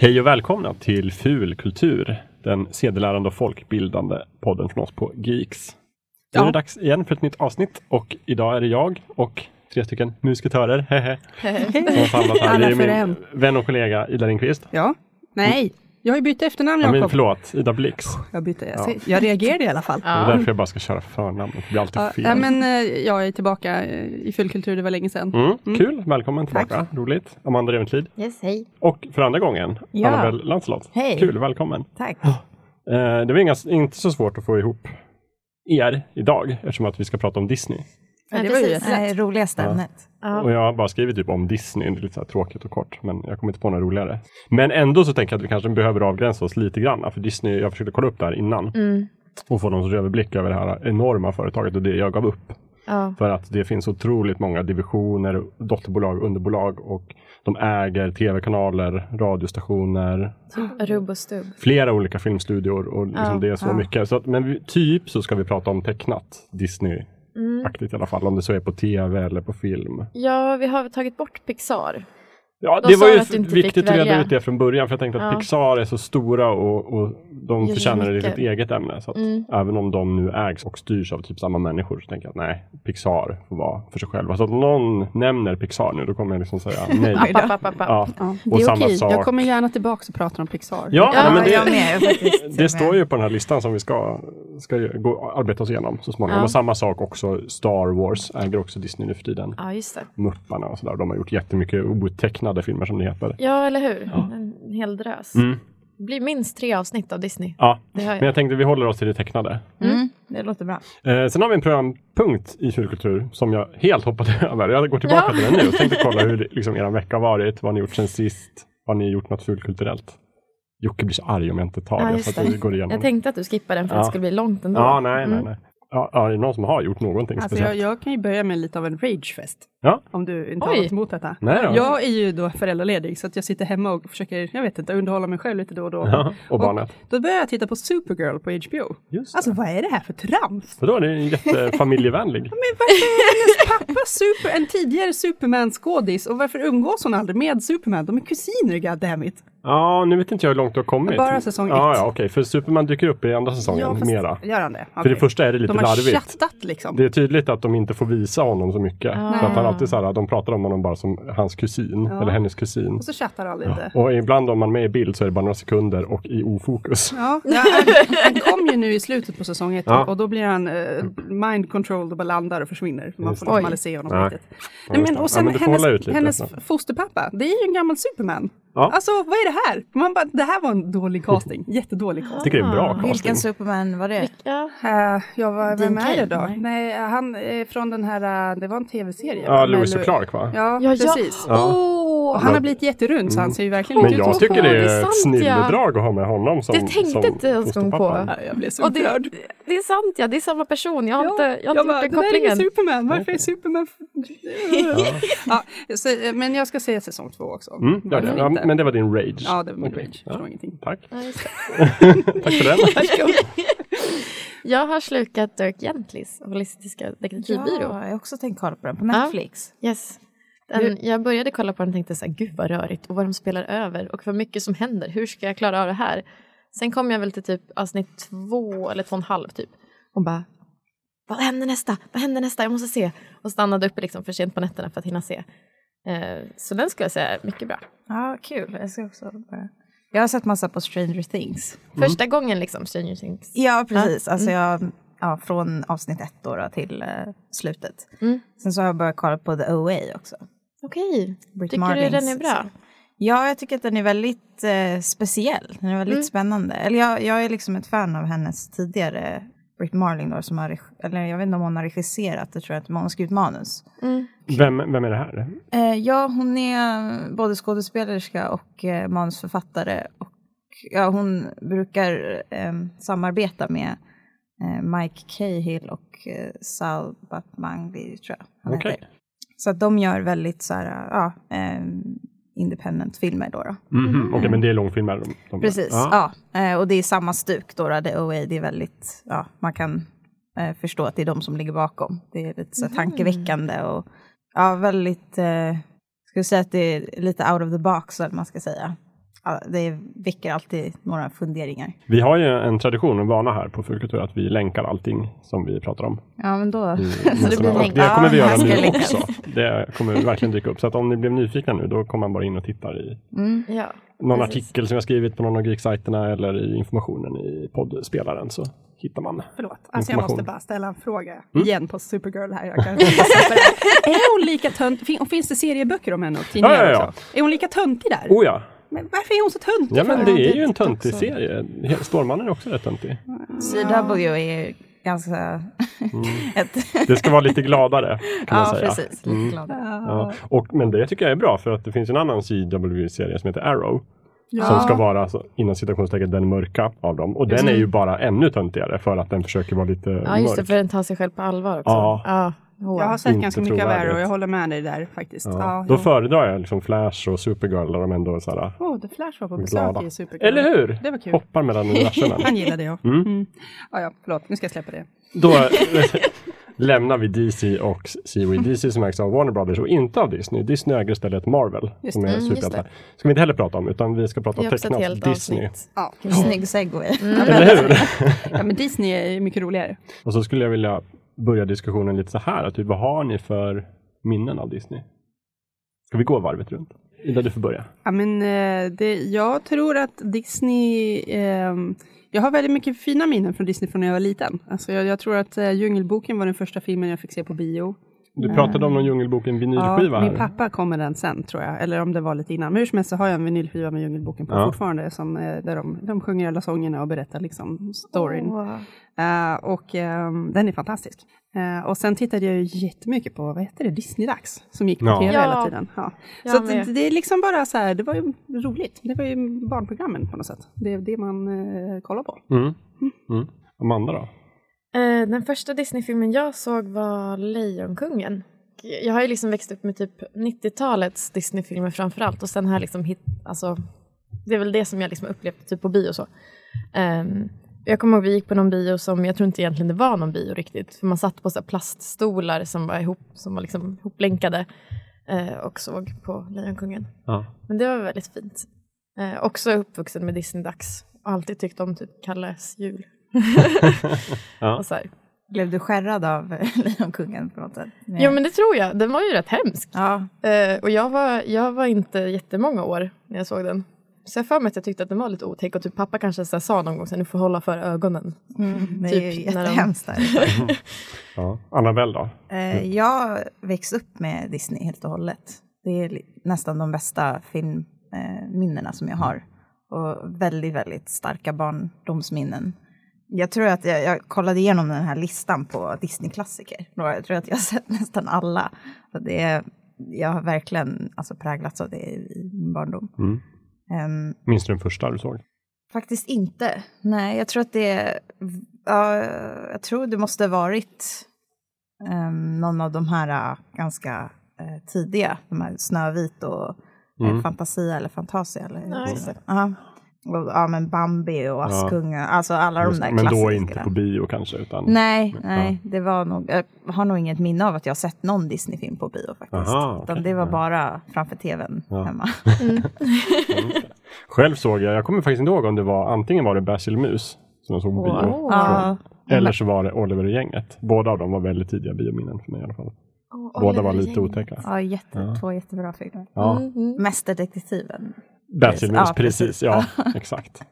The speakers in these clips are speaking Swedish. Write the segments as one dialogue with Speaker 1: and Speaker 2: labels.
Speaker 1: Hej och välkomna till Fulkultur, den sedelärande och folkbildande podden från oss på Geeks. Nu är
Speaker 2: Ja.
Speaker 1: det dags igen för ett nytt avsnitt och idag är det jag och tre stycken musketörer hehe, som samlas här.
Speaker 2: Alla
Speaker 1: Det är
Speaker 2: för en.
Speaker 1: min vän och kollega Ida Lindqvist.
Speaker 2: Ja. Nej, jag har ju bytt efternamn
Speaker 1: Ja, men,
Speaker 2: Jakob.
Speaker 1: förlåt, Ida Blix.
Speaker 2: Jag, bytte, jag, ser- jag reagerade i alla fall.
Speaker 1: Det är därför jag bara ska köra förnamn. Det blir alltid
Speaker 2: Ja,
Speaker 1: fel.
Speaker 2: ja, men eh, jag är tillbaka eh, i fullkultur, det var länge sedan.
Speaker 1: Mm, Kul, välkommen tillbaka. Roligt. Amanda Reventlid.
Speaker 3: Yes, hej.
Speaker 1: Och för andra gången,
Speaker 3: Ja.
Speaker 1: Annabelle Lancelot.
Speaker 3: Hej.
Speaker 1: Kul, välkommen.
Speaker 3: Tack.
Speaker 1: Eh, det var inga, inte så svårt att få ihop er idag eftersom att vi ska prata om Disney.
Speaker 2: Ja, det var ju
Speaker 3: precis.
Speaker 4: Det är roligaste ämnet.
Speaker 3: Ja.
Speaker 1: Och jag har bara skrivit typ om Disney, det är lite så här tråkigt och kort, men jag kommer inte på något roligare. Men ändå så tänker jag att vi kanske behöver avgränsa oss lite grann, för Disney, jag försökte kolla upp det här innan
Speaker 3: Mm.
Speaker 1: och få någon sorts överblick över det här enorma företaget och det jag gav upp.
Speaker 3: Ja.
Speaker 1: För att det finns otroligt många divisioner, dotterbolag, underbolag och de äger tv-kanaler, radiostationer,
Speaker 3: Rubb och stubb.
Speaker 1: flera olika filmstudior och liksom
Speaker 3: Ja,
Speaker 1: det är så mycket. Så att, men vi, typ så ska vi prata om tecknat Disney-aktigt i alla fall, om det så är på tv eller på film.
Speaker 3: Ja, vi har tagit bort Pixar.
Speaker 1: Ja,
Speaker 3: De
Speaker 1: det
Speaker 3: sa
Speaker 1: var ju
Speaker 3: att du inte fick
Speaker 1: viktigt att reda
Speaker 3: välja.
Speaker 1: ut det från början för jag tänkte att
Speaker 3: Ja.
Speaker 1: Pixar är så stora och, och de
Speaker 3: så
Speaker 1: förtjänar ett
Speaker 3: mycket.
Speaker 1: sitt eget ämne. Så att
Speaker 3: Mm.
Speaker 1: Även om de nu ägs och styrs av typ samma människor så tänker jag att nej, Pixar får vara för sig själva. Så att om någon nämner Pixar nu då kommer jag liksom säga nej.
Speaker 3: App, app, app, app.
Speaker 1: ja.
Speaker 2: Ja.
Speaker 1: Och
Speaker 3: Det är
Speaker 1: samma
Speaker 3: okej, jag
Speaker 1: sak.
Speaker 2: Jag kommer gärna tillbaka och pratar om Pixar.
Speaker 1: Ja,
Speaker 3: Ja,
Speaker 1: men
Speaker 4: jag
Speaker 1: det,
Speaker 4: med, jag faktiskt.
Speaker 1: det står ju på den här listan som vi ska, ska ju gå, arbeta oss igenom så småningom.
Speaker 3: Ja.
Speaker 1: Och samma sak också, Star Wars äger också Disney nu för tiden.
Speaker 3: Ja, just det.
Speaker 1: Mupparna och sådär. De har gjort jättemycket otecknade filmer som det heter.
Speaker 3: Ja, eller hur? En hel drös.
Speaker 1: Mm.
Speaker 3: Det blir minst tre avsnitt av Disney.
Speaker 1: Ja,
Speaker 3: Det hör
Speaker 1: men
Speaker 3: jag.
Speaker 1: jag tänkte vi håller oss till det tecknade.
Speaker 4: Mm. Det låter bra.
Speaker 1: Eh, sen har vi en programpunkt i Fulkultur som jag helt hoppade över. Jag går tillbaka
Speaker 3: Ja.
Speaker 1: till den nu och tänkte kolla hur det- liksom, er vecka har varit, vad ni gjort sen sist, har ni gjort något fulkulturellt? Jocke blir så arg om jag inte tar
Speaker 3: Ja,
Speaker 1: det,
Speaker 3: just
Speaker 1: så att vi
Speaker 3: det.
Speaker 1: går igenom.
Speaker 3: Jag Mm. tänkte att du skippar den för att
Speaker 1: Ja.
Speaker 3: det skulle bli långt ändå.
Speaker 1: ja, nej, nej, nej. Ja, ja, är det någon som har gjort någonting
Speaker 2: Alltså jag,
Speaker 1: speciellt?
Speaker 2: jag kan ju börja med lite av en ragefest.
Speaker 1: Ja.
Speaker 2: Om du inte
Speaker 3: Oj.
Speaker 2: har något emot detta.
Speaker 1: Nej då.
Speaker 2: Jag är ju då föräldraledig så att jag sitter hemma och försöker, jag vet inte, underhålla mig själv lite då och då.
Speaker 1: Ja, och barnet.
Speaker 2: Då börjar jag titta på Supergirl på HBO.
Speaker 1: Just det.
Speaker 2: Alltså vad är det här för trams?
Speaker 1: Vadå, det är ju jättefamiljevänlig.
Speaker 2: Men varför är hennes pappa super, en tidigare Superman-skådis och varför umgås hon aldrig med Superman? De är kusiner, goddammit.
Speaker 1: Ja, nu vet inte jag hur långt du har kommit.
Speaker 2: Bara säsong
Speaker 1: Ja,
Speaker 2: ett.
Speaker 1: ja, okej, för Superman dyker upp i andra säsongen, mera.
Speaker 2: gör han det?
Speaker 1: För det första är det lite
Speaker 2: De har
Speaker 1: larvigt.
Speaker 2: chattat liksom.
Speaker 1: Det är tydligt att de inte får visa honom så mycket. Så att han
Speaker 3: Ah.
Speaker 1: alltid så här, de pratar om honom bara som hans kusin, eller hennes kusin.
Speaker 2: Och så chattar han lite.
Speaker 1: Och ibland om man är med i bild så är det bara några sekunder och i ofokus.
Speaker 2: Ja, ja, han- han kom ju nu i slutet på säsong ett
Speaker 1: Ja.
Speaker 2: och då blir han eh, mind controlled och bara landar och försvinner. Man får
Speaker 1: det.
Speaker 2: liksom
Speaker 3: Oj.
Speaker 2: aldrig se honom
Speaker 1: Nej.
Speaker 2: riktigt. Nej, men,
Speaker 1: just det.
Speaker 2: och sen
Speaker 1: Ja, men du får hålla ut
Speaker 2: hennes,
Speaker 1: lite.
Speaker 2: hennes fosterpappa, det är ju en gammal Superman.
Speaker 1: Ja.
Speaker 2: Alltså vad är det här? Man bara, det här var en dålig casting, jättedålig
Speaker 1: Jag
Speaker 2: casting.
Speaker 1: tycker det är en bra casting.
Speaker 4: Vilken Superman var det?
Speaker 3: Ja.
Speaker 2: Uh, jag var, vem
Speaker 4: Dean
Speaker 2: är det
Speaker 4: Cain?
Speaker 2: då?
Speaker 4: Nej.
Speaker 2: Nej, han är från den här, eh, det var en tv-serie.
Speaker 1: Ja,
Speaker 2: va? Med
Speaker 1: Lewis och
Speaker 2: Lu-
Speaker 1: Clark va?
Speaker 2: Ja,
Speaker 3: Ja, ja.
Speaker 2: precis.
Speaker 1: Ja. Mm.
Speaker 3: Åh,
Speaker 2: Och han har blivit jätterund så han ser ju verkligen
Speaker 1: Men
Speaker 2: inte ut
Speaker 1: jag
Speaker 2: som-
Speaker 1: tycker det
Speaker 3: det är
Speaker 1: är ett
Speaker 3: sant,
Speaker 1: snilledrag att ha med honom som
Speaker 3: Det tänkte
Speaker 1: som
Speaker 3: inte jag ens gång på.
Speaker 1: fosterpappan.
Speaker 2: Ja, Jag blev så
Speaker 3: Och
Speaker 2: upprörd.
Speaker 3: det, det är sant ja, det är samma person. Jag har inte, jag har
Speaker 2: jag
Speaker 3: inte
Speaker 2: bara,
Speaker 3: gjort den
Speaker 2: det där är ingen
Speaker 3: kopplingen.
Speaker 2: Superman, varför är Superman... ja. så, eh, men jag ska säga säsong två också.
Speaker 1: Mm, ja, det,
Speaker 2: Varför
Speaker 1: ja,
Speaker 2: inte?
Speaker 1: men det var din rage.
Speaker 2: Ja, det var min
Speaker 1: Okej.
Speaker 2: rage. Förstår ingenting.
Speaker 1: Tack.
Speaker 3: Ja, just det.
Speaker 1: Tack för den.
Speaker 3: Jag har slukat Dirk Gentlis, Holistiska detektivbyrå.
Speaker 4: Ja, jag har också tänkt kolla på den på Netflix.
Speaker 3: Yes. Den, jag började kolla på den och tänkte så här, gud vad rörigt och vad de spelar över och vad mycket som händer. Hur ska jag klara av det här? Sen kom jag väl till typ avsnitt två eller två och en halv typ. Och bara, vad händer nästa? Vad händer nästa? Jag måste se. Och stannade uppe liksom för sent på nätterna för att hinna se. Eh, så den skulle jag säga är mycket bra.
Speaker 4: Ja, kul. Jag ska också börja. Jag har sett massa på Stranger Things.
Speaker 3: Första gången liksom, Stranger Things.
Speaker 4: Ja, precis. Alltså jag, ja, från avsnitt ett då, då till eh, slutet.
Speaker 3: Mm.
Speaker 4: Sen så har jag börjat kolla på The OA också.
Speaker 3: Okej,
Speaker 4: Britt
Speaker 3: tycker du
Speaker 4: Martins
Speaker 3: den är bra?
Speaker 4: Ja, jag tycker att den är väldigt eh, speciell. Den är väldigt
Speaker 3: Mm.
Speaker 4: spännande. Eller jag, jag är liksom ett fan av hennes tidigare Britt Marling då, som har, reg- eller jag vet inte om hon har regisserat, det tror jag inte, men hon har skrivit manus.
Speaker 3: Mm.
Speaker 1: Vem, vem är det här?
Speaker 4: Eh, ja, hon är både skådespelerska och eh, manusförfattare. Och, ja, hon brukar eh, samarbeta med eh, Mike Cahill och eh, Sal Batmangli, tror jag han
Speaker 1: Okej.
Speaker 4: heter. Så att de gör väldigt så här, ja, eh, independent filmer då. då.
Speaker 1: Mhm, Okej, men det är långfilmer. De, de
Speaker 4: Precis,
Speaker 1: Ja.
Speaker 4: ja. Eh, Och det är samma stuk då, då, det OA, det är väldigt, ja, man kan eh, förstå att det är de som ligger bakom. Det är lite så här tankeväckande och ja, väldigt, eh, skulle säga att det är lite out of the box, eller vad man ska säga. ja, det väcker alltid några funderingar.
Speaker 1: Vi har ju en tradition och vana här på Fulkultur att vi länkar allting som vi pratar om.
Speaker 4: Ja, men då.
Speaker 1: I
Speaker 3: det
Speaker 1: massorna.
Speaker 3: blir
Speaker 1: och
Speaker 3: länk.
Speaker 1: Mm, det kommer vi
Speaker 4: Ja,
Speaker 1: göra
Speaker 4: här ska
Speaker 1: nu
Speaker 4: jag
Speaker 1: också. Det kommer verkligen dyka upp. Så att om ni blev nyfikna nu, då kommer man bara in och tittar i
Speaker 4: Mm.
Speaker 3: Ja.
Speaker 1: någon
Speaker 3: Precis.
Speaker 1: artikel som jag skrivit på någon av geeksajterna eller i informationen i poddspelaren så hittar man.
Speaker 2: Förlåt, alltså jag
Speaker 1: Information. Mm.
Speaker 2: måste bara ställa en fråga igen på Supergirl här. Jag kan inte släppa det. är hon lika tönt, fin, och finns det serieböcker om henne och tidningar
Speaker 1: Ja, ja, ja.
Speaker 2: också? Är hon lika töntig där?
Speaker 1: Oh ja,
Speaker 2: Men varför är hon så töntig?
Speaker 1: ja men
Speaker 2: för?
Speaker 1: det
Speaker 4: det
Speaker 1: är ju en
Speaker 4: tyckte jag
Speaker 1: töntig
Speaker 4: också.
Speaker 1: serie. He- Stålmannen är också rätt töntig.
Speaker 4: CW är ju ganska... ett,
Speaker 1: Det ska vara lite gladare Mm. kan man
Speaker 4: ja,
Speaker 1: säga.
Speaker 4: precis. Lite glad.
Speaker 1: Ja. Och, men det tycker jag är bra för att det finns en annan CW-serie som heter Arrow. Som ska vara, alltså, inom citationstecken, den mörka av dem. Och den är ju bara ännu töntigare för att den försöker vara lite
Speaker 3: ja, just det,
Speaker 1: mörk.
Speaker 3: för den tar sig själv på allvar också.
Speaker 1: Ja.
Speaker 3: Ja.
Speaker 2: Jag har sett
Speaker 1: Inte
Speaker 2: ganska mycket av
Speaker 1: trovärdigt.
Speaker 2: Arrow, jag håller med dig där faktiskt. Ja.
Speaker 1: Ja.
Speaker 2: jo.
Speaker 1: Då föredrar jag liksom Flash och Supergirl där de ändå är så här,
Speaker 2: Åh, The Flash var på besök
Speaker 1: glada.
Speaker 2: i Supergirl.
Speaker 1: Eller hur?
Speaker 2: Det var kul.
Speaker 1: Hoppar mellan universumen.
Speaker 2: Han gillade jag.
Speaker 1: Mm.
Speaker 2: Ja, ja, förlåt, nu ska jag släppa det.
Speaker 1: Då lämnar vi DC och Seaweed. DC som ägs av Warner Brothers och inte av Disney. Disney äger istället Marvel
Speaker 2: Just
Speaker 1: som är
Speaker 3: det, mm, just
Speaker 1: superhjältar. Ska vi inte heller prata om utan vi ska prata
Speaker 3: Det
Speaker 1: om
Speaker 3: är också ett
Speaker 1: tecknat
Speaker 3: helt
Speaker 1: Disney.
Speaker 3: avsnitt.
Speaker 2: Ja.
Speaker 4: Snygg segway.
Speaker 1: Eller hur?
Speaker 2: alltså, ja, men Disney är mycket roligare.
Speaker 1: och så skulle jag vilja börja diskussionen lite så här. Att typ, vad har ni för minnen av Disney? Ska vi gå varvet runt? Ida, du får börja.
Speaker 2: Ja, men, eh, det, jag tror att Disney... ehm, jag har väldigt mycket fina minnen från Disney från när jag var liten. Alltså, jag, jag tror att eh, Djungelboken var den första filmen jag fick se på bio.
Speaker 1: Du
Speaker 4: Eh.
Speaker 1: pratade om någon Djungelboken vinylskiva
Speaker 2: min
Speaker 1: här.
Speaker 2: pappa kom med den sen tror jag, eller om det var lite innan. Men hur som helst så har jag en vinylskiva med Djungelboken på
Speaker 1: Ja.
Speaker 2: fortfarande, som, eh, där de, de sjunger alla sångerna och berättar liksom storyn.
Speaker 3: Åh.
Speaker 2: Eh, och ehm, den är fantastisk. Eh, och sen tittade jag ju jättemycket på, vad heter det, Disney-dags, som gick på
Speaker 1: Ja.
Speaker 2: tv
Speaker 3: Ja.
Speaker 2: hela tiden. Ja.
Speaker 3: Jag
Speaker 2: Så att det,
Speaker 3: med.
Speaker 2: det är liksom bara så här, det var ju roligt. Det var ju barnprogrammen på något sätt. Det är det man eh, kollar på.
Speaker 1: Mm. Mm. Amanda då?
Speaker 3: Eh, Den första Disney-filmen jag såg var Lejonkungen. Jag har ju liksom växt upp med typ 90-talets Disney-filmer framför allt och sen har jag liksom hit, alltså, det är väl det som jag liksom upplevt typ på bio så. Ehm, jag kommer ihåg vi gick på någon bio som, jag tror inte egentligen det var någon bio riktigt, för man satt på så här plaststolar som var, ihop, som var liksom hoplänkade eh, och såg på Lejonkungen.
Speaker 1: Ja.
Speaker 3: Men det var väldigt fint. Eh, också uppvuxen med Disney-dags och alltid tyckt om typ Kalles jul.
Speaker 1: Ja.
Speaker 3: och så här.
Speaker 4: Blev du skärrad av Lejonkungen på något sätt? Nej.
Speaker 3: Jo men det tror jag, den var ju rätt hemsk.
Speaker 4: Ja,
Speaker 3: Eh, och jag var, jag var inte jättemånga år när jag såg den. Så jag har för mig att jag tyckte att den var lite otäck och typ pappa kanske så här sa någon gång så här, nu får hålla för ögonen.
Speaker 4: mm, det är ju
Speaker 3: Typ när de-
Speaker 4: jättehemskt. Där.
Speaker 1: Ja. Annabelle då?
Speaker 4: Eh, Jag växte upp med Disney helt och hållet. Det är li- nästan de bästa filmminnena som jag har. Och väldigt, väldigt starka barndomsminnen. Jag tror att jag, jag kollade igenom den här listan på Disney-klassiker. Och Jag tror att jag har sett nästan alla. Så det är, jag har verkligen alltså, präglats av det i min barndom.
Speaker 1: Mm.
Speaker 4: Ehm,
Speaker 1: Minns du den första du såg?
Speaker 4: Faktiskt inte. Nej, jag tror att det ja, jag tror det måste varit um, någon av de här eh, ganska eh, tidiga, de här Snövit och eh,
Speaker 1: Mm.
Speaker 4: Fantasia eller Fantasia. Eller,
Speaker 3: Ja, just det.
Speaker 4: Ja. Och, ja, men Bambi och Askungen, alltså alla de
Speaker 1: Just-
Speaker 4: där
Speaker 1: Men
Speaker 4: klassiska.
Speaker 1: då inte på bio kanske? Utan...
Speaker 4: Nej, nej, det var nog, jag har nog inget minne av att jag har sett någon Disney-film på bio faktiskt.
Speaker 1: Aha, okej.
Speaker 4: Utan det var
Speaker 1: Ja.
Speaker 4: bara framför tvn
Speaker 1: Ja.
Speaker 4: hemma.
Speaker 1: Själv såg jag, jag kommer faktiskt inte ihåg om det var antingen var det Basil Mus som jag såg på bio.
Speaker 3: Wow.
Speaker 4: Ja.
Speaker 1: Eller så var det Oliver och gänget. Båda av dem var väldigt tidiga biominnen för mig i alla fall.
Speaker 3: Och
Speaker 1: Båda var
Speaker 3: Oliver
Speaker 1: lite
Speaker 3: Gäng.
Speaker 1: otäcka.
Speaker 4: Ja, jätte,
Speaker 1: Ja.
Speaker 4: två jättebra filmer.
Speaker 1: Ja,
Speaker 3: Mm, mm.
Speaker 4: Mästerdetektiven.
Speaker 1: Basil Mus,
Speaker 4: Ja,
Speaker 1: precis.
Speaker 4: precis.
Speaker 1: Ja, exakt.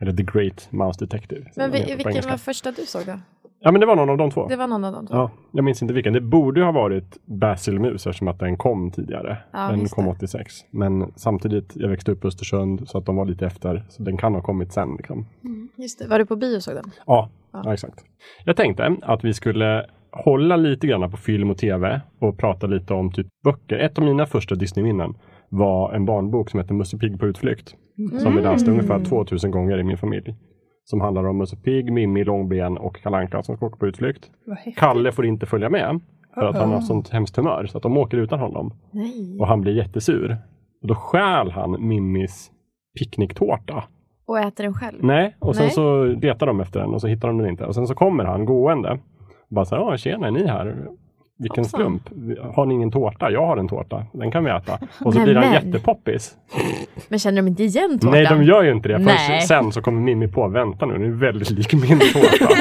Speaker 1: Eller The Great Mouse Detective. som
Speaker 3: Men
Speaker 1: den heter
Speaker 3: vi,
Speaker 1: på
Speaker 3: vilken
Speaker 1: engelska.
Speaker 3: var första du såg då?
Speaker 1: Ja, men det var någon av de två.
Speaker 3: Det var någon av dem.
Speaker 1: Ja, jag minns inte vilken. Det borde ju ha varit Basil Mus eftersom att den kom tidigare.
Speaker 3: Ja,
Speaker 1: den
Speaker 3: just
Speaker 1: kom
Speaker 3: det.
Speaker 1: 86. Men samtidigt, jag växte upp i Östersund så att de var lite efter. Så den kan ha kommit sen. Liksom.
Speaker 3: Just det. Var du på bio och såg den?
Speaker 1: Ja, ja, exakt. Jag tänkte att vi skulle hålla lite grann på film och tv och prata lite om typ böcker. Ett av mina första Disney-minnen var en barnbok som heter Musse Pigg på utflykt. Som vi
Speaker 2: Mm.
Speaker 1: läste ungefär 2000 gånger i min familj. Som handlar om Musse Pigg, Mimmi, Långben och Kalle Anka som ska åka på utflykt.
Speaker 2: Vad häftigt. Uh-huh.
Speaker 1: Kalle får inte följa med för att han har sånt hemskt humör så att de åker utan honom.
Speaker 3: Nej.
Speaker 1: Och han blir jättesur. Och då stjäl han Mimmis picknicktårta.
Speaker 3: Och äter den själv?
Speaker 1: Nej, och sen
Speaker 3: Nej.
Speaker 1: så letar de efter den och så hittar de den inte. Och sen så kommer han gående. Och bara så här, ja tjena är ni här? Vilken
Speaker 3: Hoppsan.
Speaker 1: slump. Har ni ingen tårta? Jag har en tårta. Den kan vi äta. Och så
Speaker 3: Men,
Speaker 1: blir han
Speaker 3: men.
Speaker 1: jättepoppis.
Speaker 3: Men känner de inte igen tårtan?
Speaker 1: Nej, de gör ju inte det.
Speaker 3: Nej.
Speaker 1: Först sen så kommer Mimmi på, vänta nu, den är väldigt lik min tårta.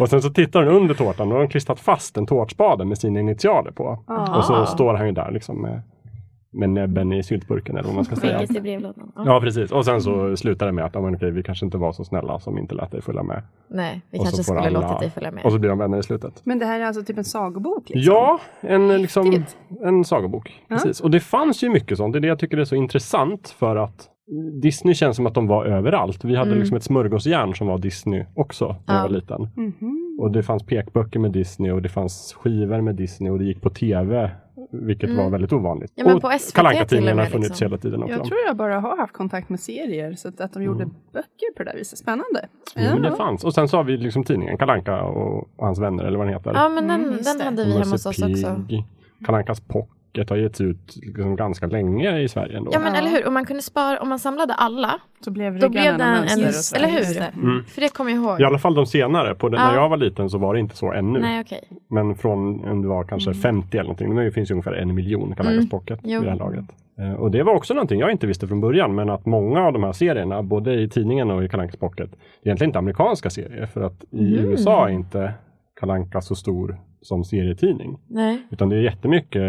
Speaker 1: och sen så tittar hon under tårtan och då har de klistrat fast en tårtspade med sina initialer på.
Speaker 2: Ah.
Speaker 1: Och så står han ju där liksom med, med näbben i syltburken eller vad man ska säga.
Speaker 3: Skägget i brevlådan. Ja.
Speaker 1: Ja, precis. Och sen så slutar det med att, ja, men okej, vi kanske inte var så snälla som inte lät dig följa med.
Speaker 3: Nej,
Speaker 1: Och
Speaker 3: vi
Speaker 1: så
Speaker 3: kanske
Speaker 1: får
Speaker 3: skulle
Speaker 1: alla-
Speaker 3: låtit dig följa med.
Speaker 1: Och så blir de vänner i slutet.
Speaker 2: Men det här är alltså typ en sagobok? Liksom.
Speaker 1: Ja, en, liksom,
Speaker 3: Häftigt.
Speaker 1: en sagobok. Precis. Och det fanns ju mycket sånt. Det är det jag tycker är så intressant för att Disney känns som att de var överallt. Vi hade liksom ett smörgåsjärn som var Disney också när jag
Speaker 3: Mm. Ja.
Speaker 1: var liten.
Speaker 2: Mhm.
Speaker 1: Och det fanns pekböcker med Disney och det fanns skivor med Disney och det gick på tv. Vilket var väldigt ovanligt.
Speaker 3: Mm. Ja, men
Speaker 1: och
Speaker 3: på SVT
Speaker 1: Kalle Anka
Speaker 3: till och
Speaker 1: tidningarna
Speaker 3: med,
Speaker 1: har funnits
Speaker 3: liksom.
Speaker 1: hela tiden också.
Speaker 2: Jag tror jag bara har haft kontakt med serier, så att, att de gjorde böcker på det där viset. Spännande.
Speaker 1: Mm. Jo, men Mm, det fanns. Och sen så har vi liksom tidningen Kalle Anka och hans vänner eller vad den heter.
Speaker 3: Ja, men den,
Speaker 4: Mm, just
Speaker 3: den
Speaker 4: det.
Speaker 3: hade vi
Speaker 1: Musse
Speaker 3: hemma hos oss
Speaker 1: Pig,
Speaker 3: också.
Speaker 1: Kalle Ankas Pocket har getts ut liksom ganska länge i Sverige. Ändå.
Speaker 3: Ja, men eller hur? Om man kunde spara, om man samlade alla,
Speaker 2: Så blev
Speaker 3: då blev
Speaker 2: ryggarna
Speaker 3: den en...
Speaker 2: mönster och
Speaker 3: Just,
Speaker 2: så.
Speaker 3: eller
Speaker 2: Just
Speaker 3: hur?
Speaker 2: det.
Speaker 1: Mm.
Speaker 3: För det kommer jag ihåg.
Speaker 1: I alla fall de senare. På den,
Speaker 3: Ja.
Speaker 1: När jag var liten så var det inte så ännu.
Speaker 3: Nej, okej.
Speaker 1: Men från om det var kanske 50 eller någonting. Nu finns ju ungefär en miljon Kalle Ankas
Speaker 3: Mm.
Speaker 1: Pocket
Speaker 3: Jo.
Speaker 1: i det här laget. Eh, Och det var också någonting jag inte visste från början. Men att många av de här serierna, både i tidningen och i Kalle Ankas Pocket, är egentligen inte amerikanska serier. För att i
Speaker 3: Mm.
Speaker 1: USA är inte Kalle Anka så stor som serietidning.
Speaker 3: Nej.
Speaker 1: Utan det är jättemycket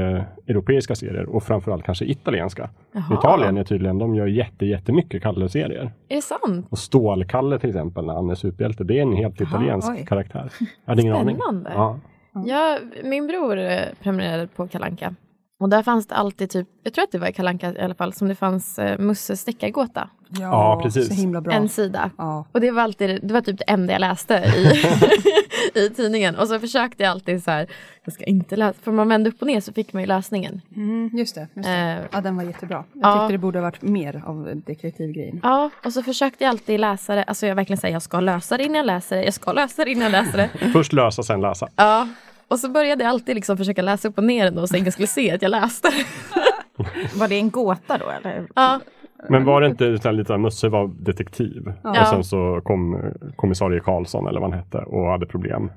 Speaker 1: europeiska serier och framförallt kanske italienska.
Speaker 3: Jaha.
Speaker 1: Italien är tydligen, de gör jätte, jättemycket Kalle-serier.
Speaker 3: Är det sant?
Speaker 1: Och Stålkalle till exempel, när han är superhjälte, det är en helt italiensk
Speaker 4: oj.
Speaker 1: karaktär. Jag hade ingen aning.
Speaker 3: Spännande.
Speaker 1: Ja.
Speaker 3: Ja, min bror eh, prenumererade på Kalanka. Och där fanns det alltid typ, jag tror att det var i Kalanka i alla fall, som det fanns eh, Musses deckargåta.
Speaker 2: Ja,
Speaker 1: Ja, precis.
Speaker 2: Så himla bra.
Speaker 3: En sida.
Speaker 2: Ja.
Speaker 3: Och det var alltid, det var typ det enda jag läste i, i tidningen. Och så försökte jag alltid så här, jag ska inte läsa, för man vände upp och ner så fick man ju lösningen.
Speaker 2: Mm, just det. Just det.
Speaker 3: Eh,
Speaker 2: Ja, den var jättebra. Jag
Speaker 3: Ja.
Speaker 2: tyckte det borde ha varit mer av detektivgrejen.
Speaker 3: ja, och så försökte jag alltid läsa det, alltså jag verkligen säger jag ska lösa det innan jag läser det, jag ska lösa det innan jag läser det.
Speaker 1: Först lösa, sen läsa.
Speaker 3: Ja, och så började jag alltid liksom försöka läsa upp och ner den och så ingen skulle se att jag läste det.
Speaker 4: Var det en gåta då eller?
Speaker 3: Ja,
Speaker 1: Men var det inte utan lite så här, Musse var detektiv
Speaker 3: Ja.
Speaker 1: och sen så kom eh, kommissarie Karlsson eller vad han hette och hade problem.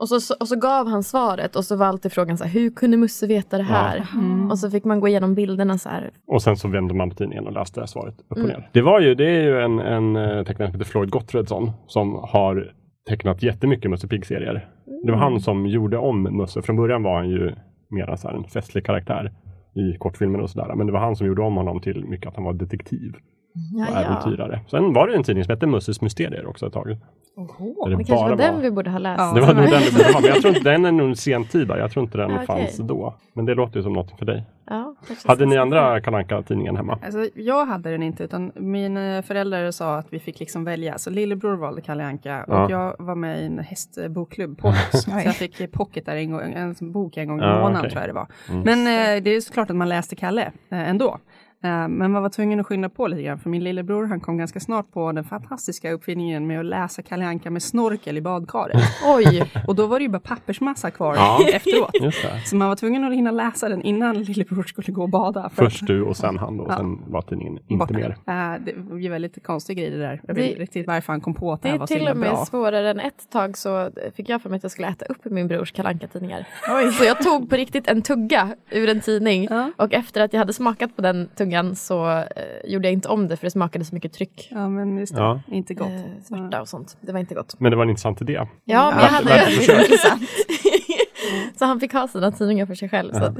Speaker 3: och, så, och så gav han svaret och så var alltid frågan så här, hur kunde Musse veta det här? Och så fick man gå igenom bilderna så här.
Speaker 1: Och sen så vände man på tidningen och läste svaret upp och
Speaker 3: Mm.
Speaker 1: ner. Det var ju, det är ju en, en eh, tecknare som heter Floyd Gottfredsson som har tecknat jättemycket Musse Pigg-serier. Det var
Speaker 3: Mm.
Speaker 1: han som gjorde om Musse. Från början var han ju mer så här en festlig karaktär i kortfilmer och sådär. Men det var han som gjorde om honom till mycket att han var detektiv
Speaker 3: Ja,
Speaker 1: och
Speaker 3: ja.
Speaker 1: äventyrare. Sen var det en tidning som hette Musses Mysterier också ett tag. Där
Speaker 3: Det kanske var
Speaker 1: bara
Speaker 3: den vi borde ha läst.
Speaker 2: Ja.
Speaker 1: det var nog den det borde vara, men jag tror inte, den är nog sentida. Jag tror inte den
Speaker 3: Ja, okej.
Speaker 1: fanns då. Men det låter ju som något för dig.
Speaker 3: Ja, kanske
Speaker 1: Hade
Speaker 3: ska
Speaker 1: ni
Speaker 3: se.
Speaker 1: andra Kalle Anka-tidningen hemma?
Speaker 2: Alltså, jag hade den inte, utan mina föräldrar sa att vi fick liksom välja. Så lillebror valde Kalle Anka och
Speaker 1: Ja.
Speaker 2: jag var med i en hästbokklubb på oss. så
Speaker 4: Oj.
Speaker 2: jag fick eh, pocket där en, gång, en bok en gång i
Speaker 1: Ja,
Speaker 2: månaden
Speaker 1: okej. Mm.
Speaker 2: tror jag det var. Men eh, det är ju såklart att man läste Kalle eh, ändå. Eh, Men man var tvungen att skynda på lite grann, för min lillebror han kom ganska snart på den fantastiska uppfinningen med att läsa Kalle Anka med snorkel i badkaret.
Speaker 3: Oj,
Speaker 2: Och då var det ju bara pappersmassa kvar
Speaker 1: Ja.
Speaker 2: efteråt.
Speaker 1: Just det.
Speaker 2: Så man var tvungen att hinna läsa den innan lillebror skulle gå och bada. för att-
Speaker 1: Först du och sen han då, och
Speaker 2: Ja.
Speaker 1: sen var tidningen inte
Speaker 2: Borta.
Speaker 1: mer.
Speaker 2: Eh, det var ju väldigt konstig grej det där. Jag vet
Speaker 3: Det-
Speaker 2: inte riktigt varför han kom på att det,
Speaker 3: det
Speaker 2: här var
Speaker 3: är
Speaker 2: så
Speaker 3: till
Speaker 2: himla
Speaker 3: och med
Speaker 2: bra.
Speaker 3: svårare än ett tag så fick jag för mig att jag skulle äta upp min brors kalanka tidningar Så jag tog på riktigt en tugga ur en tidning
Speaker 2: Ja.
Speaker 3: och efter att jag hade smakat på den tuggan så eh, gjorde jag inte om det för det smakade så mycket tryck.
Speaker 2: Ja, men just det.
Speaker 1: Ja.
Speaker 2: Inte gott.
Speaker 3: Eh, smärta och sånt. Det var inte gott.
Speaker 1: Men det var en intressant idé.
Speaker 3: Ja, men
Speaker 1: Ja,
Speaker 3: jag hade
Speaker 1: värt ett försök.
Speaker 3: Så han fick ha sina tidningar för sig själv. Så. att-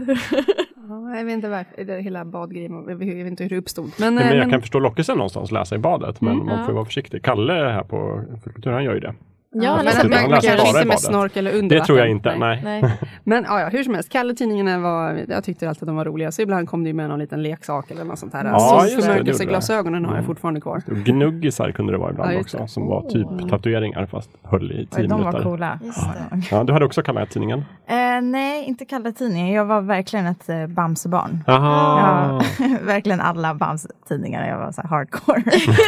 Speaker 2: Ja, jag vet inte varför. Det hela badgrejen, jag vet inte hur det uppstod. Men,
Speaker 1: Nej,
Speaker 2: eh,
Speaker 1: men jag
Speaker 2: men-
Speaker 1: kan förstå lockelsen någonstans, läsa i badet. Men man får
Speaker 3: Ja.
Speaker 1: ju vara försiktig. Kalle här på Folkkultur, han gör ju det.
Speaker 3: Ja, liksom,
Speaker 1: läser
Speaker 2: men,
Speaker 1: inte.
Speaker 2: men
Speaker 1: Han
Speaker 2: man
Speaker 1: läser
Speaker 2: kanske
Speaker 1: bara i
Speaker 2: inte med
Speaker 1: badet.
Speaker 2: snorkel eller under
Speaker 1: Det tror jag
Speaker 2: vatten.
Speaker 1: inte. Nej.
Speaker 3: Nej.
Speaker 2: Men ja, ja, hur som helst, Kalle-tidningarna var, jag tyckte alltid att de var roliga. Så ibland kom det ju med någon liten leksak eller något sånt här.
Speaker 1: Ja,
Speaker 2: så
Speaker 1: just det, det gjorde det.
Speaker 2: förmörkelseglasögonen har jag
Speaker 1: Mm.
Speaker 2: fortfarande kvar.
Speaker 1: Och Gnuggisar kunde det vara ibland
Speaker 2: Ja, just det.
Speaker 1: också, som var typ tatueringar fast höll i tio
Speaker 4: Oj, de var
Speaker 1: minuter.
Speaker 4: coola.
Speaker 3: Just det.
Speaker 1: Ja, du hade också Kalle Anka-tidningen?
Speaker 4: Eh, nej, inte kalla tidningen. Jag var verkligen ett eh, Bamsebarn.
Speaker 1: Jaha.
Speaker 4: Ja, verkligen alla Bamse-tidningar. Jag var så här hardcore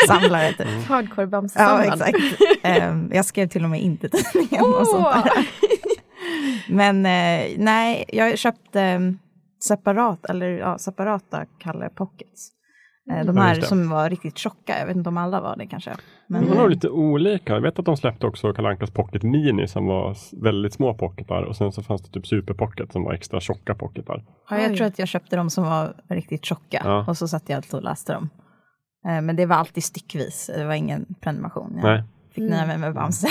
Speaker 4: samlare. Typ.
Speaker 1: Mm.
Speaker 3: Hardcore
Speaker 4: Ja,
Speaker 3: bamsesamlad.
Speaker 4: exakt. Ehm, jag skrev till och med inte tidningen och sånt där. Men eh, ehm, nej, jag köpte eh, separat, eller ja, separata Kalle Pockets. Eh, De
Speaker 1: Ja,
Speaker 4: här
Speaker 1: just det.
Speaker 4: som var riktigt tjocka, jag vet inte om alla var det kanske. Men,
Speaker 3: Mm.
Speaker 1: De var nog lite olika. Jag vet att de släppte också Kalle Ankas Pocket Mini som var s- väldigt små pocketar och sen så fanns det typ Super Pocket som var extra tjocka pocketar.
Speaker 4: Ja, jag
Speaker 3: Oj.
Speaker 4: tror att jag köpte de som var riktigt tjocka
Speaker 1: Ja.
Speaker 4: och så satt jag alltid och läste dem. Eh, Men det var alltid styckvis, det var ingen prenumeration. Jag
Speaker 1: Nej.
Speaker 4: fick nöja mig med Bamse.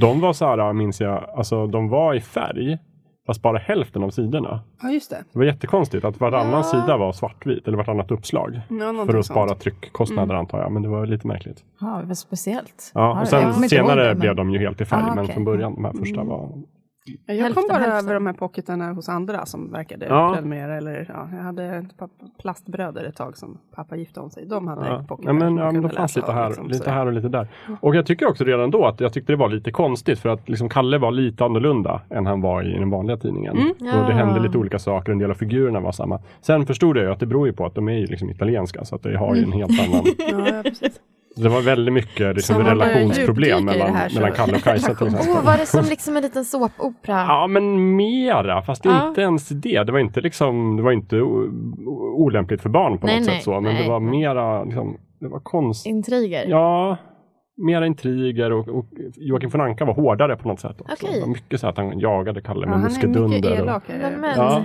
Speaker 1: De var så här, minns jag, alltså de var i färg fast bara hälften av sidorna.
Speaker 2: Ja, just det.
Speaker 1: Det var jättekonstigt att varannan
Speaker 3: Ja.
Speaker 1: sida var svartvit eller vartannat uppslag.
Speaker 2: Ja,
Speaker 1: För
Speaker 2: någonting
Speaker 1: att spara
Speaker 2: sånt.
Speaker 1: tryckkostnader
Speaker 4: Mm.
Speaker 1: antar jag, men det var lite märkligt.
Speaker 4: Ja, det var speciellt.
Speaker 1: Ja,
Speaker 4: det-
Speaker 1: och
Speaker 4: jag kommer
Speaker 1: sen
Speaker 4: inte ihåg
Speaker 1: senare
Speaker 4: det, men-
Speaker 1: blev de ju helt i färg,
Speaker 4: Ah,
Speaker 1: men
Speaker 4: okej. Mm.
Speaker 1: från början, de här första var...
Speaker 2: Ja, Jag kom
Speaker 3: Hälften,
Speaker 2: bara
Speaker 3: hälften.
Speaker 2: över de här pocketarna hos andra som verkade
Speaker 1: Ja.
Speaker 2: prenumerera. Eller, ja, jag hade ett par plastbröder ett tag som pappa gifte om sig. De hade
Speaker 1: Ja.
Speaker 2: pocketar.
Speaker 1: Ja, men, ja,
Speaker 2: man
Speaker 1: men
Speaker 2: kunde
Speaker 1: det fanns
Speaker 2: läsa
Speaker 1: lite
Speaker 2: av,
Speaker 1: här,
Speaker 2: liksom,
Speaker 1: lite
Speaker 2: sådär.
Speaker 1: här och lite där. Och jag tycker också redan då att jag tyckte det var lite konstigt för att liksom Kalle var lite annorlunda än han var i den vanliga tidningen. Och det
Speaker 3: Ja.
Speaker 1: hände lite olika saker, en del av figurerna var samma. Sen förstod jag ju att det beror ju på att de är ju liksom italienska så att det har ju en helt annan...
Speaker 2: Ja, ja, precis.
Speaker 1: Det var väldigt mycket liksom,
Speaker 2: Så man börjar
Speaker 1: relationsproblem
Speaker 2: djupdyka i det
Speaker 1: mellan,
Speaker 2: här så-
Speaker 1: mellan Kalle och Kajsa till exempel.
Speaker 3: Åh, var det som liksom en liten såpopera?
Speaker 1: Ja, men mera. Fast
Speaker 3: Ja.
Speaker 1: inte ens det. Det var inte, liksom, det var inte o- o- olämpligt för barn på
Speaker 3: Nej,
Speaker 1: något
Speaker 3: nej,
Speaker 1: sätt. så. Men
Speaker 3: nej.
Speaker 1: det var mera liksom, det var konstigt.
Speaker 3: Intriger?
Speaker 1: Ja, mera intriger och, och Joakim von Anka var hårdare på något sätt. Också.
Speaker 3: Okej.
Speaker 1: Det var mycket så här att han jagade Kalle
Speaker 2: Ja,
Speaker 1: med
Speaker 2: han är mycket
Speaker 1: muskedunder. och-
Speaker 2: elakare.
Speaker 3: Nej, men,
Speaker 1: Ja.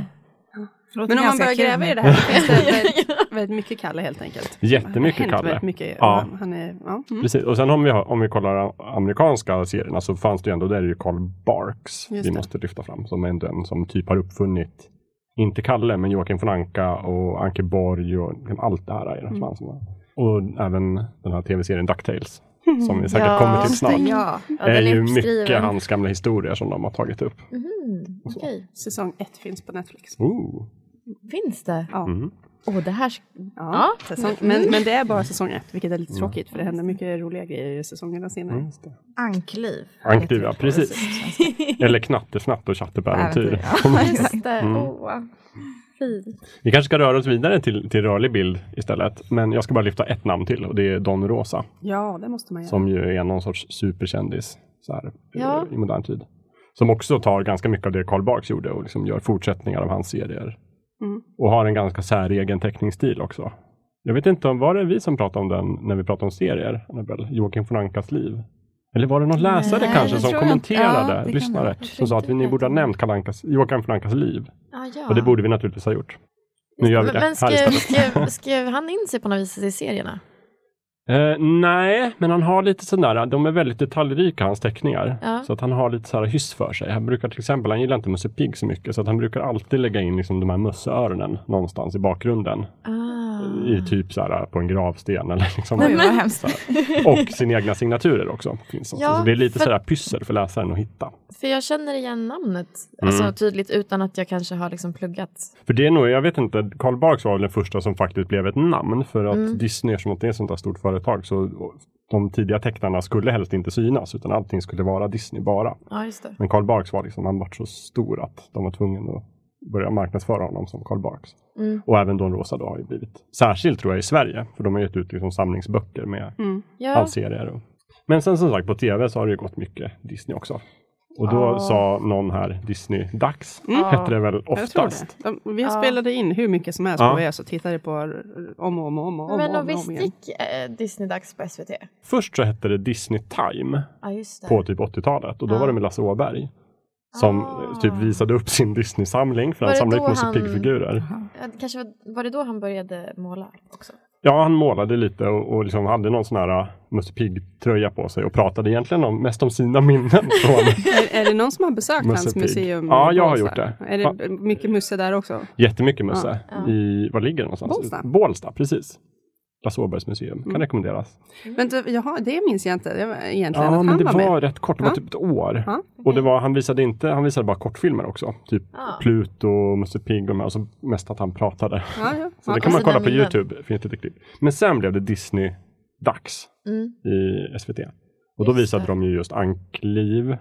Speaker 2: Men om man börjar gräva i det här så finns det väldigt, väldigt mycket Kalle helt enkelt.
Speaker 1: Jättemycket
Speaker 2: Det har hänt
Speaker 1: Kalle.
Speaker 2: Väldigt mycket.
Speaker 1: Ja.
Speaker 2: Han är, ja. mm.
Speaker 1: Precis. Och sen om vi, har, om vi kollar amerikanska serierna så fanns det ju ändå, där är det ju Carl Barks
Speaker 2: Just
Speaker 1: vi
Speaker 2: det.
Speaker 1: måste lyfta fram. Som är ändå en som typ har uppfunnit, inte Kalle, men Joakim von Anka och Anke Borg och liksom allt det här. i den här som var. Och även den här tv-serien DuckTales. Som vi säkert
Speaker 3: Ja,
Speaker 1: kommer till snart.
Speaker 4: Ja,
Speaker 3: Ja,
Speaker 1: är
Speaker 3: den
Speaker 1: ju
Speaker 3: uppskriven.
Speaker 1: mycket hans gamla historier som de har tagit upp.
Speaker 3: Mhm, okej.
Speaker 2: Säsong ett finns på Netflix.
Speaker 1: Ooh.
Speaker 3: Finns det?
Speaker 2: Ja.
Speaker 1: Mm.
Speaker 3: Åh, det här... sk-
Speaker 2: Ja, Mm.
Speaker 3: Ja.
Speaker 2: säsong, men, men det är bara säsong ett, vilket är lite tråkigt för det händer mycket roliga grejer i säsongerna senare.
Speaker 1: Mm, just det.
Speaker 4: ankliv.
Speaker 1: Ankliv, ja,
Speaker 4: Heter det på
Speaker 1: precis.
Speaker 4: svenska.
Speaker 1: Eller Knattefnatt och Tjattepääventyr.
Speaker 4: Äventyr,
Speaker 3: Just det.
Speaker 1: Mm.
Speaker 3: Åh, fint.
Speaker 1: Vi kanske ska röra oss vidare till, till rörlig bild istället. Men jag ska bara lyfta ett namn till och det är Don Rosa.
Speaker 2: Ja, det måste man göra.
Speaker 1: Som ju är någon sorts superkändis så här, eh,
Speaker 3: Ja.
Speaker 1: i modern tid. Som också tar ganska mycket av det Carl Barks gjorde och liksom gör fortsättningar av hans serier.
Speaker 2: Mm.
Speaker 1: Och har en ganska säregen teckningsstil också. Jag vet inte, om var det vi som pratade om den när vi pratade om serier? Annabelle? Joakim von Ankas liv? Eller var det någon läsare
Speaker 3: Nej,
Speaker 1: kanske
Speaker 3: det
Speaker 1: som
Speaker 4: tror jag inte. Ja,
Speaker 1: kommenterade,
Speaker 4: det kan det
Speaker 1: lyssnare,
Speaker 4: ha
Speaker 1: som sa att vi, ni borde ha nämnt Kalle Ankas, Joakim von Ankas liv?
Speaker 3: Ah, ja.
Speaker 1: Och det borde vi naturligtvis ha gjort. Nu gör vi det
Speaker 3: Men, men
Speaker 1: här
Speaker 3: skrev,
Speaker 1: istället.
Speaker 3: skrev, skrev han in sig på något vis i serierna?
Speaker 1: Eh, nej, men han har lite sådär, de är väldigt detaljrika hans teckningar.
Speaker 3: Ja.
Speaker 1: Så att han har lite sådär hyss för sig. Han brukar till exempel, han gillar inte Musse Pigg så mycket, så att han brukar alltid lägga in liksom de här musseöronen någonstans i bakgrunden.
Speaker 3: Ah.
Speaker 1: I typ såhär på en gravsten eller liksom.
Speaker 4: Oj, vad hemskt.
Speaker 1: Och sina egna signaturer också. Finns också.
Speaker 3: Ja,
Speaker 1: så det är lite
Speaker 3: för-
Speaker 1: sådär pyssel för läsaren att hitta.
Speaker 3: För jag känner igen namnet alltså,
Speaker 1: Mm.
Speaker 3: tydligt utan att jag kanske har liksom pluggat.
Speaker 1: För det är nog, jag vet inte, Carl Barks var väl den första som faktiskt blev ett namn för att
Speaker 3: Mm.
Speaker 1: Disney, som det är ett sånt där stort företag, så de tidiga tecknarna skulle helst inte synas utan allting skulle vara Disney bara.
Speaker 3: Ja, just det.
Speaker 1: Men Carl Barks var liksom, han var så stor att de var tvungna att börja marknadsföra honom som Carl Barks.
Speaker 3: Mm.
Speaker 1: Och även Don Rosa då har ju blivit, särskilt tror jag i Sverige, för de har gett ut liksom samlingsböcker med
Speaker 2: Mm.
Speaker 3: Ja.
Speaker 1: hans serier. Och... Men sen som sagt på tv så har det ju gått mycket Disney också. Och då
Speaker 3: Ja.
Speaker 1: sa någon här Disney-dags,
Speaker 2: Mm.
Speaker 1: hette det väl
Speaker 2: Jag tror
Speaker 1: oftast.
Speaker 2: det. De, vi
Speaker 3: Ja.
Speaker 2: spelade in hur mycket som helst
Speaker 1: Ja.
Speaker 2: på VHS och tittade på r- om och om och om, och om,
Speaker 3: men
Speaker 2: och
Speaker 3: och
Speaker 2: om,
Speaker 3: visst
Speaker 2: om igen.
Speaker 3: gick eh, Disney-dags på SVT?
Speaker 1: Först så hette det Disney Time
Speaker 3: Ja, just det.
Speaker 1: på typ 80-talet och då
Speaker 3: Ja.
Speaker 1: var det med Lasse Åberg. Som
Speaker 3: Ah.
Speaker 1: eh, typ visade upp sin Disney-samling för
Speaker 3: Var
Speaker 1: han
Speaker 3: det
Speaker 1: samlade
Speaker 3: då
Speaker 1: ut Musse
Speaker 3: han-
Speaker 1: Pigg-figurer.
Speaker 3: Ja, det kanske var, var det då han började måla också?
Speaker 1: Ja, han målade lite och, och liksom hade någon sån här äh, Musse Pigg-tröja på sig och pratade egentligen om, mest om sina minnen. Från
Speaker 2: Är, är det någon som har besökt
Speaker 1: Musse
Speaker 2: hans
Speaker 1: Pigg.
Speaker 2: museum? i
Speaker 1: Ja, jag har
Speaker 2: Bålsta?
Speaker 1: gjort det.
Speaker 2: Är det mycket Musse där också?
Speaker 1: jättemycket Musse.
Speaker 3: Ja.
Speaker 1: I, var ligger det någonstans?
Speaker 2: Bålsta.
Speaker 1: Bålsta, precis. Lasse Åbergs museum, kan rekommenderas.
Speaker 2: Vänta, jaha, det minns jag inte det var egentligen
Speaker 1: Ja,
Speaker 2: att
Speaker 1: men
Speaker 2: han
Speaker 1: det
Speaker 2: var med.
Speaker 1: var rätt kort, det var
Speaker 2: Ja.
Speaker 1: typ ett år.
Speaker 2: Ja.
Speaker 1: Och det var, han, visade inte, han visade bara kortfilmer också. Typ
Speaker 2: Ah.
Speaker 3: Ja.
Speaker 1: Pluto, Musse Pigg och de här. Och så mest att han pratade.
Speaker 2: Ja, ja. alltså
Speaker 1: Så det
Speaker 2: Ja,
Speaker 1: kan man
Speaker 3: sina
Speaker 1: kolla på
Speaker 3: minnen.
Speaker 1: Youtube, finns det ett klipp. Men sen blev det Disney-dags
Speaker 3: Mm.
Speaker 1: i SVT. Och då
Speaker 3: Just
Speaker 1: visade
Speaker 3: det.
Speaker 1: de ju just Ankliv
Speaker 2: Ah,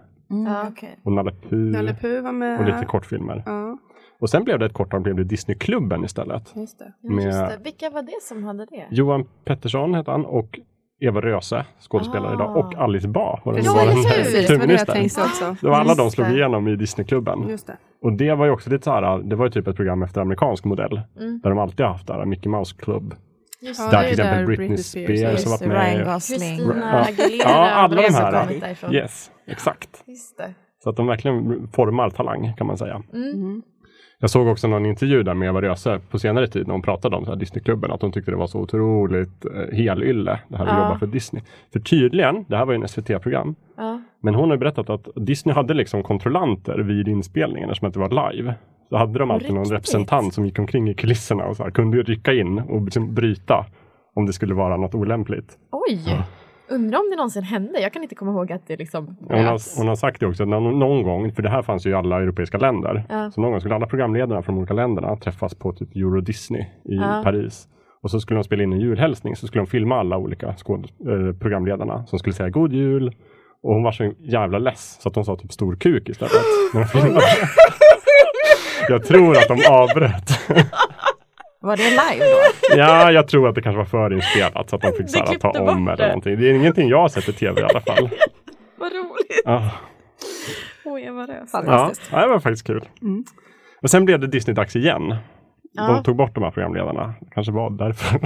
Speaker 3: Ja.
Speaker 4: okej.
Speaker 1: och Nalle Puh
Speaker 2: Nalle alltså, Puh var med.
Speaker 1: och lite kortfilmer.
Speaker 2: Ja,
Speaker 1: Och sen blev det ett kortare, blev det Disneyklubben istället.
Speaker 2: just det.
Speaker 3: Ja, just
Speaker 1: Med-
Speaker 3: det. Vilka var det som hade det?
Speaker 1: Johan Pettersson hette han och Eva Röse, skådespelare
Speaker 3: Ah.
Speaker 1: idag, och Alice Bah var den
Speaker 3: Ja,
Speaker 1: nuvarande
Speaker 3: eller hur?
Speaker 2: precis. Det var det jag
Speaker 1: kulturministern.
Speaker 2: tänkte också.
Speaker 1: Det var alla de
Speaker 3: Just
Speaker 1: slog
Speaker 3: det.
Speaker 1: igenom i Disneyklubben.
Speaker 2: Just det.
Speaker 1: Och det var ju också lite så här, det var ju typ ett program efter amerikansk modell.
Speaker 3: Mm.
Speaker 1: Där de alltid har haft det här, Mickey Mouse Club.
Speaker 3: Just
Speaker 1: där
Speaker 2: Ja, det
Speaker 1: till
Speaker 2: är
Speaker 1: exempel
Speaker 2: där
Speaker 1: Britney
Speaker 2: Britney Spears,
Speaker 1: Spears har
Speaker 4: Just
Speaker 1: varit
Speaker 4: det, Ryan
Speaker 1: med.
Speaker 4: Gosling.
Speaker 1: Ja.
Speaker 3: Aguilera.
Speaker 1: Ja, alla de
Speaker 3: var
Speaker 1: här,
Speaker 3: också
Speaker 1: ja.
Speaker 3: kommit därifrån.
Speaker 1: Yes, exakt.
Speaker 3: Just det.
Speaker 1: Så att de verkligen formar talang kan man säga.
Speaker 3: Mm.
Speaker 1: Jag såg också någon intervju där med Eva Röse på senare tid när hon pratade om så här Disneyklubben, att hon tyckte det var så otroligt eh, helylle det här att
Speaker 3: Ja.
Speaker 1: jobba för Disney. För tydligen, det här var ju en SVT-program,
Speaker 3: Ja.
Speaker 1: men hon har ju berättat att Disney hade liksom kontrollanter vid inspelningen eftersom att det var live. Så hade de alltid någon
Speaker 3: riktigt?
Speaker 1: representant som gick omkring i kulisserna och så här, kunde ju rycka in och liksom bryta om det skulle vara något olämpligt.
Speaker 3: Oj! Undrar om det någonsin hände. Jag kan inte komma ihåg att det liksom
Speaker 1: Ja, Hon
Speaker 3: bröts.
Speaker 1: har, hon har sagt det också, att någon, någon gång, för det här fanns ju i alla europeiska länder,
Speaker 3: Ja.
Speaker 1: så någon gång skulle alla programledarna från de olika länderna träffas på typ Euro Disney i
Speaker 3: Ja.
Speaker 1: Paris. Och så skulle de spela in en julhälsning, så skulle de filma alla olika skåd, eh, programledarna som skulle säga god jul. Och hon var så jävla less så att hon sa typ stor kuk istället. när de filmade. jag tror att de avbröt.
Speaker 4: Var det live då?
Speaker 1: ja, jag tror att det kanske var förinspelat så att de fick så här,
Speaker 3: klippte
Speaker 1: ta om
Speaker 3: bort
Speaker 1: eller
Speaker 3: det.
Speaker 1: någonting. Det är ingenting jag har sett i tv i alla fall.
Speaker 3: Vad roligt!
Speaker 1: Ah.
Speaker 3: Oj, Eva Röse.
Speaker 1: Ja,
Speaker 2: Fantastiskt.
Speaker 1: ja, det var faktiskt kul.
Speaker 2: Mm.
Speaker 1: Och sen blev det Disney-dags igen.
Speaker 3: Ja.
Speaker 1: De tog bort de här programledarna. Det kanske var därför.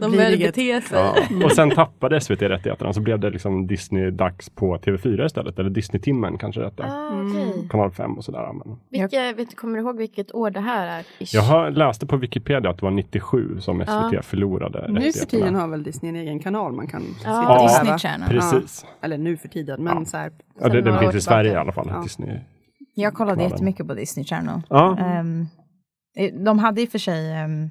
Speaker 3: De började
Speaker 2: Blir det
Speaker 3: bete sig.
Speaker 1: Ja. Och sen tappade SVT rättigheterna så blev det liksom Disney-dags på TV4 istället. Eller Disney-timmen kanske det hette.
Speaker 3: Ah,
Speaker 2: Mm.
Speaker 3: okej.
Speaker 1: Kanal 5 och sådär. Men
Speaker 3: Vilka, vet, kommer du ihåg vilket år det här är? Ish.
Speaker 1: jag har- läste på Wikipedia att det var 97 som SVT
Speaker 3: Ja.
Speaker 1: förlorade
Speaker 2: Nu för tiden
Speaker 1: rättigheterna.
Speaker 2: har väl Disney en egen kanal man kan sitta
Speaker 3: Ja.
Speaker 2: och titta
Speaker 4: Disney
Speaker 2: va?
Speaker 4: Channel.
Speaker 1: Precis.
Speaker 2: Eller nu för tiden, men
Speaker 1: Ja.
Speaker 2: så här.
Speaker 1: Ja, det, den
Speaker 3: några
Speaker 1: finns
Speaker 3: år
Speaker 1: i Sverige i
Speaker 3: tillbaka.
Speaker 1: alla fall.
Speaker 2: Ja.
Speaker 1: Disney.
Speaker 4: Jag kollade
Speaker 1: Knallen.
Speaker 4: jättemycket på Disney Channel.
Speaker 1: Ja.
Speaker 4: Ehm, eh, de hade i och för sig ehm,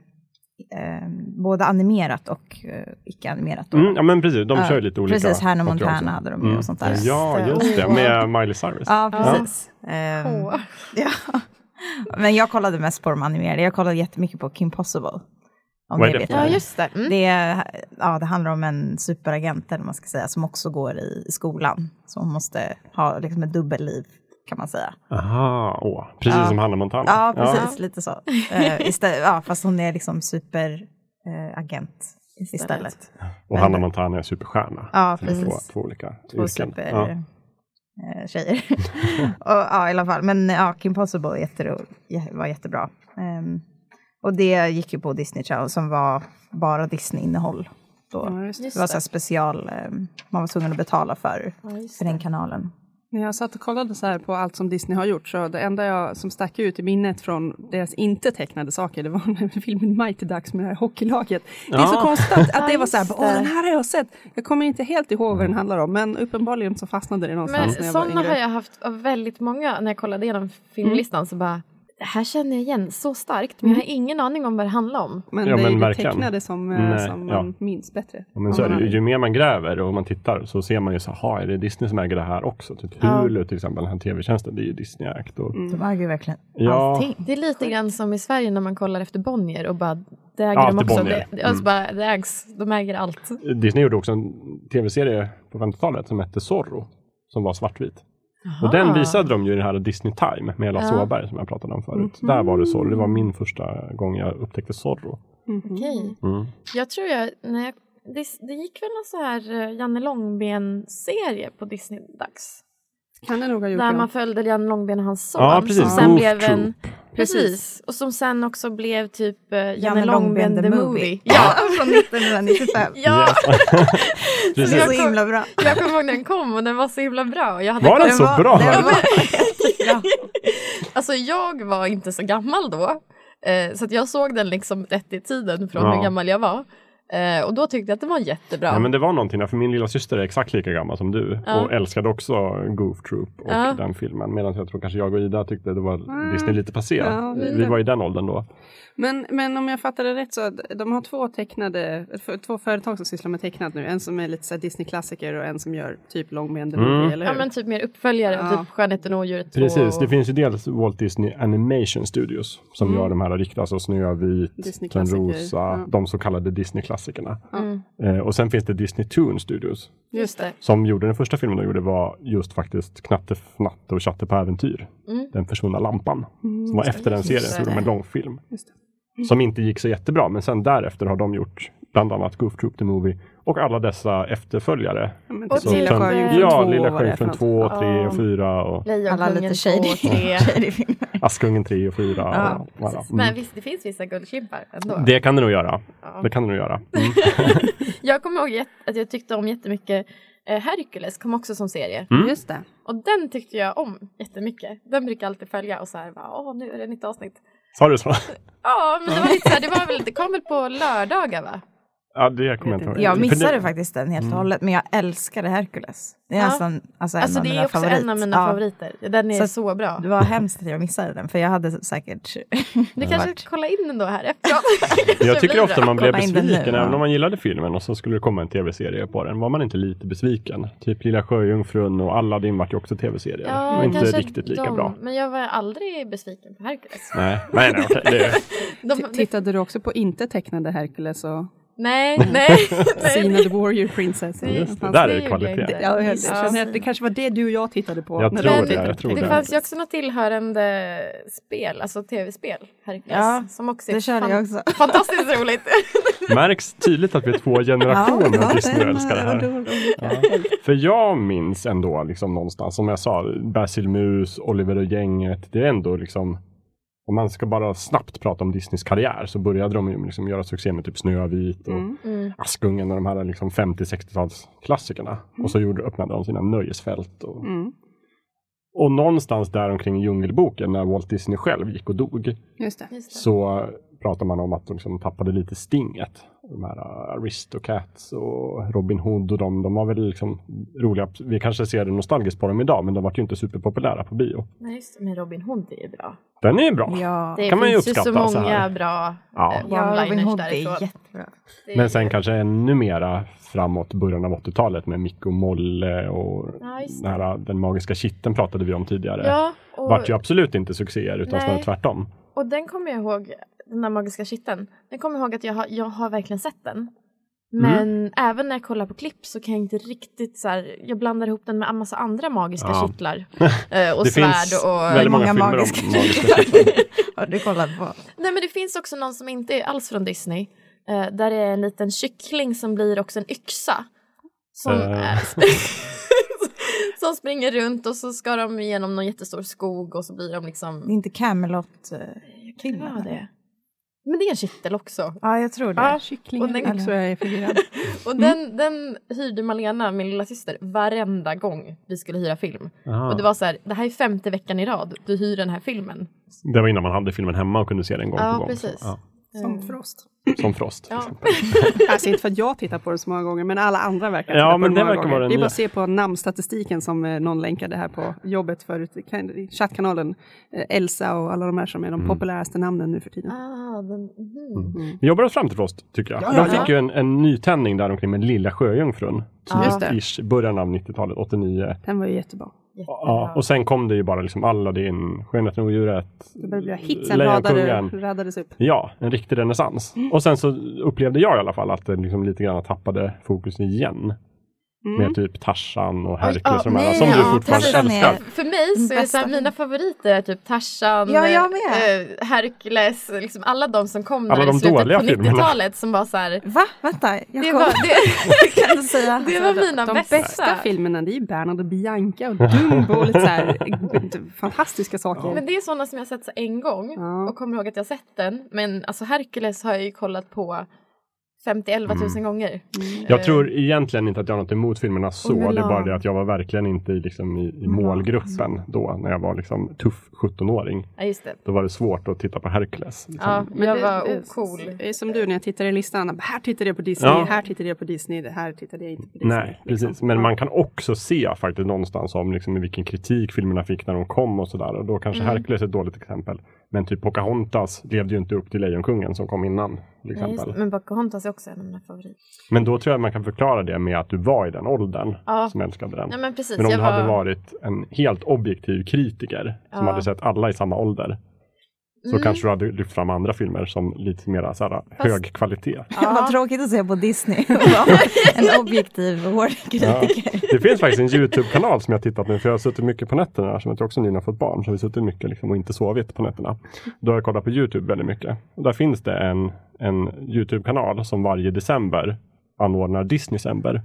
Speaker 4: ehm, både animerat och eh, icke-animerat. då.
Speaker 1: Mm, ja, men precis. De
Speaker 4: Ja,
Speaker 1: kör ju lite olika.
Speaker 4: Precis, Hannah
Speaker 1: material
Speaker 4: Montana
Speaker 1: också.
Speaker 4: hade de ju och sånt där.
Speaker 1: Ja, just det.
Speaker 3: Åh.
Speaker 1: Med Miley Cyrus.
Speaker 4: Ja, precis.
Speaker 3: precis.
Speaker 4: Ehm,
Speaker 2: Mm.
Speaker 3: Åh.
Speaker 4: ja. Men jag kollade mest på de animerade. Jag kollade jättemycket på Kim Possible.
Speaker 1: Vad
Speaker 4: Om ni
Speaker 1: är det
Speaker 4: vet
Speaker 1: för
Speaker 4: vad
Speaker 3: Ja,
Speaker 4: det är.
Speaker 3: just det. Mm.
Speaker 4: Det, är- ja, det handlar om en superagent eller vad man ska säga, som också går i i skolan. Så hon måste ha liksom ett dubbelliv kan man säga.
Speaker 1: Aha, åh. precis
Speaker 4: Ja.
Speaker 1: som Hannah Montana.
Speaker 4: Ja, precis. Lite så. Eh, istället, ja, fast hon är liksom superagent istället.
Speaker 1: Och Hanna Montana är superstjärna.
Speaker 4: Ja,
Speaker 1: Så det är
Speaker 4: precis.
Speaker 1: Två, två olika
Speaker 4: Två
Speaker 1: yrken. Ja.
Speaker 4: super... eh, Tjejer. och, ja, i alla fall. Men ja, Kim Possible är jättero- jä- var jättebra. Ehm, och det gick ju på Disney Channel som var bara Disney-innehåll. Då.
Speaker 2: Ja, just det.
Speaker 4: Det var så här special, ehm, man var tvungen att betala för,
Speaker 3: Ja, just
Speaker 4: för den kanalen.
Speaker 2: När jag satt och kollade så här på allt som Disney har gjort, så det enda jag som stack ut i minnet från deras inte tecknade saker, det var när filmen Mighty Ducks med det här hockeylaget. Det är så
Speaker 1: Ja.
Speaker 2: konstigt att, att det var så här,
Speaker 3: just
Speaker 2: åh
Speaker 3: det.
Speaker 2: den här har jag sett. Jag kommer inte helt ihåg
Speaker 1: Mm.
Speaker 2: vad den handlar om, men uppenbarligen så fastnade det någonstans
Speaker 3: Men
Speaker 2: när jag var
Speaker 3: sådana
Speaker 2: yngre. Mm.
Speaker 3: har jag haft av väldigt många när jag kollade igenom filmlistan så bara det här känner jag igen så starkt men jag har
Speaker 2: Mm.
Speaker 3: ingen aning om vad det handlar om.
Speaker 2: Men
Speaker 1: Ja,
Speaker 2: det är
Speaker 1: men
Speaker 2: ju det
Speaker 1: verkligen.
Speaker 2: tecknade som, eh,
Speaker 1: Nej,
Speaker 2: som
Speaker 1: ja.
Speaker 2: man minns bättre.
Speaker 1: Ja, Men så är det, ju
Speaker 4: Mm.
Speaker 1: Ju mer man gräver och man tittar så ser man ju så här, är det Disney som äger det här också? Typ
Speaker 3: Ja.
Speaker 1: Hulu till exempel, den här tv-tjänsten, det är ju Disney ägt. Och,
Speaker 4: De äger ju verkligen
Speaker 1: Ja.
Speaker 4: allting.
Speaker 3: Det är lite grann som i Sverige när man kollar efter Bonnier och bara det äger
Speaker 1: Ja,
Speaker 3: de
Speaker 1: alltid
Speaker 3: också.
Speaker 1: Bonnier. Mm.
Speaker 3: Det, det, alltså bara, det ägs, de äger allt.
Speaker 1: Disney gjorde också en tv-serie på 50-talet som hette Zorro, som var svartvit. Och den
Speaker 3: Aha.
Speaker 1: visade de ju i den här Disney Time med Ella
Speaker 3: Ja.
Speaker 1: Såberg som jag pratade om förut.
Speaker 4: Mm.
Speaker 1: Där var det Zorro, det var min första gång jag upptäckte Zorro.
Speaker 3: Okej.
Speaker 1: Mm.
Speaker 3: Jag tror jag, när jag det, det gick väl någon så här eh, Janne Långben-serie på Disney-dags.
Speaker 2: Kan det nog ha gjort.
Speaker 3: Där
Speaker 2: ja.
Speaker 3: man följde Janne Långben och hans son.
Speaker 1: Ja, precis.
Speaker 3: Som sen
Speaker 1: Goof
Speaker 3: blev en,
Speaker 1: Troop.
Speaker 3: precis. Och som sen också blev typ eh, Janne,
Speaker 4: Janne
Speaker 3: Långben, the movie.
Speaker 4: Ja, från 1995.
Speaker 3: Ja,
Speaker 4: Det
Speaker 1: Precis.
Speaker 4: är så himla bra.
Speaker 3: jag kommer ihåg när den kom och den var så himla bra. Och jag, hade,
Speaker 1: Var den så bra?
Speaker 4: Den var, ja.
Speaker 3: alltså, jag var inte så gammal då. Eh, så att jag såg den liksom rätt i tiden från
Speaker 1: Ja.
Speaker 3: hur gammal jag var. Eh, och då tyckte jag att den var jättebra.
Speaker 1: Nej, men det var någonting där, för min lilla syster är exakt lika gammal som du
Speaker 3: Ja.
Speaker 1: och älskade också Goof Troop och
Speaker 3: Ja.
Speaker 1: den filmen. Medan jag tror kanske jag och Ida tyckte det var Disney lite passé.
Speaker 2: Mm. Ja, lite.
Speaker 1: Vi var i den åldern då.
Speaker 2: Men, men om jag fattar det rätt så att de har två tecknade, för- två företag som sysslar med tecknat nu. En som är lite så här Disney-klassiker och en som gör typ Långben the
Speaker 1: Mm.
Speaker 2: Movie, eller
Speaker 3: Ja
Speaker 2: hur?
Speaker 3: men typ mer uppföljare,
Speaker 2: Ja.
Speaker 3: typ Skönheten och odjuret 2.
Speaker 1: Precis, det
Speaker 3: och-
Speaker 1: finns ju dels Walt Disney Animation Studios som
Speaker 3: Mm.
Speaker 1: gör de här riktigt, alltså Snövit,
Speaker 2: Disney-klassiker,
Speaker 1: Törnrosa,
Speaker 2: ja.
Speaker 1: de så kallade Disney-klassikerna.
Speaker 3: Mm.
Speaker 1: Eh, och sen finns det Disney Toon Studios
Speaker 3: Just det.
Speaker 1: som gjorde den första filmen de gjorde var just faktiskt Knatte, Fnatte och Tjatte på äventyr.
Speaker 3: Mm.
Speaker 1: Den försvunna lampan.
Speaker 2: Mm.
Speaker 1: Som var efter den serien,
Speaker 3: Just
Speaker 1: så gjorde de
Speaker 3: det.
Speaker 1: en långfilm.
Speaker 2: Just det.
Speaker 1: Som inte gick så jättebra, men sen därefter har de gjort bland annat Goof Troop the Movie och alla dessa efterföljare.
Speaker 2: Ja, men
Speaker 3: Och
Speaker 2: typ
Speaker 1: Lilla
Speaker 3: Lilla
Speaker 1: Tönt-
Speaker 3: Sjöjungfrun
Speaker 1: ja,
Speaker 2: två,
Speaker 1: Lilla
Speaker 2: vad det är för
Speaker 1: Sjöjungfrun
Speaker 2: något.
Speaker 1: 2, 3 och
Speaker 3: Ja.
Speaker 1: 4 och
Speaker 4: Alla
Speaker 3: Lejonkungen
Speaker 4: lite
Speaker 3: 2 och
Speaker 4: shady,
Speaker 3: 3.
Speaker 4: shady filmer.
Speaker 1: Askungen 3 och 4.
Speaker 2: Ja,
Speaker 1: och alla.
Speaker 3: Men
Speaker 1: Mm.
Speaker 3: visst, det finns vissa guldklimpar ändå.
Speaker 1: Det kan det nog göra.
Speaker 3: Ja.
Speaker 1: Det kan det nog göra. Mm.
Speaker 3: Jag kommer ihåg jätt- att jag tyckte om jättemycket eh, Hercules kom också som serie.
Speaker 1: Mm.
Speaker 2: Just det.
Speaker 3: Och den tyckte jag om jättemycket. Den brukar jag alltid följa och så här bara, åh nu är det nytt avsnitt.
Speaker 1: Sa du så?
Speaker 3: Ja, men det var lite så här, det var väl, det kom väl på lördagar va?
Speaker 1: Ja, det kommer jag inte ihåg.
Speaker 4: Jag
Speaker 1: För
Speaker 4: missade
Speaker 1: det-
Speaker 4: faktiskt den helt och
Speaker 1: Mm.
Speaker 4: hållet, men jag älskade Hercules. Det är
Speaker 3: Ja.
Speaker 4: nästan alltså, en
Speaker 3: alltså
Speaker 4: av
Speaker 3: det
Speaker 4: mina
Speaker 3: är också
Speaker 4: favorit.
Speaker 3: en av mina
Speaker 4: Ja.
Speaker 3: favoriter. Den är
Speaker 4: Så
Speaker 3: så,
Speaker 4: att-
Speaker 3: bra.
Speaker 4: Det var hemskt att jag missade den, för jag hade säkert...
Speaker 3: Typ Du kanske ska kolla in den då här efteråt. Kanske
Speaker 1: Jag tycker
Speaker 3: blir
Speaker 1: ofta
Speaker 3: bra.
Speaker 1: man blev
Speaker 4: Kolla in den nu,
Speaker 1: besviken,
Speaker 4: ja.
Speaker 1: även om man gillade filmen och så skulle det komma en tv-serie på den. Var man inte lite besviken? Typ Lilla Sjöjungfrun och Aladdin vart ju också tv-serier.
Speaker 3: Ja,
Speaker 1: och inte
Speaker 3: kanske
Speaker 1: riktigt lika
Speaker 3: de,
Speaker 1: bra.
Speaker 3: Men jag var aldrig besviken på Hercules.
Speaker 1: Nej, nej, nej okej. Det är,
Speaker 3: De,
Speaker 2: T- Tittade du också på inte tecknade Hercules och
Speaker 3: nej, nej.
Speaker 2: Sina
Speaker 3: nej.
Speaker 2: the Warrior Princess?
Speaker 3: Det-
Speaker 1: just det,
Speaker 2: fanns
Speaker 1: där
Speaker 3: det
Speaker 1: är
Speaker 3: ju
Speaker 1: det kvalitet.
Speaker 2: det- Ja, jag
Speaker 3: Ja.
Speaker 2: känner att det kanske var det du och jag tittade på.
Speaker 1: Jag
Speaker 2: när
Speaker 1: tror
Speaker 2: var
Speaker 3: Men
Speaker 1: det,
Speaker 2: lite
Speaker 1: jag tror
Speaker 3: det
Speaker 1: det.
Speaker 3: fanns ju också något tillhörande spel, alltså tv-spel, Hercules.
Speaker 4: Ja,
Speaker 3: som också är
Speaker 4: Det körde
Speaker 3: fan-
Speaker 4: jag också.
Speaker 3: fantastiskt roligt.
Speaker 1: Märks tydligt att vi är två generationer av Disney-älskare här. För jag minns ändå liksom någonstans, som jag sa, Basil Mus, Oliver och gänget. Det är ändå liksom, om man ska bara snabbt prata om Disneys karriär så började de ju liksom göra succé med typ Snövit och
Speaker 2: Mm.
Speaker 3: Mm.
Speaker 1: Askungen och de här liksom 50-60-talsklassikerna. Och så gjorde, öppnade de sina nöjesfält. Och,
Speaker 2: Mm.
Speaker 1: och någonstans där omkring Djungelboken, när Walt Disney själv gick och dog,
Speaker 2: Just det.
Speaker 3: Just det.
Speaker 1: så pratar man om att de liksom tappade lite stinget. De här uh, Aristocats och Robin Hood och de, de var väl liksom roliga. Vi kanske ser det nostalgiskt på dem idag, men de var ju inte superpopulära på bio.
Speaker 3: Nej, just det. Men Robin Hood är ju bra.
Speaker 1: Den är ju bra.
Speaker 4: Ja,
Speaker 3: Det
Speaker 1: Kan man ju
Speaker 3: finns ju så
Speaker 1: uppskatta så här.
Speaker 3: många bra
Speaker 1: Ja.
Speaker 3: eh,
Speaker 4: ja Robin
Speaker 3: one-liners
Speaker 4: Hood är
Speaker 3: därifrån.
Speaker 4: jättebra.
Speaker 3: Det är-
Speaker 1: Men sen kanske ännu mera framåt början av 80-talet med Micke och Molle och
Speaker 3: Ja, just
Speaker 1: den, här, äh, den magiska kitteln pratade vi om tidigare.
Speaker 3: Ja, och,
Speaker 1: Vart ju absolut inte succéer utan
Speaker 3: Nej.
Speaker 1: snarare tvärtom.
Speaker 3: och den kommer jag ihåg, den där magiska kitteln. Den kommer jag ihåg att jag har, jag har verkligen
Speaker 1: Mm.
Speaker 3: sett den. Men även när jag kollar på klipp så kan jag inte riktigt så här, jag blandar ihop den med en massa andra magiska
Speaker 1: Ja.
Speaker 3: kittlar. eh, Och
Speaker 1: det
Speaker 3: svärd
Speaker 1: finns
Speaker 3: och...
Speaker 1: väldigt många,
Speaker 4: många
Speaker 1: filmer
Speaker 4: magiska
Speaker 1: om magiska kitteln.
Speaker 4: Har du kollat på?
Speaker 3: Nej men det finns också någon som inte är alls från Disney. Eh, där det är en liten kyckling som blir också en yxa. Som,
Speaker 1: Eh.
Speaker 3: eh, som springer runt och så ska de igenom någon jättestor skog och så blir de
Speaker 4: Det är
Speaker 3: liksom...
Speaker 4: inte Camelot? eh,
Speaker 3: Kan det vara
Speaker 4: Killarna.
Speaker 3: det? Men det är en kittel också.
Speaker 4: Ja, jag tror det.
Speaker 3: Ja. Och
Speaker 2: Kycklingen
Speaker 3: den-
Speaker 2: också, jag är förvirrad.
Speaker 3: Och den, den hyrde Malena, min lilla syster, varenda gång vi skulle hyra film.
Speaker 1: Aha.
Speaker 3: Och det var så här, det här är femte veckan i rad du hyr den här filmen.
Speaker 1: Det var innan man hade filmen hemma och kunde se den gång
Speaker 3: Ja,
Speaker 1: på gång.
Speaker 3: precis.
Speaker 1: Ja,
Speaker 3: Mm.
Speaker 2: Frost.
Speaker 1: som Frost. liksom. till
Speaker 3: Ja.
Speaker 1: exempel.
Speaker 2: Alltså inte för att jag tittar på den så många gånger, men alla andra verkar
Speaker 1: Ja,
Speaker 2: titta på
Speaker 1: men
Speaker 2: den
Speaker 1: det
Speaker 2: många
Speaker 1: verkar
Speaker 2: gånger.
Speaker 1: vara den
Speaker 2: det är bara
Speaker 1: nya.
Speaker 2: att se på namnstatistiken som eh, någon länkade här på jobbet förut, i kan- i chattkanalen. Eh, Elsa och alla de här som är de
Speaker 1: Mm.
Speaker 2: populäraste namnen nu för tiden.
Speaker 3: Ah, den, mhm.
Speaker 1: Vi jobbar oss fram till Frost tycker jag.
Speaker 2: Ja, ja,
Speaker 1: De fick
Speaker 3: ja.
Speaker 1: ju en, en nytändning där omkring med Lilla Sjöjungfrun.
Speaker 3: Ja.
Speaker 2: Just det.
Speaker 1: Ish, början av 90-talet, 89.
Speaker 2: Den var ju jättebra.
Speaker 1: Ja, och sen kom det ju bara liksom Aladdin, Skönheten och odjuret,
Speaker 2: Det började bli hitsen radade,
Speaker 1: Mm. Lejonkungen.
Speaker 2: radades upp.
Speaker 1: Ja, en riktig renässans. Och sen så upplevde jag i alla fall att det liksom lite grann tappade fokus igen.
Speaker 2: Mm.
Speaker 1: Med typ Tarzan och Hercules
Speaker 3: ja,
Speaker 1: och de här
Speaker 4: nej,
Speaker 1: som du
Speaker 3: ja,
Speaker 1: fortfarande
Speaker 4: Tarzan är-
Speaker 1: älskar.
Speaker 3: För mig så är det så här, mina favoriter är typ Tarzan,
Speaker 4: Ja, jag med.
Speaker 3: eh, Hercules, liksom alla de som kom
Speaker 1: Alla
Speaker 3: där
Speaker 1: de
Speaker 3: i slutet
Speaker 1: dåliga
Speaker 3: på
Speaker 1: filmerna.
Speaker 3: 90-talet som var så här,
Speaker 4: Va? Vänta, jag
Speaker 3: det
Speaker 4: kom.
Speaker 3: var, det,
Speaker 4: Jag kan inte säga.
Speaker 3: det var mina
Speaker 2: Alltså, De
Speaker 3: bästa.
Speaker 2: bästa filmerna det är ju Bernard och Bianca och Dumbo och lite så här, eh, fantastiska saker.
Speaker 3: Men det är sådana som jag har sett så en gång
Speaker 2: Ja.
Speaker 3: och kommer ihåg att jag har sett den. Men alltså Hercules har jag ju kollat på 50 000
Speaker 1: Mm.
Speaker 3: gånger.
Speaker 1: Jag tror egentligen inte att jag har något emot filmerna så.
Speaker 3: Mulan.
Speaker 1: Det är bara det att jag var verkligen inte i, liksom, i, i målgruppen då när jag var liksom tuff 17-åring.
Speaker 3: Ja, just det.
Speaker 1: Då var det svårt att titta på Hercules. Liksom.
Speaker 3: Ja,
Speaker 2: Men
Speaker 3: jag
Speaker 2: det-
Speaker 3: var
Speaker 2: det-
Speaker 3: ocool.
Speaker 2: Det är som du när jag tittar i listan. Här tittar jag på Disney,
Speaker 1: Ja.
Speaker 2: här tittar jag på Disney, det här tittar jag inte på Disney.
Speaker 1: Nej,
Speaker 2: liksom.
Speaker 1: precis. Men man kan också se faktiskt någonstans om liksom, vilken kritik filmerna fick när de kom och sådär. Och då kanske
Speaker 3: Mm.
Speaker 1: Hercules är ett dåligt exempel. Men typ Pocahontas levde ju inte upp till Lejonkungen som kom innan. Till
Speaker 3: Nej, just,
Speaker 1: exempel.
Speaker 3: det. men Pocahontas är också en av mina favoriter.
Speaker 1: Men då tror jag man kan förklara det med att du var i den åldern
Speaker 3: Ja.
Speaker 1: som älskade den.
Speaker 3: Nej, men precis.
Speaker 1: Men om
Speaker 3: jag
Speaker 1: du hade
Speaker 3: var...
Speaker 1: varit en helt objektiv kritiker som
Speaker 3: Ja. Mm.
Speaker 1: hade sett alla i samma ålder. Så kanske du hade lyft fram andra filmer som lite mer så här, hög kvalitet.
Speaker 4: Vad tråkigt att se på Disney och vara en objektiv och hård kritiker.
Speaker 1: Det finns faktiskt en Youtube-kanal som jag tittat nu, för jag har suttit mycket på nätterna, som jag tror också nyligen har fått barn, så vi har suttit mycket liksom, och inte sovit på nätterna. Då har jag kollat på Youtube väldigt mycket. Och där finns det en, en Youtube-kanal som varje december anordnar Disney-december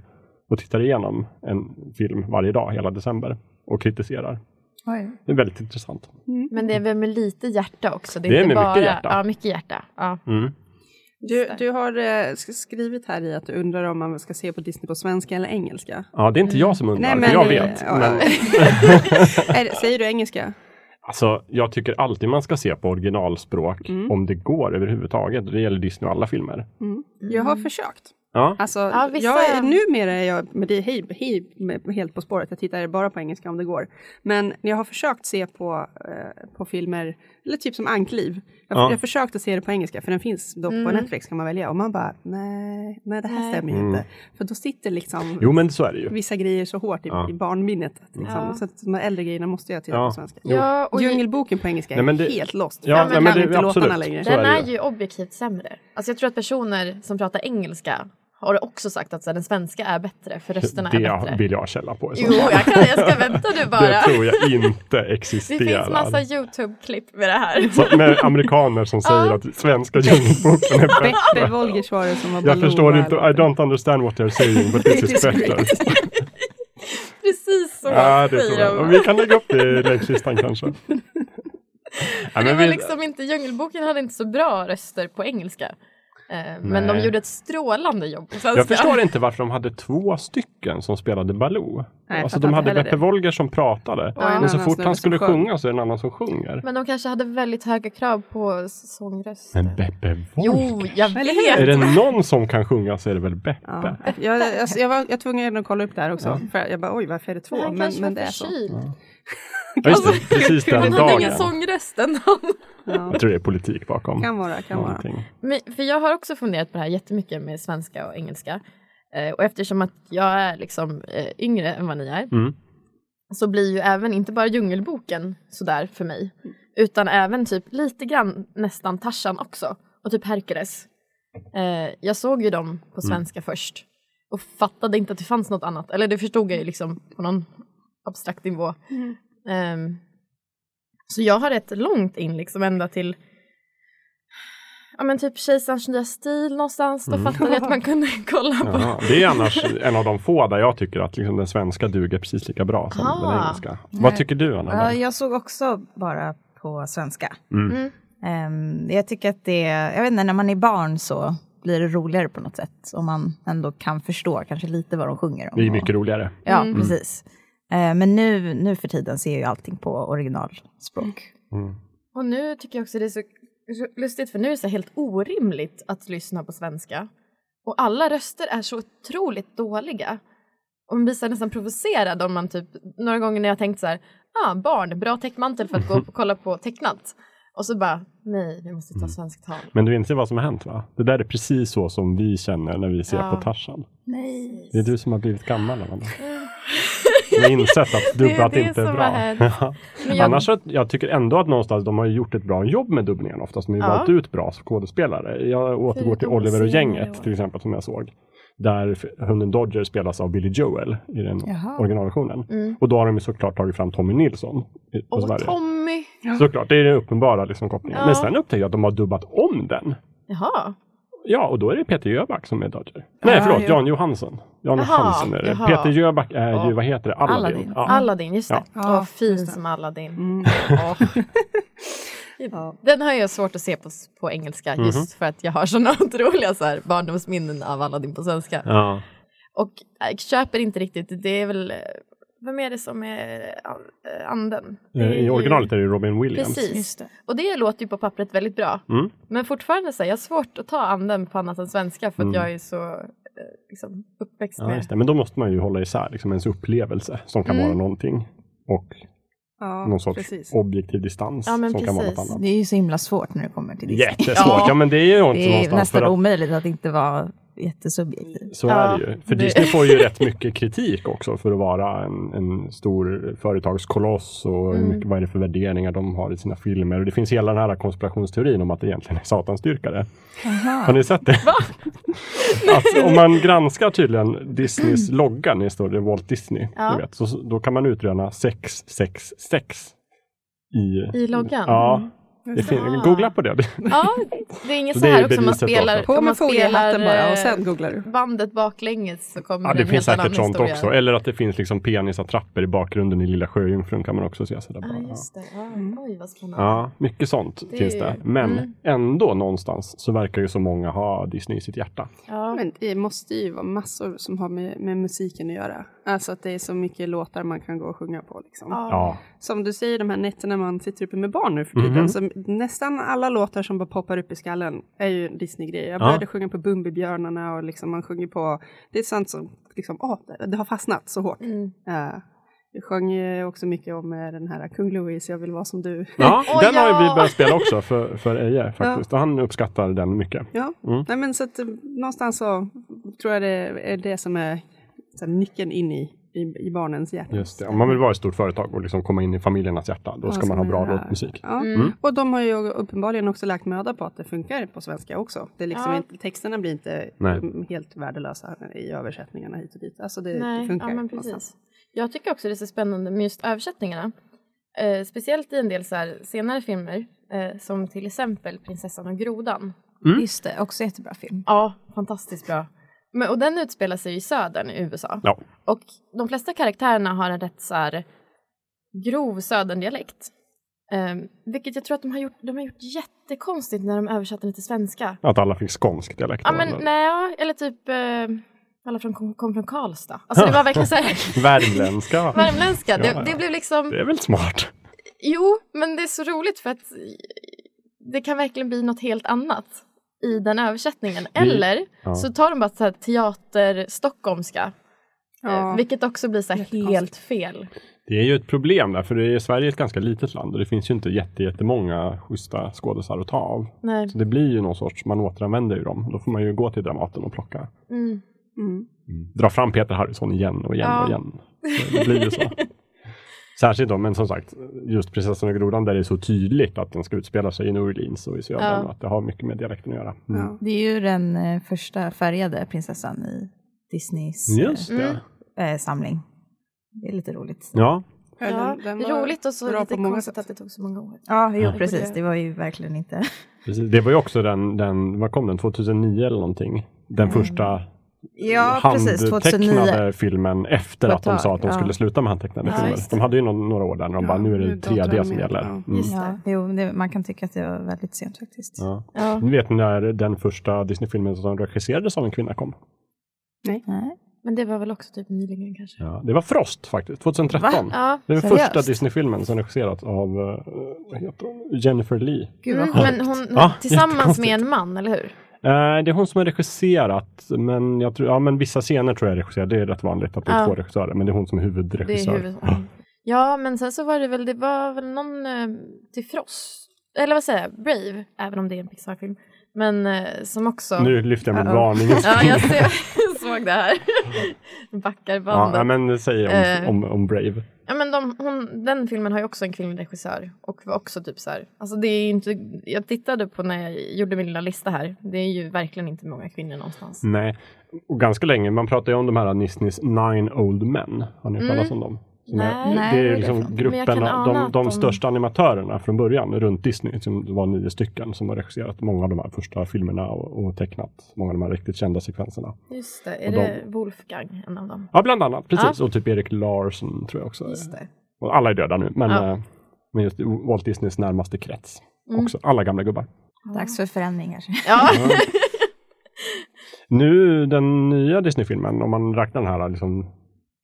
Speaker 1: och tittar igenom en film varje dag hela december och kritiserar.
Speaker 4: Oj.
Speaker 1: Det är väldigt intressant.
Speaker 3: Men det är väl med lite hjärta också?
Speaker 1: Det är
Speaker 3: inte
Speaker 1: med
Speaker 3: bara...
Speaker 1: mycket hjärta.
Speaker 3: Ja, mycket hjärta. Ja.
Speaker 1: Mm.
Speaker 2: Du, du har eh, sk- skrivit här i att du undrar om man ska se på Disney på svenska eller engelska.
Speaker 1: Ja, det är inte jag som undrar,
Speaker 2: Mm. Nej,
Speaker 1: för
Speaker 2: men- eh,
Speaker 1: jag vet.
Speaker 2: ja.
Speaker 1: Men,
Speaker 2: Är, det- säger du engelska?
Speaker 1: Alltså, jag tycker alltid man ska se på originalspråk
Speaker 2: Mm.
Speaker 1: om det går överhuvudtaget. Det gäller Disney och alla filmer.
Speaker 2: Jag har försökt.
Speaker 1: Ja,
Speaker 2: Alltså,
Speaker 3: Ja, vissa-
Speaker 2: jag är, numera är jag med det, hej, hej, med, helt på spåret. Jag tittar bara på engelska om det går. Men jag har försökt se på, eh, på filmer, eller typ som Ankliv. Jag,
Speaker 1: Ja.
Speaker 2: jag försökte se det på engelska, för den finns då på
Speaker 3: Mm.
Speaker 2: Netflix kan man välja. Och man bara, nej, nej det här
Speaker 3: Nej.
Speaker 2: stämmer ju
Speaker 1: Mm.
Speaker 2: inte. För då sitter liksom
Speaker 1: jo men så är det ju.
Speaker 2: vissa grejer så hårt i,
Speaker 1: Ja.
Speaker 2: i barnminnet. att Liksom.
Speaker 3: Ja.
Speaker 2: Så att de här äldre grejerna måste jag titta
Speaker 1: Ja.
Speaker 2: på svenska.
Speaker 1: Jo.
Speaker 3: Ja, och ju-
Speaker 2: Djungelboken på engelska är
Speaker 1: Nej, men det-
Speaker 2: helt lost.
Speaker 1: Ja,
Speaker 2: jag
Speaker 3: nej,
Speaker 2: kan
Speaker 3: men
Speaker 1: det-
Speaker 2: inte låtarna
Speaker 1: absolut.
Speaker 2: längre.
Speaker 1: Så är
Speaker 3: Den
Speaker 1: det
Speaker 3: är
Speaker 1: ju.
Speaker 3: ju objektivt sämre. Alltså jag tror att personer som pratar engelska har också sagt att så här, den svenska är bättre för rösterna är
Speaker 1: Det
Speaker 3: bättre.
Speaker 1: vill jag källa på. i så
Speaker 3: Jo,
Speaker 1: fall.
Speaker 3: jag, kan, jag ska vänta nu
Speaker 1: det
Speaker 3: bara.
Speaker 1: tror jag inte
Speaker 3: Det
Speaker 1: existerar.
Speaker 3: finns massa Youtube-klipp med det här.
Speaker 1: så, med amerikaner som säger att svenska djungelboken är bättre.
Speaker 2: Beppe Wolgers var det som var
Speaker 1: Jag
Speaker 2: Baloo
Speaker 1: förstår
Speaker 2: och
Speaker 1: inte, I
Speaker 2: allt.
Speaker 1: don't understand what they're saying but this is better.
Speaker 3: Precis så
Speaker 1: Ja, det tror
Speaker 3: säger
Speaker 1: jag.
Speaker 3: de.
Speaker 1: Och Vi kan lägga upp det i länklistan kanske. Ja,
Speaker 3: det
Speaker 1: men
Speaker 3: var
Speaker 1: vi,
Speaker 3: liksom inte, Djungelboken hade inte så bra röster på engelska. Eh, Men de
Speaker 1: Nej.
Speaker 3: gjorde ett strålande jobb på svenska.
Speaker 1: jag förstår inte varför de hade två stycken som spelade Baloo.
Speaker 2: Nej, jag
Speaker 1: Alltså
Speaker 2: fattar
Speaker 1: de
Speaker 2: inte
Speaker 1: hade
Speaker 2: heller
Speaker 1: Beppe
Speaker 2: det.
Speaker 1: Wolger som pratade.
Speaker 2: en
Speaker 1: Men så
Speaker 2: annan
Speaker 1: fort
Speaker 2: snubbe
Speaker 1: han
Speaker 2: som
Speaker 1: skulle
Speaker 2: sjöng.
Speaker 1: sjunga så är det en annan som sjunger.
Speaker 3: Men de kanske hade väldigt höga krav på sångrösten.
Speaker 1: Men Beppe Wolger?
Speaker 3: Jo, jag
Speaker 2: Eller hur?
Speaker 1: Är
Speaker 3: vet!
Speaker 1: det någon som kan sjunga så är det väl Beppe.
Speaker 2: Ja. Jag, jag, jag var jag tvungen att kolla upp det här också. För jag bara, oj varför är det två?
Speaker 3: Han
Speaker 2: Men,
Speaker 3: kanske
Speaker 2: men
Speaker 3: var
Speaker 2: det är så.
Speaker 3: förkyld.
Speaker 1: Ja, just det, precis den
Speaker 3: Han Alltså, hade
Speaker 1: dagen.
Speaker 3: ingen sångröst ändå.
Speaker 2: Ja.
Speaker 1: Jag tror det är politik bakom.
Speaker 2: Kan vara, kan vara.
Speaker 1: någonting.
Speaker 3: Men, för jag har också funderat på det här jättemycket med svenska och engelska. Eh, och eftersom att jag är liksom eh, yngre än vad ni är
Speaker 1: Mm.
Speaker 3: så blir ju även inte bara Djungelboken sådär för mig. Utan även typ lite grann nästan Tarzan också. Och typ Herkules. Eh, jag såg ju dem på svenska först. Och fattade inte att det fanns något annat. Eller det förstod jag ju liksom på någon abstrakt nivå. Ehm, så jag har rätt långt in liksom ända till Ja men typ Kejsarens nya stil någonstans. Då fattade jag att man kunde kolla på.
Speaker 1: Jaha, Det är annars en av de få där jag tycker att liksom den svenska duger precis lika bra som
Speaker 3: Ah.
Speaker 1: den engelska. Vad tycker du Anna?
Speaker 4: Ja, jag såg också bara på svenska.
Speaker 1: Mm.
Speaker 3: Mm.
Speaker 4: Ehm, jag tycker att det, jag vet inte, när man är barn så blir det roligare på något sätt. Om man ändå kan förstå kanske lite vad de sjunger om.
Speaker 1: Det är
Speaker 4: och-
Speaker 1: mycket roligare.
Speaker 4: Ja,
Speaker 3: Mm.
Speaker 4: precis. Eh, Men nu, nu för tiden ser jag ju allting på originalspråk.
Speaker 1: Mm.
Speaker 3: Och nu tycker jag också det är så så lustigt för nu är det så här helt orimligt att lyssna på svenska. Och alla röster är så otroligt dåliga. Och man blir så här nästan provocerad om man typ, några gånger när jag tänkt så här, ah barn, bra täckmantel för att gå och kolla på tecknat. Och så bara, nej, vi måste ta svenskt tal.
Speaker 1: Men du inser vad som har hänt va? Det där är precis så som vi känner när vi ser
Speaker 3: Ja.
Speaker 1: på Tarzan.
Speaker 3: Nej.
Speaker 1: Det är du som har blivit gammal Amanda. Du har insett att dubbat
Speaker 3: det
Speaker 1: inte är
Speaker 3: som
Speaker 1: bra.
Speaker 3: har hänt.
Speaker 1: Ja.
Speaker 3: Men jag-
Speaker 1: Annars så att jag tycker ändå att någonstans de har gjort ett bra jobb med dubbningen oftast. De har ju
Speaker 3: Ja.
Speaker 1: valt ut bra skådespelare. Jag återgår till
Speaker 3: Förutom
Speaker 1: Oliver och
Speaker 3: senare
Speaker 1: gänget
Speaker 3: år.
Speaker 1: till exempel som jag såg. Där f- hunden Dodger spelas av Billy Joel i den
Speaker 4: Jaha.
Speaker 1: originalversionen. Och då har de ju såklart tagit fram Tommy Nilsson. i- och
Speaker 3: Mm. Åh,
Speaker 1: Sverige.
Speaker 3: Tommy!
Speaker 1: Såklart, det är den uppenbara liksom, kopplingen.
Speaker 3: Ja.
Speaker 1: Men sen upptäckte jag att de har dubbat om den.
Speaker 3: Jaha.
Speaker 1: Ja, och då är det Peter Jöback som är Dodger. Nej, förlåt,
Speaker 4: ja.
Speaker 1: Jan Johansson. Jan
Speaker 3: Jaha,
Speaker 1: Johansson är det.
Speaker 3: jaha.
Speaker 1: Peter Jöback är ju,
Speaker 3: Ja.
Speaker 1: vad heter det, Aladdin.
Speaker 4: Aladdin.
Speaker 1: Ja.
Speaker 3: Aladdin, just det.
Speaker 2: Ja.
Speaker 3: Åh,
Speaker 2: Ja,
Speaker 3: fin
Speaker 2: just det.
Speaker 3: som Aladdin.
Speaker 2: Mm.
Speaker 3: Åh.
Speaker 2: Ja.
Speaker 3: Den har jag svårt att se på, på engelska
Speaker 1: Mhm.
Speaker 3: just för att jag har såna otroliga så här, barndomsminnen av Aladdin på svenska.
Speaker 1: Ja.
Speaker 3: Och äh, jag köper inte riktigt, det är väl, eh, vem är det som är eh, anden? Det är
Speaker 1: I
Speaker 3: ju-
Speaker 1: originalet är det Robin Williams.
Speaker 3: Precis, och Mm. det låter ju på pappret väldigt bra.
Speaker 1: Mm.
Speaker 3: Men fortfarande så här, jag har svårt att ta anden på annat än svenska för att
Speaker 1: Mm.
Speaker 3: jag är så eh, liksom, uppväxt
Speaker 1: Ja,
Speaker 3: med
Speaker 1: just det. Men då måste man ju hålla isär liksom ens upplevelse som kan
Speaker 3: Mm.
Speaker 1: vara någonting och
Speaker 2: Ja,
Speaker 1: någon sorts
Speaker 2: precis.
Speaker 1: objektiv distans
Speaker 3: Ja,
Speaker 1: som
Speaker 3: men
Speaker 1: kan vara något
Speaker 3: precis.
Speaker 1: annat.
Speaker 4: Det är ju så himla svårt när det kommer till Disney.
Speaker 1: Jättesvårt, ja. men det är ju inte
Speaker 4: Det är
Speaker 1: någonstans för
Speaker 4: nästan
Speaker 1: att
Speaker 4: omöjligt att inte vara jättesubjektiv.
Speaker 1: Så
Speaker 3: Ja,
Speaker 1: är det ju. För
Speaker 3: det-
Speaker 1: Disney får ju rätt mycket kritik också för att vara en, en stor företagskoloss och hur
Speaker 3: Mm.
Speaker 1: mycket, vad är det för värderingar de har i sina filmer. Och det finns hela den här konspirationsteorin om att det egentligen är satanstyrkare. Har ni sett det? Att om man granskar tydligen Disneys logga, när det står det Walt Disney,
Speaker 3: Mm. Ja.
Speaker 1: ni vet, så, då kan man utröna 666 i...
Speaker 3: I loggan?
Speaker 1: Ja, det fin- googla på det.
Speaker 3: Ja, det är inget
Speaker 1: Så
Speaker 3: så
Speaker 1: det är
Speaker 3: här också om man
Speaker 1: beviset
Speaker 3: spelar,
Speaker 1: också.
Speaker 2: På
Speaker 3: om man
Speaker 2: med foliehatten
Speaker 3: spelar,
Speaker 2: bara och
Speaker 3: eh,
Speaker 2: sen googlar du.
Speaker 3: bandet baklänges så kommer
Speaker 1: Ja, det
Speaker 3: en
Speaker 1: finns
Speaker 3: helt annan
Speaker 1: säkert sånt
Speaker 3: historia.
Speaker 1: också. Eller att det finns liksom penisattrapper i bakgrunden i Lilla Sjöjungfrun kan man också se. Så där
Speaker 3: Ja,
Speaker 1: bara, ja.
Speaker 3: just det. Ja,
Speaker 2: Mm.
Speaker 3: Oj, vad spännande.
Speaker 1: Ja, mycket sånt
Speaker 3: Det är
Speaker 1: finns
Speaker 3: ju-
Speaker 1: det. Men
Speaker 3: mm.
Speaker 1: ändå någonstans så verkar ju så många ha Disney i sitt hjärta.
Speaker 3: Ja.
Speaker 2: Men det måste ju vara massor som har med, med musiken att göra. Alltså att det är så mycket låtar man kan gå och sjunga på. Liksom.
Speaker 1: Ja,
Speaker 2: Som du säger, de här nätterna man sitter uppe med barn nu för tiden.
Speaker 1: Mhm.
Speaker 2: Så nästan alla låtar som bara poppar upp i skallen är ju Disney-grejer. Jag började
Speaker 1: Ja.
Speaker 2: sjunga på Bumbibjörnarna och liksom man sjunger på, det är sånt som liksom, åh, det- det har fastnat så hårt.
Speaker 3: Mm.
Speaker 2: Uh, jag sjöng ju också mycket om eh, den här Kung Louis, jag vill vara som du.
Speaker 1: ja
Speaker 3: Åh,
Speaker 1: den har ju
Speaker 3: ja.
Speaker 1: vi börjat spela också för, för Eje faktiskt. Och han uppskattar den mycket.
Speaker 2: Ja,
Speaker 1: Mm.
Speaker 2: Nej, men så att, eh, någonstans så tror jag det är det som är så här, nyckeln in i, i, i barnens hjärta.
Speaker 1: Just det. Om man vill vara ett stort företag och liksom komma in i familjernas hjärta, då
Speaker 2: Ja,
Speaker 1: ska
Speaker 2: så
Speaker 1: man ha
Speaker 2: man
Speaker 1: bra
Speaker 2: gör-
Speaker 1: låtmusik.
Speaker 2: Ja.
Speaker 3: Mm.
Speaker 2: Och de har ju uppenbarligen också lagt möda på att det funkar på svenska också. Det är liksom
Speaker 3: Ja.
Speaker 2: inte, texterna blir inte
Speaker 1: Nej.
Speaker 2: mm, helt värdelösa i översättningarna hit och dit. Alltså det, det
Speaker 3: Nej,
Speaker 2: funkar.
Speaker 3: ja, men
Speaker 2: någonstans.
Speaker 3: precis. Jag tycker också det är så spännande med just översättningarna. Eh, speciellt i en del så här senare filmer, eh, som till exempel Prinsessan och grodan.
Speaker 1: Mm.
Speaker 4: Just det, också jättebra film.
Speaker 3: Ja, fantastiskt bra. Men, och den utspelar sig i södern i USA.
Speaker 1: Ja.
Speaker 3: Och de flesta karaktärerna har en rätt så här grov söderndialekt. Um, vilket jag tror att de har gjort, de har gjort jättekonstigt när de översatte den till svenska.
Speaker 1: Att alla fick skånsk dialekt.
Speaker 3: Ja
Speaker 1: då,
Speaker 3: men
Speaker 1: eller
Speaker 3: nej, ja, eller typ eh, alla från, kom, kom från Karlstad. Alltså det var verkligen så här
Speaker 1: Värmländska.
Speaker 3: värmländska.
Speaker 1: Ja, ja.
Speaker 3: Det, det blev liksom
Speaker 1: Det är väl smart?
Speaker 3: Jo, men det är så roligt för att det kan verkligen bli något helt annat i den översättningen.
Speaker 1: Mm.
Speaker 3: Eller
Speaker 1: Ja.
Speaker 3: så tar de bara så här teater-stockholmska, eh,
Speaker 2: Ja.
Speaker 3: vilket också blir så här
Speaker 2: Jättekonstigt.
Speaker 3: helt fel.
Speaker 1: Det är ju ett problem där, för det är, Sverige är ett ganska litet land och det finns ju inte jätte, jättemånga schyssta skådisar att ta av.
Speaker 3: Nej.
Speaker 1: Så det blir ju någon sorts, man återanvänder ju dem. Då får man ju gå till Dramaten och plocka.
Speaker 3: Mm.
Speaker 2: Mm.
Speaker 1: Dra fram Peter Harrison igen och igen
Speaker 3: Ja.
Speaker 1: och igen. Det blir ju så. Särskilt då, men som sagt, just Prinsessan och grodan där det är så tydligt att den ska utspela sig i New Orleans och i södern
Speaker 3: Ja.
Speaker 1: och att det har mycket med dialekten att göra. Mm.
Speaker 2: Ja.
Speaker 4: Det är ju den eh, första färgade prinsessan i Disneys eh,
Speaker 1: Just det.
Speaker 3: Mm.
Speaker 4: eh, samling. Det är lite roligt.
Speaker 1: Ja,
Speaker 3: Ja,
Speaker 2: Den- den var
Speaker 3: roligt och så
Speaker 2: bra
Speaker 3: lite
Speaker 2: på många
Speaker 3: konstigt
Speaker 2: sätt.
Speaker 3: att det tog så många år.
Speaker 4: Ja, jo,
Speaker 1: Ja.
Speaker 4: precis. Det var ju verkligen inte...
Speaker 1: precis. Det var ju också den, den, vad kom den, 2009 eller någonting?
Speaker 3: Mm.
Speaker 1: Den första
Speaker 4: Ja, precis.
Speaker 1: handtecknade
Speaker 4: 2009.
Speaker 1: filmen efter
Speaker 4: På ett
Speaker 1: att de sa
Speaker 4: tag,
Speaker 1: att de
Speaker 4: ja.
Speaker 1: skulle sluta med handtecknade
Speaker 3: Ja,
Speaker 1: filmer.
Speaker 3: just det.
Speaker 1: De hade ju någon, några år där när de
Speaker 2: Ja,
Speaker 1: bara, nu är
Speaker 2: nu
Speaker 1: det
Speaker 2: drar
Speaker 1: 3D
Speaker 2: de
Speaker 1: som
Speaker 2: med,
Speaker 1: gäller.
Speaker 2: ja.
Speaker 1: Mm.
Speaker 3: Just
Speaker 4: Ja,
Speaker 3: det.
Speaker 4: jo, det, man kan tycka att det var väldigt sent faktiskt.
Speaker 1: Ja.
Speaker 3: Ja.
Speaker 1: Ni vet när den första Disney-filmen som regisserades av en kvinna kom?
Speaker 4: Nej.
Speaker 3: Men det var väl också typ nyligen kanske.
Speaker 1: Ja, det var Frost faktiskt, 2013.
Speaker 3: Ja.
Speaker 1: Det är den
Speaker 4: Seriöst?
Speaker 1: första Disney-filmen som regisserats av eh, vad heter hon? Jennifer Lee.
Speaker 4: Gud vad
Speaker 3: Mm,
Speaker 4: sjukt.
Speaker 3: men hon,
Speaker 1: Ja,
Speaker 3: tillsammans med
Speaker 1: jättekonstigt.
Speaker 3: en man, eller hur?
Speaker 1: Eh, det är hon som har regisserat, men, jag tror, ja, men vissa scener tror jag är regisserade. Det är rätt vanligt att det är
Speaker 3: Ja.
Speaker 1: två regissörer, men det är hon som är
Speaker 3: Det är
Speaker 1: huvudregissör.
Speaker 3: huvud... Ja, men sen så var det väl, det var väl någon eh, till Frost, eller vad säger jag, Brave, även om det är en Pixar-film, men eh, som också...
Speaker 1: Nu lyfter jag min
Speaker 2: Uh-oh.
Speaker 1: varningens
Speaker 3: Ja, jag
Speaker 1: finger.
Speaker 3: ser, såg det här. Backar
Speaker 1: ja,
Speaker 3: bandet.
Speaker 1: ja,
Speaker 3: Ja, men...
Speaker 1: men säg
Speaker 3: Eh.
Speaker 1: om, om, om Brave.
Speaker 3: de, hon, den filmen har ju också en kvinnlig regissör och var också typ så här, alltså det är ju inte, jag tittade på när jag gjorde min lilla lista här, det är ju verkligen inte många kvinnor någonstans.
Speaker 1: Nej, och ganska länge. Man pratar ju om de här Nisnis Nine Old Men. Har ni hört
Speaker 3: Mm.
Speaker 1: talas om dem? Som
Speaker 3: Nej.
Speaker 1: är,
Speaker 4: Nej,
Speaker 1: det är
Speaker 4: vad är
Speaker 1: ju
Speaker 4: det
Speaker 1: liksom
Speaker 4: för något?
Speaker 3: Men jag kan
Speaker 1: gruppen, av
Speaker 3: ana
Speaker 1: de,
Speaker 3: att
Speaker 1: de
Speaker 3: de-
Speaker 1: största animatörerna från början runt Disney, som det var nio stycken, som har regisserat många av de här första filmerna och, och tecknat många av de här riktigt kända sekvenserna.
Speaker 3: Just det, är
Speaker 1: Och
Speaker 3: det Wolfgang en av dem?
Speaker 1: Ja, bland annat. Precis. Och typ Erik Larsson tror jag också.
Speaker 3: Just det.
Speaker 1: Och alla är döda nu, men,
Speaker 3: Ja.
Speaker 1: eh, men just Walt Disneys närmaste krets.
Speaker 3: Mm.
Speaker 1: Också. Alla gamla gubbar.
Speaker 4: Dags för förändringar.
Speaker 3: Ja.
Speaker 1: Nu den nya Disney-filmen, om man räknar den här liksom,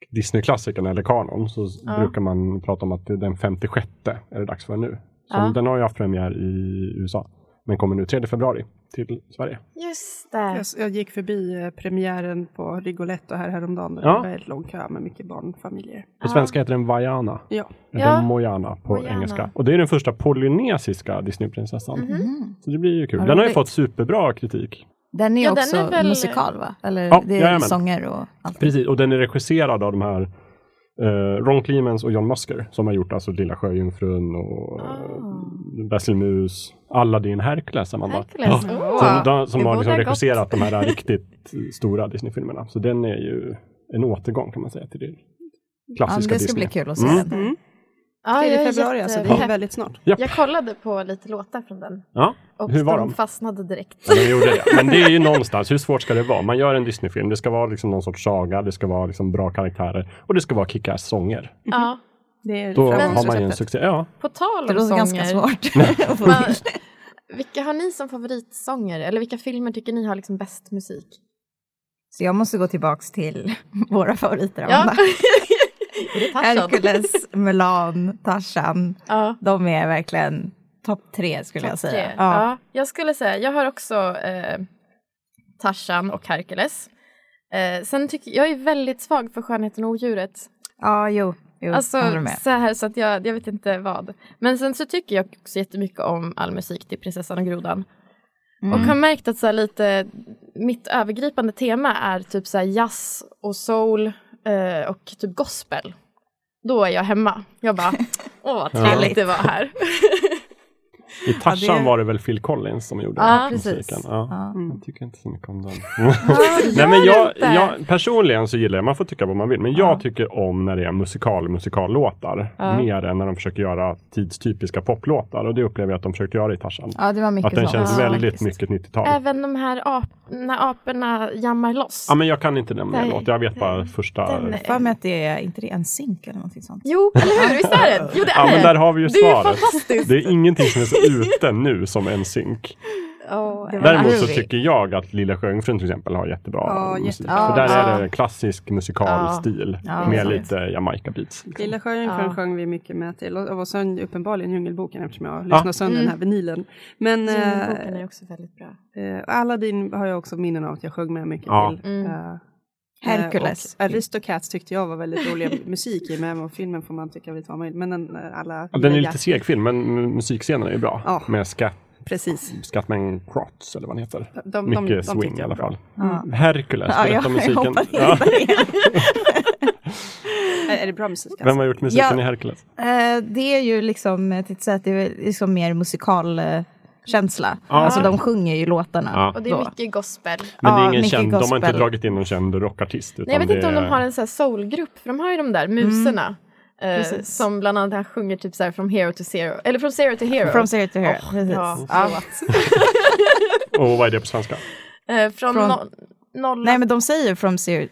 Speaker 1: Disney-klassikern eller kanon, så s-
Speaker 3: Ja.
Speaker 1: brukar man prata om att det är den 56 är det dags för nu. Så
Speaker 3: Ja.
Speaker 1: Den har ju haft premiär i USA, men kommer nu 3 februari till Sverige.
Speaker 3: Just det.
Speaker 2: Jag, jag gick förbi eh, premiären på Rigoletto här häromdagen. och
Speaker 1: Ja.
Speaker 2: Det var väldigt lång kö med mycket barnfamiljer.
Speaker 1: På svenska heter den Vaiana,
Speaker 2: Ja.
Speaker 1: eller
Speaker 3: Ja.
Speaker 1: Mojana på
Speaker 3: Moana.
Speaker 1: engelska. Och det är den första polynesiska Disneyprinsessan.
Speaker 3: Mhm.
Speaker 1: Så det blir ju kul.
Speaker 4: Vad
Speaker 1: Den har ju
Speaker 4: roligt.
Speaker 1: fått superbra kritik.
Speaker 4: Mm. Den är ju
Speaker 3: Ja, den
Speaker 4: också
Speaker 3: är väl-
Speaker 4: musikal va? Eller
Speaker 1: Ja,
Speaker 4: det är
Speaker 1: jajamän.
Speaker 4: sånger och allt.
Speaker 1: Precis, och den är regisserad av de här eh, Ron Clemens och John Musker som har gjort alltså Lilla Sjöjungfrun och
Speaker 4: Ah.
Speaker 1: eh, Basil Mus, Aladdin, Hercules. Amanda.
Speaker 3: Hercules.
Speaker 1: Ja.
Speaker 3: Åh.
Speaker 1: Som, de, som
Speaker 3: Det
Speaker 1: har
Speaker 3: bådar
Speaker 1: liksom
Speaker 3: gott.
Speaker 1: regisserat de här riktigt stora Disney-filmerna. Så den är ju en återgång kan man säga till det
Speaker 4: Ja,
Speaker 1: klassiska
Speaker 4: det ska
Speaker 1: Disney.
Speaker 4: bli kul att se
Speaker 1: Mm.
Speaker 4: den.
Speaker 2: Mm.
Speaker 3: Ja,
Speaker 2: 3
Speaker 3: jag är
Speaker 2: februari alltså, det
Speaker 3: jättepepp.
Speaker 2: är väldigt snart.
Speaker 1: Japp.
Speaker 3: Jag kollade på lite låtar från den
Speaker 1: Ja,
Speaker 3: och
Speaker 1: Hur var
Speaker 3: de
Speaker 1: de?
Speaker 3: fastnade direkt.
Speaker 1: Ja, de gjorde det. Men det är ju någonstans, hur svårt ska det vara? Man gör en Disney-film, det ska vara liksom någon sorts saga, det ska vara liksom bra karaktärer och det ska vara kickass sånger.
Speaker 3: Ja.
Speaker 2: Det är
Speaker 1: Då
Speaker 2: framgångsreceptet.
Speaker 1: har man ju en succé. Ja,
Speaker 3: Mm. På tal
Speaker 4: Det
Speaker 3: om
Speaker 4: låter ganska
Speaker 3: sånger,
Speaker 4: svårt. att få
Speaker 3: Men-
Speaker 4: till.
Speaker 3: vilka har ni som favoritsånger? Eller vilka filmer tycker ni har liksom bäst musik?
Speaker 4: Så jag måste gå tillbaks till våra favoriter.
Speaker 3: Ja.
Speaker 4: Amanda.
Speaker 3: Är det Tarzan?
Speaker 4: Hercules, Mulan, Tarzan.
Speaker 3: Ja.
Speaker 4: De är verkligen topp tre skulle jag
Speaker 3: Topp
Speaker 4: säga.
Speaker 3: tre.
Speaker 4: Ja.
Speaker 3: Ja, jag skulle säga, jag har också eh, Tarzan och Hercules. Eh, sen tycker jag är väldigt svag för Skönheten och odjuret.
Speaker 4: ja, jo. jo
Speaker 3: Alltså
Speaker 4: håller med.
Speaker 3: så här så att jag, jag vet inte vad. Men sen så tycker jag också jättemycket om all musik till Prinsessan och grodan.
Speaker 4: Mm.
Speaker 3: Och har märkt att så här lite, mitt övergripande tema är typ så här jazz och soul eh, och typ gospel. Då är jag hemma. Jag bara, åh vad trevligt det var här.
Speaker 1: i Tarzan
Speaker 4: Ja, det-
Speaker 1: var det väl Phil Collins som gjorde
Speaker 3: Ja,
Speaker 1: musiken.
Speaker 4: precis.
Speaker 1: Ja.
Speaker 4: Ja.
Speaker 1: Mm, Jag tycker inte så mycket om den.
Speaker 3: Gör
Speaker 1: Nej, men jag,
Speaker 3: inte.
Speaker 1: jag, personligen så gillar jag, man får tycka vad man vill, men jag tycker om när det är musikal musikallåtar
Speaker 3: Ja.
Speaker 1: mer än när de försöker göra tidstypiska poplåtar och det upplever jag att de försökte göra i Tarzan.
Speaker 4: ja, det var mycket
Speaker 1: Att den
Speaker 4: sånt.
Speaker 1: känns
Speaker 4: Ja,
Speaker 1: väldigt
Speaker 4: faktiskt.
Speaker 1: mycket 90-tal.
Speaker 3: Även de här ap- när aporna jammar loss.
Speaker 1: Ja, men jag kan inte nämna en
Speaker 3: Nej.
Speaker 1: låt, jag vet bara första.
Speaker 3: Den är-
Speaker 4: För mig att det är inte det en synk eller någonting sånt.
Speaker 3: Jo, eller hur? Visst är det? Jo, det
Speaker 1: Ja,
Speaker 3: är
Speaker 1: men
Speaker 3: det.
Speaker 1: där har vi ju
Speaker 3: Det är ju
Speaker 1: svaret.
Speaker 3: fantastiskt.
Speaker 1: Det är ingenting som är så ute nu som en synk.
Speaker 3: Åh,
Speaker 4: Det var
Speaker 1: Däremot så
Speaker 4: Arvig.
Speaker 1: tycker jag att Lilla Sjöjungfrun till exempel har jättebra
Speaker 2: Ja,
Speaker 1: musik.
Speaker 2: jätte-
Speaker 1: För
Speaker 4: ja,
Speaker 1: där är
Speaker 3: ja.
Speaker 1: det klassisk musikal
Speaker 3: Ja.
Speaker 1: stil
Speaker 4: Ja,
Speaker 1: med
Speaker 4: sant.
Speaker 1: lite Jamaica-beats. liksom.
Speaker 2: Lilla Sjöjungfrun
Speaker 3: Ja.
Speaker 2: sjöng vi mycket med till och, och sen uppenbarligen Djungelboken eftersom jag lyssnar sönder
Speaker 3: Mm.
Speaker 2: den här vinylen. Men
Speaker 3: Djungelboken är också väldigt bra.
Speaker 2: eh, eh, Aladdin har jag också minnen av att jag sjöng med mycket
Speaker 1: Ja.
Speaker 2: till.
Speaker 3: Mm.
Speaker 2: Eh,
Speaker 4: Hercules.
Speaker 2: Och Aristocats tyckte jag var väldigt rolig musik i, men filmen får man tycka lite vad man vill. Men den, eh, alla
Speaker 1: Ja, den är
Speaker 2: gillar
Speaker 1: lite
Speaker 2: jag.
Speaker 1: seg film, men m- musikscenen är ju bra.
Speaker 2: Ja.
Speaker 1: Med skat,
Speaker 2: Precis.
Speaker 1: Scatman Crots, eller vad han heter.
Speaker 2: De, de,
Speaker 1: Mycket
Speaker 2: de, de
Speaker 1: swing
Speaker 2: tyckte
Speaker 1: i
Speaker 2: jag
Speaker 1: alla
Speaker 2: var bra.
Speaker 1: fall. Hercules,
Speaker 4: Ja,
Speaker 1: berätta
Speaker 4: jag, jag
Speaker 1: musiken.
Speaker 4: hoppade
Speaker 1: Ja.
Speaker 4: vidare igen.
Speaker 2: Är, är det bra musik?
Speaker 1: Vem har gjort musiken
Speaker 4: Ja.
Speaker 1: i Hercules?
Speaker 4: Eh, det är ju liksom, eh, till sätt, att det är liksom mer musikalkänsla.
Speaker 1: Ja.
Speaker 4: Alltså de sjunger ju låtarna.
Speaker 1: Ja.
Speaker 3: Och det är
Speaker 4: då.
Speaker 3: mycket gospel.
Speaker 1: Men det är
Speaker 4: Ja,
Speaker 1: ingen
Speaker 4: mycket
Speaker 1: känd, de har inte
Speaker 4: gospel.
Speaker 1: dragit in någon känd rockartist. Utan
Speaker 3: Nej, jag vet
Speaker 1: det
Speaker 3: inte om de
Speaker 1: är-
Speaker 3: har en sån här soulgrupp, för de har ju de där muserna. Eh,
Speaker 4: Precis.
Speaker 3: som bland annat han sjunger typ så här from hero to zero, eller from zero to hero.
Speaker 4: From zero to hero.
Speaker 3: Åh,
Speaker 4: precis.
Speaker 3: bra låt.
Speaker 1: Och vad är det på svenska?
Speaker 3: Eh, från
Speaker 4: Från-
Speaker 3: no, noll...
Speaker 4: Nej men de säger from zero...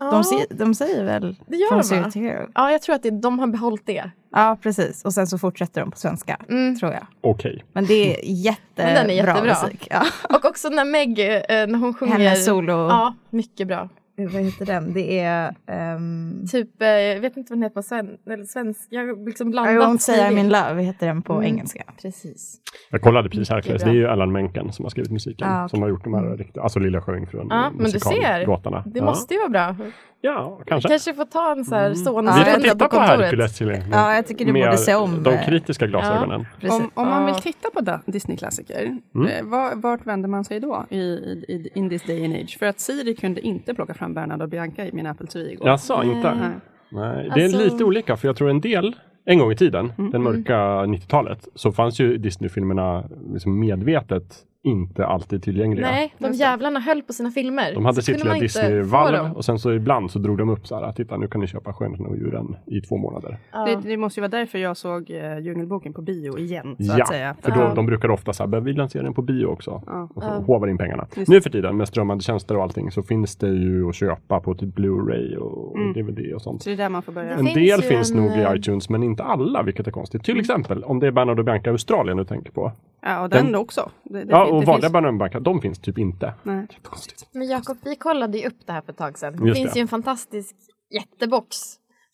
Speaker 3: Ja.
Speaker 4: De, säger, de säger väl
Speaker 3: Det gör
Speaker 4: from
Speaker 3: de, va?
Speaker 4: zero to hero?
Speaker 3: Ja, jag tror att det, de har behållit det.
Speaker 4: Ja, precis. Och sen så fortsätter de på svenska,
Speaker 3: Mm.
Speaker 4: tror jag.
Speaker 1: Okej.
Speaker 4: Men det är jättebra
Speaker 3: Men den är jättebra.
Speaker 4: musik. Ja.
Speaker 3: Och också när Meg, eh, när hon sjunger...
Speaker 4: Hennes solo...
Speaker 3: Ja, mycket bra.
Speaker 4: Eh, Vad heter den? Det är... ehm,
Speaker 3: Typ, eh, jag vet inte vad den heter på sven, eller svensk. Jag har liksom
Speaker 4: I
Speaker 3: blandat.
Speaker 4: won't say I'm
Speaker 3: stilar.
Speaker 4: in love heter den på engelska.
Speaker 3: Precis.
Speaker 1: Jag kollade precis Hercules,
Speaker 3: Mm, bra. Ah,
Speaker 1: det
Speaker 3: Mm.
Speaker 1: är ju Alan Menken som har skrivit musiken.
Speaker 4: Ja, okej.
Speaker 1: Som har gjort de här riktiga, alltså Lilla Sjöjungfrun
Speaker 3: Ja, men du ser.
Speaker 1: musikallåtarna.
Speaker 3: Det
Speaker 1: ja.
Speaker 3: måste ju vara bra.
Speaker 1: Ja, kanske.
Speaker 3: Kanske få ta en så här
Speaker 1: Vi får
Speaker 3: sonvända
Speaker 1: titta
Speaker 3: på
Speaker 1: på
Speaker 3: kontoret.
Speaker 1: Hercules till
Speaker 4: Ja, jag tycker du borde se om,
Speaker 1: de
Speaker 4: eh,
Speaker 1: kritiska glasögonen.
Speaker 4: Precis.
Speaker 2: Om, om man
Speaker 3: Ja.
Speaker 2: vill titta på da- Disney-klassiker,
Speaker 1: Mm.
Speaker 2: eh, var, vart vänder man sig då i, i, i in this day and age? För att Siri kunde inte plocka fram Bernard och Bianca i min Apple TV igår.
Speaker 1: Jaså, inte?
Speaker 2: Nej.
Speaker 1: Nej, det är
Speaker 3: Mm. Alltså- Mm,
Speaker 1: lite olika, för jag tror en del, en gång i tiden, den mörka 90-talet, så fanns ju Disney-filmerna liksom medvetet inte alltid tillgängliga.
Speaker 3: Nej, de jävlarna höll på sina filmer.
Speaker 1: De hade
Speaker 3: Så
Speaker 1: sitt
Speaker 3: kunde
Speaker 1: lilla
Speaker 3: man inte få dem.
Speaker 1: Disney-valv och sen så ibland så drog de upp så här, titta nu kan ni köpa Skönheten och djuren i två månader.
Speaker 2: Det, det måste ju vara därför jag såg eh, Djungelboken på bio igen, så
Speaker 1: ja,
Speaker 2: att säga.
Speaker 1: för då, de brukar ofta säga, vi lanserar den på bio också.
Speaker 2: Ja.
Speaker 1: Och så håvar in pengarna. Nu för tiden med strömmande tjänster och allting så finns det ju att köpa på typ Blu-ray och DVD och sånt.
Speaker 2: Så det är där man får börja.
Speaker 1: En
Speaker 3: finns
Speaker 1: del
Speaker 3: ju
Speaker 1: finns
Speaker 3: en,
Speaker 1: nog i
Speaker 3: eh,
Speaker 1: iTunes men inte alla vilket är konstigt. Till exempel om det är Bernard och Bianca Australien du tänker på.
Speaker 2: Ja, och den, också. Det, det,
Speaker 1: ja
Speaker 2: det
Speaker 1: och
Speaker 2: finns-
Speaker 1: vanliga Bernard och Bianca, de finns typ inte.
Speaker 2: Nej.
Speaker 1: Jättekonstigt.
Speaker 3: Men Jakob, vi kollade ju upp det här för ett tag sedan. Det
Speaker 1: Just
Speaker 3: finns
Speaker 1: det.
Speaker 3: ju en fantastisk jättebox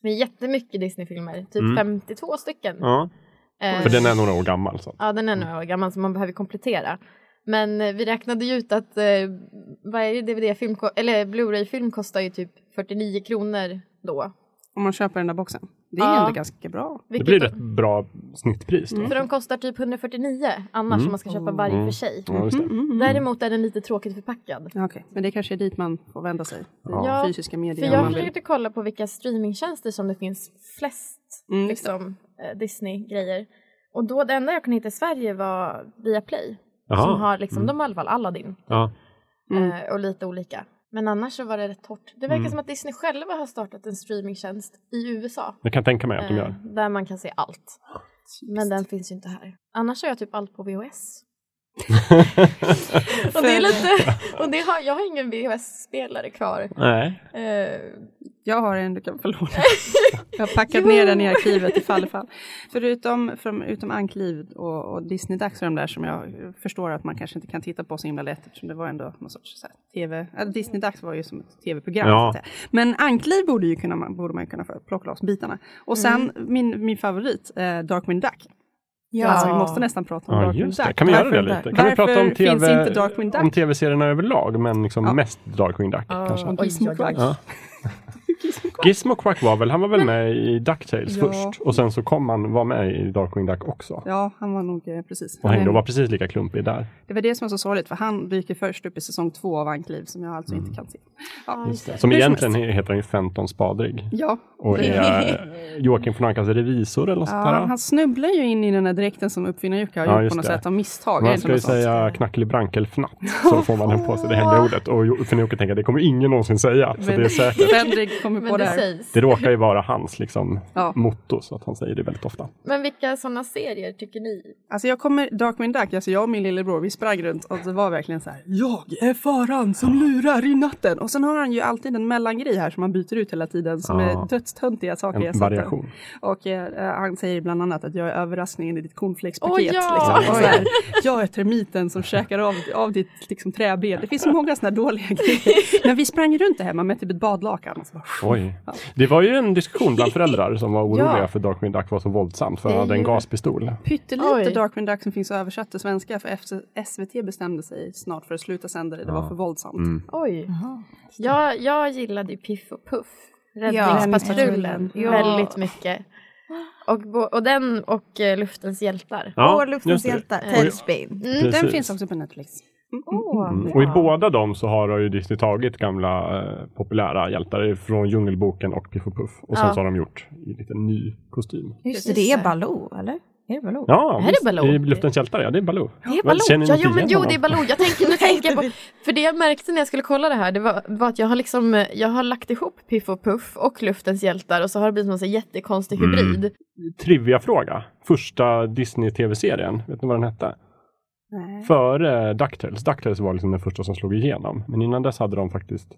Speaker 3: med jättemycket Disney-filmer. Typ 52 stycken.
Speaker 1: Mm. Ja,
Speaker 3: Eh,
Speaker 1: för den är några år gammal. Så.
Speaker 3: Ja, den är
Speaker 2: Mm.
Speaker 3: några år gammal så man behöver komplettera. Men eh, vi räknade ju ut att eh, varje DVD-film, ko- eller Blu-ray-film kostar ju typ 49 kronor då.
Speaker 2: Om man köper den där boxen. Det är
Speaker 3: Ja.
Speaker 2: ändå ganska bra.
Speaker 1: Det
Speaker 3: Vilket
Speaker 1: blir ett bra snittpris. Då.
Speaker 2: Mm.
Speaker 3: För de kostar typ 149 annars
Speaker 1: Mm.
Speaker 3: om man ska köpa
Speaker 2: Oh.
Speaker 3: varje
Speaker 1: Mm.
Speaker 3: för sig.
Speaker 1: Ja, just det.
Speaker 2: Mm, mm, mm.
Speaker 3: Däremot är den lite tråkigt förpackad.
Speaker 2: Ja, Okej, men det kanske är dit man får vända sig.
Speaker 1: Ja.
Speaker 2: Ja. Fysiska
Speaker 3: För
Speaker 2: medier. om
Speaker 3: jag
Speaker 2: man vill.
Speaker 3: försökte kolla på vilka streamingtjänster som det finns flest
Speaker 2: Mm, just det.
Speaker 3: liksom, eh, Disney-grejer. Och då det enda jag kunde hitta i Sverige var Viaplay. Som har liksom,
Speaker 1: Mm.
Speaker 3: De har i alla fall Aladdin
Speaker 1: Ja.
Speaker 2: Mm.
Speaker 3: eh, och lite olika. Men annars så var det rätt torrt. Det verkar
Speaker 1: Mm.
Speaker 3: som att Disney själva har startat en streamingtjänst i USA.
Speaker 1: Jag kan tänka mig att de
Speaker 3: Eh,
Speaker 1: gör.
Speaker 3: där man kan se allt. Men den finns ju inte här. Annars har jag typ allt på VHS. och det är lite, och det har, jag har ingen VHS-spelare kvar.
Speaker 1: Nej.
Speaker 3: Eh,
Speaker 2: Jag har en du kan få låna. Jag har packat
Speaker 3: Jo.
Speaker 2: ner den i arkivet ifall ifall. Förutom från, utom Ankliv och, och Disney-dags och de där som jag förstår att man kanske inte kan titta på så himla lätt eftersom det var ändå någon sorts så här, tv. ja, Disney-dags var ju som ett tv-program.
Speaker 1: Ja.
Speaker 2: så att säga. Men Ankliv borde, ju kunna, man- borde man ju kunna få plocka loss bitarna. Och sen min, min favorit, eh, Darkwing Duck. Ja. Alltså, vi måste nästan prata om
Speaker 1: Ja,
Speaker 2: Darkwing
Speaker 1: just det.
Speaker 2: Duck.
Speaker 1: Kan vi göra det
Speaker 2: Varför-
Speaker 1: lite? Kan vi
Speaker 2: Varför
Speaker 1: prata om
Speaker 2: finns
Speaker 1: TV
Speaker 2: inte Darkwing Duck?
Speaker 1: Om tv-serierna överlag, men liksom
Speaker 2: Ja.
Speaker 1: mest Darkwing Duck kanske.
Speaker 2: Och Gizmo Quack.
Speaker 1: Ja. Gizmo Quack var väl, han var väl med i DuckTales
Speaker 2: Ja.
Speaker 1: först och sen så kom han, var med i Darkwing Duck också.
Speaker 2: Ja, han var nog eh, precis.
Speaker 1: Och
Speaker 2: Han är-
Speaker 1: hängde och var precis lika klumpig där.
Speaker 2: Det var det som var så sorgligt, för han dyker först upp i säsong två av Ankliv som jag alltså
Speaker 1: Mm.
Speaker 2: inte kan se. Ja,
Speaker 3: just det.
Speaker 1: Som
Speaker 2: Hur som
Speaker 1: egentligen heter han ju 15 spadrig.
Speaker 2: ja.
Speaker 1: Och
Speaker 2: det-
Speaker 1: är eh, Joakim von Ankas revisor eller något sånt
Speaker 2: ja
Speaker 1: där.
Speaker 2: han snubblar ju in i den där dräkten som uppfinnarjuka har
Speaker 1: Ja,
Speaker 2: gjort
Speaker 1: just
Speaker 2: på något
Speaker 1: det.
Speaker 2: sätt av misstag. Är det
Speaker 1: Man
Speaker 2: inte
Speaker 1: ska ju
Speaker 2: något sånt?
Speaker 1: säga knacklig brankelfnatt så får man den på sig, det hemliga ordet. Och Jo- Finn-Jocke tänker det kommer ingen någonsin säga, så
Speaker 2: Men-
Speaker 1: det är säkert.
Speaker 2: Fendrik kommer på
Speaker 3: men
Speaker 2: det
Speaker 3: det
Speaker 2: här.
Speaker 3: sägs.
Speaker 1: Det råkar ju vara hans liksom,
Speaker 2: Ja.
Speaker 1: motto, så att han säger det väldigt ofta.
Speaker 3: Men vilka sådana serier tycker ni?
Speaker 2: Alltså jag kommer, Darkwing Duck, alltså jag och min lillebror, vi sprang runt och det var verkligen så här. Jag är faran som lurar i natten. Och sen har han ju alltid en mellangrej här som han byter ut hela tiden som
Speaker 1: Ja.
Speaker 2: är dödstöntiga saker. jag
Speaker 1: En
Speaker 2: sett där.
Speaker 1: variation.
Speaker 2: Och eh, han säger bland annat att jag är överraskningen i ditt cornflakespaket.
Speaker 3: Åh, ja!
Speaker 2: liksom. och
Speaker 1: Oj.
Speaker 2: så här, jag är termiten som käkar av, av ditt liksom, träben. Det finns så många sådana dåliga grejer. Men vi sprang runt det hemma med typ ett badlakan. Och så bara,
Speaker 1: Oj. Det var ju en diskussion bland föräldrar som var oroliga
Speaker 2: Ja.
Speaker 1: för Darkwing Duck var så våldsamt för han
Speaker 2: Det är
Speaker 1: hade en
Speaker 2: ju-
Speaker 1: gaspistol.
Speaker 2: Pyttelite
Speaker 3: Oj.
Speaker 2: Darkwing Duck som finns översatt till svenska för efter- SVT bestämde sig snart för att sluta sända det. Det var för våldsamt.
Speaker 3: Oj. Jag, jag gillade ju Piff och Puff.
Speaker 2: Räddningspatrullen.
Speaker 3: Räddningspatrullen.
Speaker 4: Ja.
Speaker 3: Väldigt mycket. Och, bo- och den och eh, Luftens hjältar.
Speaker 1: Ja,
Speaker 4: och Luftens
Speaker 1: just det.
Speaker 3: Eh,
Speaker 4: hjältar,
Speaker 1: Och-
Speaker 4: Tailspin.
Speaker 3: Mm,
Speaker 1: Precis.
Speaker 2: Den finns också på Netflix.
Speaker 3: Åh,
Speaker 1: Mm.
Speaker 3: bra.
Speaker 1: Och i båda dem så har ju Disney tagit gamla eh, populära hjältar från Djungelboken och Piff och Puff. Och sen
Speaker 3: Ja.
Speaker 1: så har de gjort i lite ny kostym.
Speaker 4: Just det,
Speaker 3: Precis
Speaker 4: det är
Speaker 3: så.
Speaker 4: Baloo, eller? Är det Baloo?
Speaker 1: Ja,
Speaker 3: Är det
Speaker 1: visst.
Speaker 3: Baloo?
Speaker 1: I Luftens hjältar, ja. Det är Baloo.
Speaker 3: Det är
Speaker 1: Vad,
Speaker 3: Baloo.
Speaker 1: känner ni
Speaker 3: Ja,
Speaker 1: inte
Speaker 3: jo, men
Speaker 1: igen
Speaker 3: jo,
Speaker 1: honom?
Speaker 3: det är Baloo. Jag tänker, nu tänker jag på, för det jag märkte när jag skulle kolla det här, det var, var att jag har liksom, eh, jag har lagt ihop Piff och Puff och Luftens hjältar och så har det blivit en sån här jättekonstig
Speaker 1: Mm.
Speaker 3: hybrid.
Speaker 1: Trivia-fråga. Första Disney-tv-serien. Vet ni vad den hette?
Speaker 2: Nej.
Speaker 1: Före DuckTales. DuckTales var liksom den första som slog igenom. Men innan dess hade de faktiskt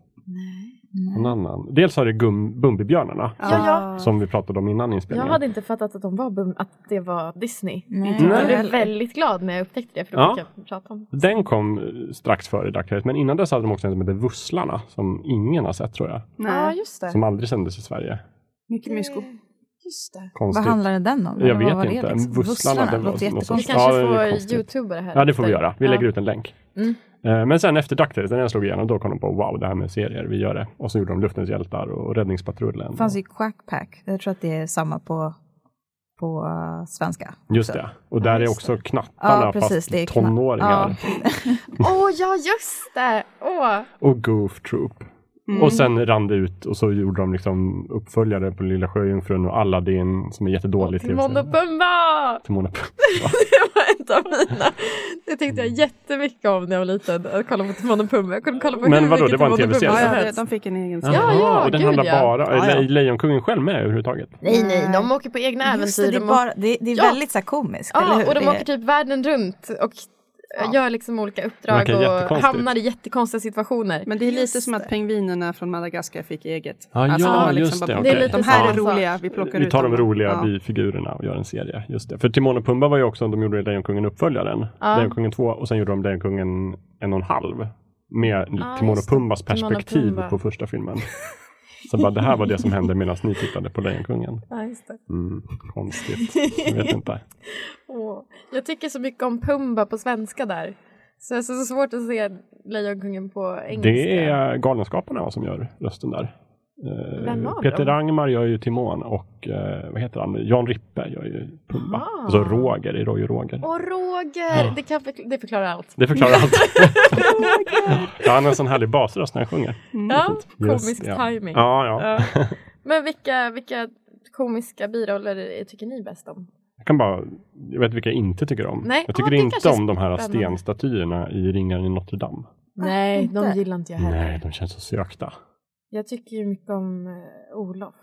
Speaker 1: en annan. Dels har det gum- Bumbibjörnarna.
Speaker 3: Ja, ja.
Speaker 1: Som vi pratade om innan
Speaker 3: Jag
Speaker 1: inspelningen.
Speaker 3: hade inte fattat att, de var bum, att det var Disney.
Speaker 4: Nej.
Speaker 3: Jag
Speaker 1: Nej.
Speaker 3: blev väldigt glad när jag upptäckte det, för då
Speaker 1: Ja.
Speaker 3: fick jag prata om
Speaker 1: Den kom eh, strax före DuckTales, men innan dess hade de också en som hette Vusslarna, som ingen har sett tror jag.
Speaker 2: Nej.
Speaker 3: Ja, just det.
Speaker 1: Som aldrig sändes i Sverige.
Speaker 2: Mycket mysko.
Speaker 3: Just det.
Speaker 1: Konstigt.
Speaker 4: Vad handlade den om?
Speaker 1: Jag
Speaker 4: Eller vad
Speaker 1: vet
Speaker 4: var det
Speaker 1: inte.
Speaker 4: liksom?
Speaker 1: Vusslarna, det var
Speaker 4: låter
Speaker 1: något
Speaker 3: Vi
Speaker 1: sorts-
Speaker 4: jättekonstigt.
Speaker 3: kanske
Speaker 1: Ja, det är
Speaker 3: får
Speaker 1: konstigt.
Speaker 3: youtuba det här.
Speaker 1: Ja, det får vi
Speaker 3: istället.
Speaker 1: göra. Vi
Speaker 3: Ja.
Speaker 1: lägger ut en länk.
Speaker 3: Mm.
Speaker 1: Eh, Men sen efter DuckTales, när den slog igenom, då kom de på wow, det här med serier, vi gör det. Och så gjorde de Luftens hjältar och Räddningspatrullen.
Speaker 4: Det fanns
Speaker 1: och,
Speaker 4: ju Quack Pack. Jag tror att det är samma på, på eh, svenska.
Speaker 1: just
Speaker 4: också.
Speaker 1: det. Och där
Speaker 4: Ja,
Speaker 1: är
Speaker 4: just
Speaker 1: också
Speaker 4: det.
Speaker 1: knattarna,
Speaker 4: Ja, precis, det är
Speaker 1: fast
Speaker 4: kna-
Speaker 1: tonåringar.
Speaker 3: Åh, ja, just det! Åh.
Speaker 1: Och Goof Troop.
Speaker 3: Mm.
Speaker 1: Och sen rann det ut och så gjorde de liksom uppföljare på Lilla Sjöjungfrun och Aladdin som är jättedålig
Speaker 3: Timon och
Speaker 1: tv-serie.
Speaker 3: Pumba!
Speaker 1: Timon och Pumba.
Speaker 3: Det var ett av mina. Det tyckte jag jättemycket om när jag var liten. Att kolla på Timon och Pumba. Jag kunde kolla på
Speaker 1: Men
Speaker 3: hur
Speaker 1: vadå,
Speaker 3: mycket
Speaker 1: det var en
Speaker 3: Timon och Pumba
Speaker 1: TV-serie?
Speaker 2: Ja,
Speaker 3: som
Speaker 2: ja, det-
Speaker 3: helst.
Speaker 2: de fick en egen
Speaker 3: Ja. ja,
Speaker 1: och den
Speaker 3: gud,
Speaker 1: handlar
Speaker 3: ja.
Speaker 1: bara,
Speaker 2: Ja, ja.
Speaker 1: är Le- Lejonkungen själv med överhuvudtaget?
Speaker 3: Nej, nej, de åker på egna
Speaker 4: Just
Speaker 3: äventyr.
Speaker 4: det, det är,
Speaker 3: De
Speaker 4: bara, det, det är
Speaker 3: Ja.
Speaker 4: väldigt så här komiskt, eller
Speaker 3: Ja,
Speaker 4: hur?
Speaker 3: och de
Speaker 4: det
Speaker 3: åker typ världen runt och eh, gör liksom olika uppdrag
Speaker 1: Verkar
Speaker 3: och
Speaker 1: jättekonstigt.
Speaker 3: hamnar i jättekonstiga situationer.
Speaker 2: Men det är lite som att pengvinerna från Madagaskar fick eget. Alltså,
Speaker 1: Ja, ja, just det,
Speaker 2: plocka
Speaker 1: okej.
Speaker 2: ut, liksom De här
Speaker 3: Det
Speaker 2: är
Speaker 3: är lite
Speaker 2: roliga, vi plockar
Speaker 1: Vi
Speaker 2: ut
Speaker 1: tar de
Speaker 2: dem.
Speaker 1: roliga
Speaker 2: Ja.
Speaker 1: bifigurerna och gör en serie. Just det. För Timon och Pumba var ju också, de gjorde Lejonkungen uppföljaren,
Speaker 3: Ja.
Speaker 1: Lejonkungen 2 och sen gjorde de Lejonkungen en och en halv. Med
Speaker 3: Ja,
Speaker 1: Timon och
Speaker 3: just det.
Speaker 1: Pumbas
Speaker 3: Timon och
Speaker 1: perspektiv
Speaker 3: Pumba.
Speaker 1: på första filmen. Så bara, det här var det som hände medan ni tittade på Lejonkungen.
Speaker 3: Ja, just det.
Speaker 1: Mm, konstigt, jag vet inte.
Speaker 3: Åh, jag tycker så mycket om Pumba på svenska där. Så det är så svårt att se Lejonkungen på engelska.
Speaker 1: eh, Det är Galenskaparna som gör rösten där. Eh,
Speaker 3: Vem av
Speaker 1: Peter
Speaker 3: dem?
Speaker 1: Rangmar gör ju Timon och eh, vad heter han? Jan Rippe gör ju Pumba.
Speaker 3: Ah.
Speaker 1: Alltså Roger i Roy och Roger.
Speaker 3: Åh Roger!
Speaker 1: Ja.
Speaker 3: Det, kan förkla- det förklarar allt.
Speaker 1: Det förklarar allt.
Speaker 3: Oh
Speaker 1: ja, han har en sån härlig basröst när han sjunger.
Speaker 3: Ja,
Speaker 1: Just,
Speaker 3: komisk
Speaker 1: Mm. ja.
Speaker 3: timing.
Speaker 1: Ja, ja.
Speaker 3: Ja. Men vilka, vilka komiska biroller är- tycker ni bäst om?
Speaker 1: Jag kan bara, jag vet vilka jag inte tycker om.
Speaker 3: Nej,
Speaker 1: jag
Speaker 3: ja,
Speaker 1: tycker
Speaker 3: det
Speaker 1: inte
Speaker 3: kanske är
Speaker 1: om de här
Speaker 3: spännande.
Speaker 1: stenstatyerna i Ringaren i Notre Dame.
Speaker 3: Nej,
Speaker 4: inte.
Speaker 3: de gillar inte jag heller.
Speaker 1: Nej, de känns så sökta.
Speaker 3: Jag tycker ju mycket om eh, Olof.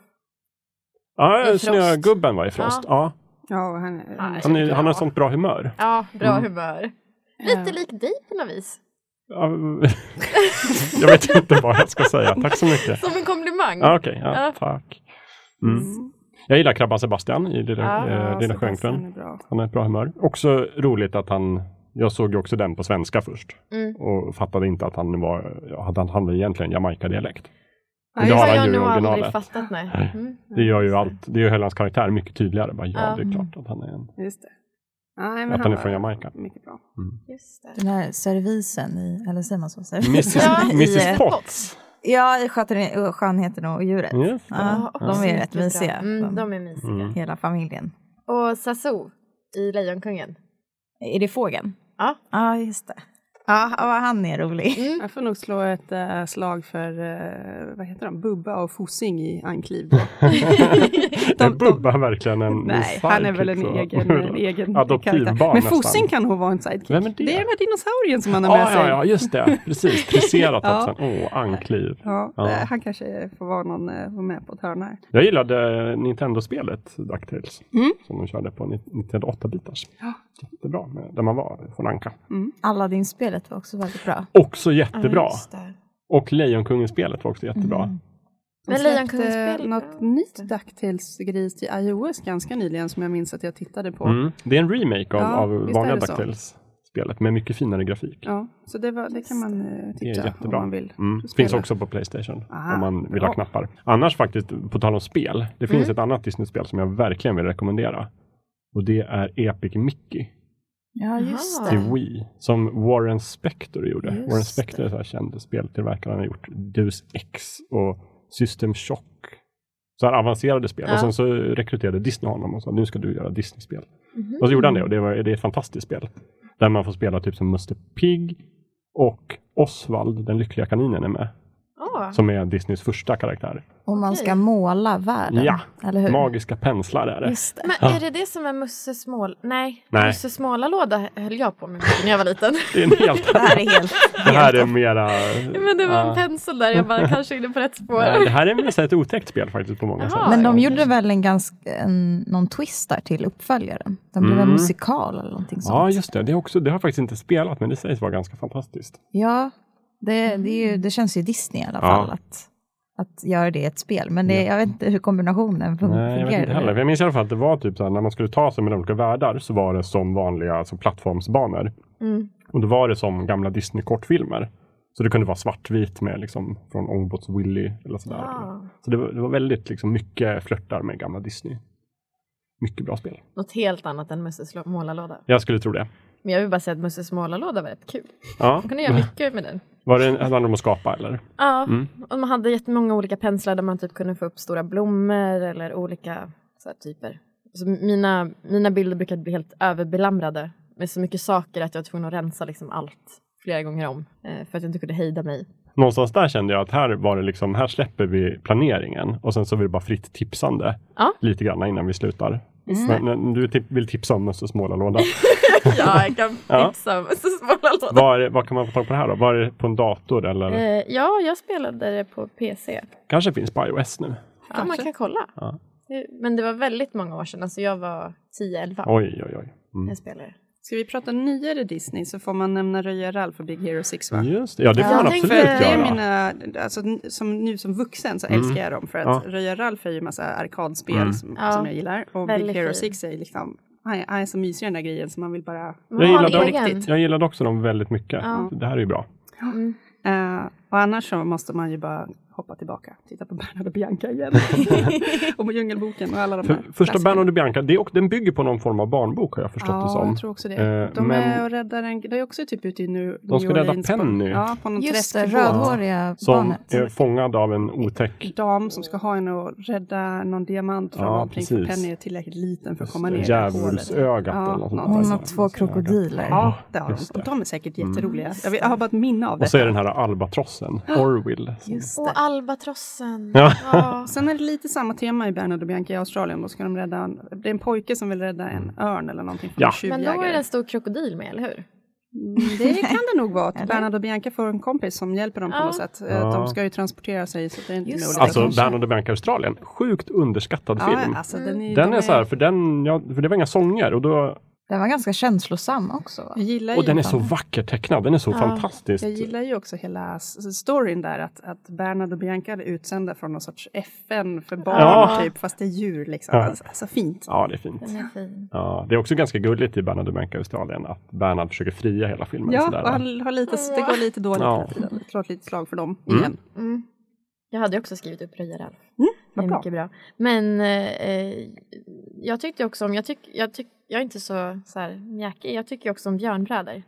Speaker 1: Ja,
Speaker 3: I Frost.
Speaker 1: snögubben var i Frost. Ja.
Speaker 2: Ja, och han, han,
Speaker 3: Nej.
Speaker 1: Han, är, han har sånt bra humör.
Speaker 3: Ja, bra
Speaker 1: Mm.
Speaker 3: humör.
Speaker 2: Ja.
Speaker 3: Lite lik dig på något vis.
Speaker 1: Ja, jag vet inte vad jag ska säga. Tack så mycket.
Speaker 3: Som en komplimang.
Speaker 1: Ja, Okej, ja,
Speaker 3: Ja.
Speaker 1: tack. Mm. Jag gillar Krabban Sebastian i Lilla,
Speaker 3: Ja,
Speaker 1: eh, lilla
Speaker 2: Sebastian
Speaker 1: Sjöjungfrun.
Speaker 2: är bra.
Speaker 1: Han har ett bra humör. Också roligt att han, jag såg ju också den på svenska först
Speaker 3: Mm.
Speaker 1: och fattade inte att han var, att han hade egentligen jamaica-dialekt.
Speaker 2: Mm. Ja,
Speaker 1: Men
Speaker 2: just
Speaker 1: det
Speaker 3: Det
Speaker 1: har han
Speaker 3: har jag
Speaker 1: ju i
Speaker 3: nog
Speaker 1: originalet.
Speaker 3: aldrig fattat. Nej.
Speaker 1: Nej.
Speaker 3: Mm.
Speaker 1: Det gör ju allt, det gör hela hans karaktär mycket tydligare. Bara, ja,
Speaker 3: Ja.
Speaker 1: det är klart att han är, en,
Speaker 2: Just det. Ja, nej, Mm. men
Speaker 1: att han är
Speaker 2: var
Speaker 1: från Jamaica.
Speaker 2: Mycket bra.
Speaker 3: Just det.
Speaker 4: Den här servisen i, eller säger man så? Servisen
Speaker 1: Mrs.
Speaker 4: i,
Speaker 1: Mrs.
Speaker 4: eh,
Speaker 1: Potts.
Speaker 4: Ja, i skönheten, och skönheten och djuret.
Speaker 1: Yes.
Speaker 4: Ja,
Speaker 3: också
Speaker 4: de är ju
Speaker 3: mycket
Speaker 4: rätt
Speaker 3: bra.
Speaker 4: mysiga.
Speaker 3: Mm,
Speaker 4: de,
Speaker 3: de är mysiga.
Speaker 1: Mm.
Speaker 4: Hela familjen.
Speaker 3: Och Sasu i Lejonkungen.
Speaker 4: Är det fågeln?
Speaker 3: Ja.
Speaker 4: Ja, just det. Ja, ja, han är rolig.
Speaker 3: Mm.
Speaker 2: Jag får nog slå ett eh, slag för, eh, vad heter de, Bubba och Fosing i Ankliv. då.
Speaker 1: är Bubba verkligen en
Speaker 2: Nej, han är väl en
Speaker 1: sidekick, så?
Speaker 2: egen, en egen
Speaker 1: Adoptivbarn
Speaker 2: karaktär. Men
Speaker 1: nästan.
Speaker 2: Fosing kan nog vara en sidekick.
Speaker 1: Vem är det?
Speaker 2: det är den här dinosaurien som han har med
Speaker 1: Ja,
Speaker 2: sig.
Speaker 1: ja, ja, just det. Precis, tresserat
Speaker 2: Ja.
Speaker 1: också. Åh, ankliv.
Speaker 2: Ja,
Speaker 1: Ja.
Speaker 2: eh, Han kanske får vara någon eh, vara med på ett hörn här.
Speaker 1: Jag gillade Nintendo-spelet DuckTales
Speaker 2: Mm.
Speaker 1: som de körde på Ni- Nintendo 8-bitars.
Speaker 2: Ja.
Speaker 1: Jättebra, med, där man var från Anka.
Speaker 4: Aladdin-spelet var också väldigt bra.
Speaker 1: Också jättebra.
Speaker 3: Ja, just det.
Speaker 1: Och Lejonkungen-spelet var också jättebra.
Speaker 2: Mm. De
Speaker 3: Men
Speaker 2: släppte
Speaker 3: Lejonkungen-spel-
Speaker 2: något nytt Ducktails-gris till iOS ganska nyligen som jag minns att jag tittade på.
Speaker 1: Mm. Det är en remake av,
Speaker 2: Ja,
Speaker 1: av
Speaker 2: visst är
Speaker 1: vanliga
Speaker 2: det så.
Speaker 1: DuckTales-spelet med mycket finare grafik.
Speaker 2: Ja, så det, var, det kan man eh,
Speaker 1: Det är
Speaker 2: titta om
Speaker 1: jättebra.
Speaker 2: man vill.
Speaker 1: Mm.
Speaker 2: spela.
Speaker 1: Finns också på Playstation
Speaker 2: Aha,
Speaker 1: om man vill ha
Speaker 2: bra.
Speaker 1: knappar. Annars faktiskt, på tal om spel. Det finns
Speaker 2: Mm.
Speaker 1: ett annat Disney-spel som jag verkligen vill rekommendera. Och det är Epic Mickey
Speaker 4: Ja, just
Speaker 3: Jaha.
Speaker 4: det.
Speaker 1: till Wii. Som Warren Spector gjorde.
Speaker 4: Just
Speaker 1: Warren Spector är så här känd speltillverkare. Han har gjort Deus Ex och System Shock. Så här avancerade spel. Och
Speaker 3: Ja.
Speaker 1: sen så rekryterade Disney honom och sa nu ska du göra Disney-spel.
Speaker 3: Mhm.
Speaker 1: Och så gjorde han det och det, var, det är ett fantastiskt spel. Där man får spela typ som Muster Pig och Oswald, den lyckliga kaninen, är med.
Speaker 3: Åh,
Speaker 1: Som är Disneys första karaktär.
Speaker 4: Och man ska
Speaker 3: Okej.
Speaker 4: måla världen.
Speaker 1: Ja.
Speaker 4: Eller hur?
Speaker 1: Magiska penslar är det.
Speaker 4: Just det.
Speaker 3: Men är det det som är Musses mål? Nej,
Speaker 1: Nej.
Speaker 3: Musses smålarlåda höll jag på med mycket när jag var liten.
Speaker 1: Det är en helt...
Speaker 4: Det här är helt...
Speaker 1: Det här är mera...
Speaker 3: Men det var
Speaker 1: Ja.
Speaker 3: en pensel där, jag bara kanske är inne på rätt spår.
Speaker 1: Nej, det här är mer så här ett otäckt spel faktiskt på många sätt.
Speaker 3: Jaha.
Speaker 4: Men de gjorde väl en ganska, en, någon twist där till uppföljaren? Den blev
Speaker 1: Mm.
Speaker 4: en musikal eller någonting sånt.
Speaker 1: Ja, just det. Det, är också, det har jag faktiskt inte spelat, men det sägs vara ganska fantastiskt.
Speaker 4: Ja, det, det, är ju, det känns ju Disney i alla fall att, att göra det i ett spel. Men det, jag vet inte hur kombinationen
Speaker 3: Mm,
Speaker 4: fun-
Speaker 1: Nej, jag vet inte heller.
Speaker 4: fungerar.
Speaker 1: Men jag minns i alla fall att det var typ så här, när man skulle ta sig mellan olika världar så var det som vanliga alltså plattformsbanor.
Speaker 3: Mm.
Speaker 1: Och då var det som gamla Disney-kortfilmer. Så det kunde vara svartvit med liksom från Ångbåts Willy eller sådär.
Speaker 3: Ah,
Speaker 1: Så det var, det var väldigt liksom mycket flörtar med gamla Disney. Mycket bra spel.
Speaker 3: något helt annat än Musses lo- målarlåda.
Speaker 1: Jag skulle tro det.
Speaker 3: Men jag vill bara säga att Musses målarlåda var rätt kul.
Speaker 1: Ja.
Speaker 3: Man kunde göra mycket med den.
Speaker 1: Var det en, handlade det om att skapa eller?
Speaker 3: Ja,
Speaker 1: Mm.
Speaker 3: och man hade jättemånga olika penslar där man typ kunde få upp stora blommor eller olika så här, typer. Så mina, mina bilder brukade bli helt överbelamrade med så mycket saker att jag var tvungen att rensa liksom allt flera gånger om eh, för att jag inte kunde hejda mig.
Speaker 1: Någonstans där kände jag att här var det liksom, här släpper vi planeringen och sen så blir det bara fritt tipsande
Speaker 3: Ja.
Speaker 1: lite grann innan vi slutar. Men, men du tip, vill tipsa om Musses målarlåda.
Speaker 3: ja, jag kan
Speaker 1: Ja.
Speaker 3: tipsa om Musses målarlåda.
Speaker 1: Var, är- vad kan man få tag på det här då? Var det på en dator eller?
Speaker 3: Eh, ja, jag spelade det på PC.
Speaker 1: Kanske finns på iOS nu?
Speaker 3: Ja, man kan kolla.
Speaker 1: Ja.
Speaker 3: Det- Men det var väldigt många år sedan, alltså jag var 10-11
Speaker 1: Oj, oj, oj.
Speaker 3: när
Speaker 1: Mm.
Speaker 3: jag spelade.
Speaker 2: Ska vi prata nyare Disney så får man nämna Röja Ralph för Big Hero 6 va?
Speaker 1: Just det. Ja, det får
Speaker 3: Jag
Speaker 1: man
Speaker 3: tänkte-
Speaker 1: absolut
Speaker 2: För det är
Speaker 1: göra.
Speaker 2: mina, alltså, n- som, nu som vuxen så
Speaker 1: Mm.
Speaker 2: älskar jag dem för att
Speaker 1: Ja.
Speaker 2: Röja Ralf är ju massa arkadspel
Speaker 1: Mm.
Speaker 2: som,
Speaker 3: Ja.
Speaker 2: som jag gillar och
Speaker 3: Väldigt
Speaker 2: Big Hero
Speaker 3: fin.
Speaker 2: 6 är liksom, han är, han är så mysig i den där grejen så man vill bara...
Speaker 1: Jag gillade
Speaker 2: dem.
Speaker 3: egen.
Speaker 1: Jag gillade också dem väldigt mycket.
Speaker 3: Ja.
Speaker 1: Det här är ju bra.
Speaker 3: Mm.
Speaker 2: Eh, Och annars så måste man ju bara hoppa tillbaka, titta på Bernhard och Bianca igen. och på Djungelboken och alla de
Speaker 1: För,
Speaker 2: här.
Speaker 1: första
Speaker 2: klassikerna.
Speaker 1: Bernhard och Bianca, det, är och den bygger på någon form av barnbok har jag förstått det
Speaker 2: Ja,
Speaker 1: som.
Speaker 2: jag tror också det.
Speaker 1: Eh,
Speaker 2: de
Speaker 1: men-
Speaker 2: är och räddar en, det är också typ ute i New,
Speaker 1: De ska
Speaker 2: New
Speaker 1: rädda
Speaker 2: Orleans. på-
Speaker 1: Penny.
Speaker 2: ja, på någon
Speaker 4: Just det,
Speaker 2: träskbåt.
Speaker 4: rödhåriga
Speaker 1: Som
Speaker 4: barnet.
Speaker 1: är fångad av en otäck
Speaker 2: dam som ska ha henne och rädda någon diamant från
Speaker 1: Ja,
Speaker 2: någonting. För
Speaker 1: precis.
Speaker 2: Penny är tillräckligt liten för att komma ner i hålet.
Speaker 1: djävulsögat.
Speaker 2: Ja,
Speaker 1: eller något sånt
Speaker 2: någon
Speaker 1: där.
Speaker 4: Hon har två krokodiler.
Speaker 2: Ja, det har de.
Speaker 1: Just det. Mm.
Speaker 2: Och de är säkert jätteroliga. Jag, vet, jag har bara ett minne av det.
Speaker 1: Och så är den här albatrossen, Orwell. som-
Speaker 4: Just
Speaker 3: Och
Speaker 4: det.
Speaker 3: albatrossen.
Speaker 1: Ja.
Speaker 3: Ja.
Speaker 2: Sen är det lite samma tema i Bernard och Bianca i Australien. Då ska de rädda en, det är en pojke som vill rädda en örn eller någonting från
Speaker 1: Mm. Ja.
Speaker 2: en
Speaker 3: Men då är
Speaker 2: tjuvjägare.
Speaker 3: det en stor krokodil med, eller hur?
Speaker 2: Mm, Det kan det nog vara. att
Speaker 4: Eller?
Speaker 2: Bernard och Bianca får en kompis som hjälper dem på
Speaker 3: Ja.
Speaker 2: något sätt. Eh,
Speaker 1: Ja.
Speaker 2: De ska ju transportera sig så det är inte
Speaker 4: Just
Speaker 2: möjligt.
Speaker 4: det.
Speaker 1: Alltså
Speaker 4: kanske.
Speaker 1: Bernhard och Bianca Australien, sjukt underskattad
Speaker 2: ja,
Speaker 1: film.
Speaker 2: alltså, den är,
Speaker 1: Den
Speaker 2: de
Speaker 1: är så här, för, den, ja, för det var inga sånger och, då,
Speaker 4: Den var ganska känslosam också. Va?
Speaker 2: Jag gillar ju
Speaker 1: och den är så vacker tecknad, den är så
Speaker 3: Ja,
Speaker 1: fantastisk.
Speaker 2: Jag gillar ju också hela s- storyn där att, att Bernard och Bianca är utsända från någon sorts FN för barn
Speaker 1: Ja.
Speaker 2: typ, fast det är djur liksom.
Speaker 1: Ja.
Speaker 2: Alltså, alltså fint.
Speaker 1: Ja, det är fint.
Speaker 3: Den är fin.
Speaker 1: Ja, det är också ganska gulligt i Bernhard och Bianca Australien att Bernhard försöker fria hela filmen.
Speaker 2: Ja,
Speaker 1: sådär.
Speaker 2: och han har lite, det går lite dåligt
Speaker 1: Ja.
Speaker 2: hela tiden. Jag Tror ett litet slag för dem
Speaker 1: Mm.
Speaker 2: igen.
Speaker 3: Mm. Jag hade ju också skrivit upp Röja Ralf. Det
Speaker 2: Vad
Speaker 3: är
Speaker 2: bra.
Speaker 3: mycket Mm, bra. Men eh, jag tyckte också om, jag, tyck, jag, tyck, jag är inte så, så här, mjäkig, jag tycker också om björnbrädor.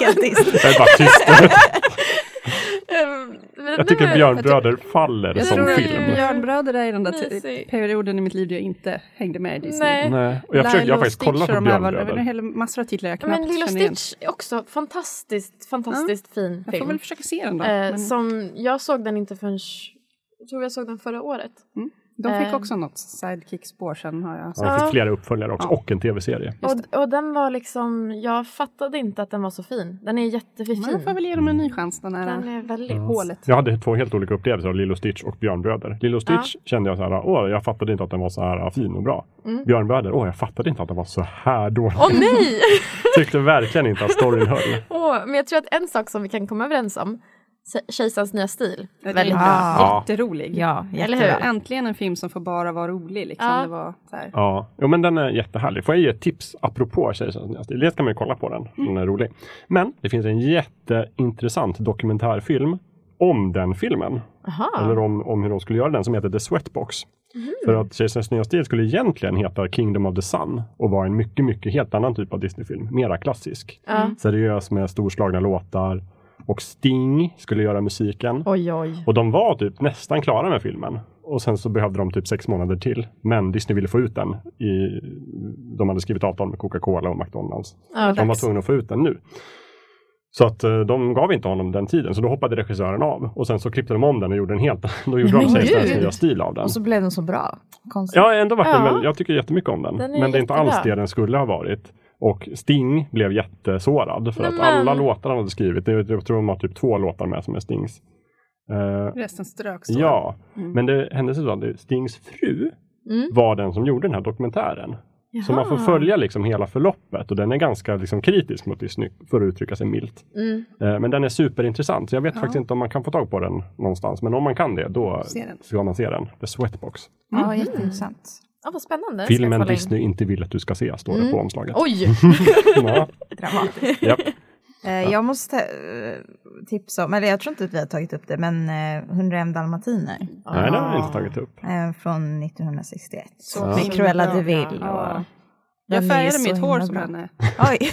Speaker 4: Helt tyst.
Speaker 1: Jag är bara tyst.
Speaker 3: jag
Speaker 1: Jag tycker Björnbröder faller
Speaker 3: Jag
Speaker 1: som
Speaker 3: tror-
Speaker 1: film.
Speaker 2: Björnbröder är den där ti-
Speaker 3: Mysig.
Speaker 2: perioden i mitt liv där jag inte hängde med i Disney.
Speaker 3: Nej.
Speaker 1: Nej. Och jag, försökte, jag har
Speaker 2: Lilo,
Speaker 1: faktiskt kollat
Speaker 2: Stitch
Speaker 1: på
Speaker 2: och de här var- Det var en
Speaker 1: Björnbröder.
Speaker 2: hel massor av titlar jag knappt
Speaker 3: Men Lilo
Speaker 2: känner igen.
Speaker 3: Stitch är också fantastiskt, fantastiskt fin
Speaker 2: Jag får
Speaker 3: film.
Speaker 2: väl försöka se den då.
Speaker 3: eh,
Speaker 2: men
Speaker 3: Som jag såg den inte förrän, jag tror jag såg den förra året.
Speaker 2: de fick
Speaker 3: eh.
Speaker 2: också något sidekick-spår sen har jag
Speaker 1: Ja, det
Speaker 3: Ja.
Speaker 1: finns flera uppföljare också
Speaker 2: Ja.
Speaker 1: och en tv-serie.
Speaker 3: Och, och den var liksom, jag fattade inte att den var så fin. Den är jättefin.
Speaker 2: Men jag får väl ge dem en ny chans den här
Speaker 3: Den är väldigt
Speaker 2: hålet.
Speaker 1: Jag hade två helt olika upplevelser av Lilo Stitch och Björnbröder. Lilo Stitch kände jag så här, åh, jag fattade inte att den var så här ah, fin och bra.
Speaker 3: Mm.
Speaker 1: Björnbröder, åh, jag fattade inte att den var så här dålig.
Speaker 3: Åh nej!
Speaker 1: Tyckte verkligen inte att storyn höll.
Speaker 3: Åh, men jag tror att en sak som vi kan komma överens om, Se- Kejsarens nya stil.
Speaker 2: Ja,
Speaker 3: väldigt
Speaker 2: den är
Speaker 3: bra.
Speaker 4: bra.
Speaker 1: Ja.
Speaker 2: Jätterolig.
Speaker 4: Ja,
Speaker 3: Eller
Speaker 4: jättebra.
Speaker 3: hur?
Speaker 2: Äntligen en film som får bara vara rolig. Liksom.
Speaker 3: Ja.
Speaker 2: Det var så här.
Speaker 1: Ja, jo, men den är jättehärlig. Får jag ge ett tips apropå Kejsarens nya stil? Dels kan man ju kolla på den, den är rolig. Men det finns en jätteintressant dokumentärfilm om den filmen.
Speaker 3: Jaha.
Speaker 1: Eller om, om hur de skulle göra den, som heter The Sweatbox. För att Kejsarens nya stil skulle egentligen heta Kingdom of the Sun och vara en mycket, mycket helt annan typ av Disneyfilm. Mera klassisk.
Speaker 2: Mm.
Speaker 3: Ja.
Speaker 1: Seriös med storslagna låtar. Och Sting skulle göra musiken.
Speaker 3: Oj, oj.
Speaker 1: Och de var typ nästan klara med filmen. Och sen så behövde de typ sex månader till. Men Disney ville få ut den. I, de hade skrivit avtal med Coca-Cola och McDonalds.
Speaker 3: Ja,
Speaker 1: De var
Speaker 3: dags.
Speaker 1: tvungna att få ut den nu. Så att eh, de gav inte honom den tiden, så då hoppade regissören av. Och sen så klippte de om den och gjorde en helt Då gjorde
Speaker 3: men
Speaker 1: de Kejsarens
Speaker 3: gud!
Speaker 1: nya stil av den.
Speaker 4: Och så blev den så bra. Konstigt.
Speaker 1: Ja, ändå vart den
Speaker 3: Ja.
Speaker 1: väl, jag tycker jättemycket om den.
Speaker 3: Den är
Speaker 1: men det är inte alls
Speaker 3: jättebra.
Speaker 1: det den skulle ha varit. Och Sting blev jättesårad för
Speaker 3: Nej,
Speaker 1: att
Speaker 3: men.
Speaker 1: alla låtar han hade skrivit, det- jag tror de har typ två låtar med som är Stings. Eh,
Speaker 2: Resten ströks. då.
Speaker 1: Ja,
Speaker 2: Mm.
Speaker 1: men det hände sig så att det- Stings fru
Speaker 3: Mm.
Speaker 1: var den som gjorde den här dokumentären. Så man får
Speaker 3: Jaha.
Speaker 1: följa liksom hela förloppet och den är ganska liksom kritisk mot Disney för att uttrycka sig milt.
Speaker 3: Mm.
Speaker 1: Eh, Men den är superintressant. så Jag vet
Speaker 2: Ja.
Speaker 1: faktiskt inte om man kan få tag på den någonstans. Men om man kan det, då
Speaker 2: Se den.
Speaker 1: ska man se den. The Sweatbox.
Speaker 2: Mm.
Speaker 4: Ja, jätteintressant.
Speaker 3: Ja, vad spännande. Ska jag
Speaker 1: Filmen
Speaker 3: kolla in.
Speaker 1: Disney inte vill att du ska se, står det
Speaker 3: Mm.
Speaker 1: på omslaget.
Speaker 3: Oj!
Speaker 1: Ja,
Speaker 4: Dramatiskt.
Speaker 1: japp.
Speaker 4: Eh, jag måste eh, tipsa om, eller jag tror inte att vi har tagit upp det, men eh, 101 dalmatiner
Speaker 1: Nej, den har jag
Speaker 3: Ah.
Speaker 1: inte tagit upp.
Speaker 4: eh, från 1961.
Speaker 2: Så
Speaker 4: Med
Speaker 2: fint.
Speaker 4: Cruella
Speaker 2: Ja.
Speaker 4: de Vil.
Speaker 2: Ja.
Speaker 4: Och,
Speaker 2: Jag
Speaker 4: Den är så
Speaker 2: färgade mitt
Speaker 4: himla
Speaker 2: hår som
Speaker 4: bra.
Speaker 2: henne.
Speaker 4: oj,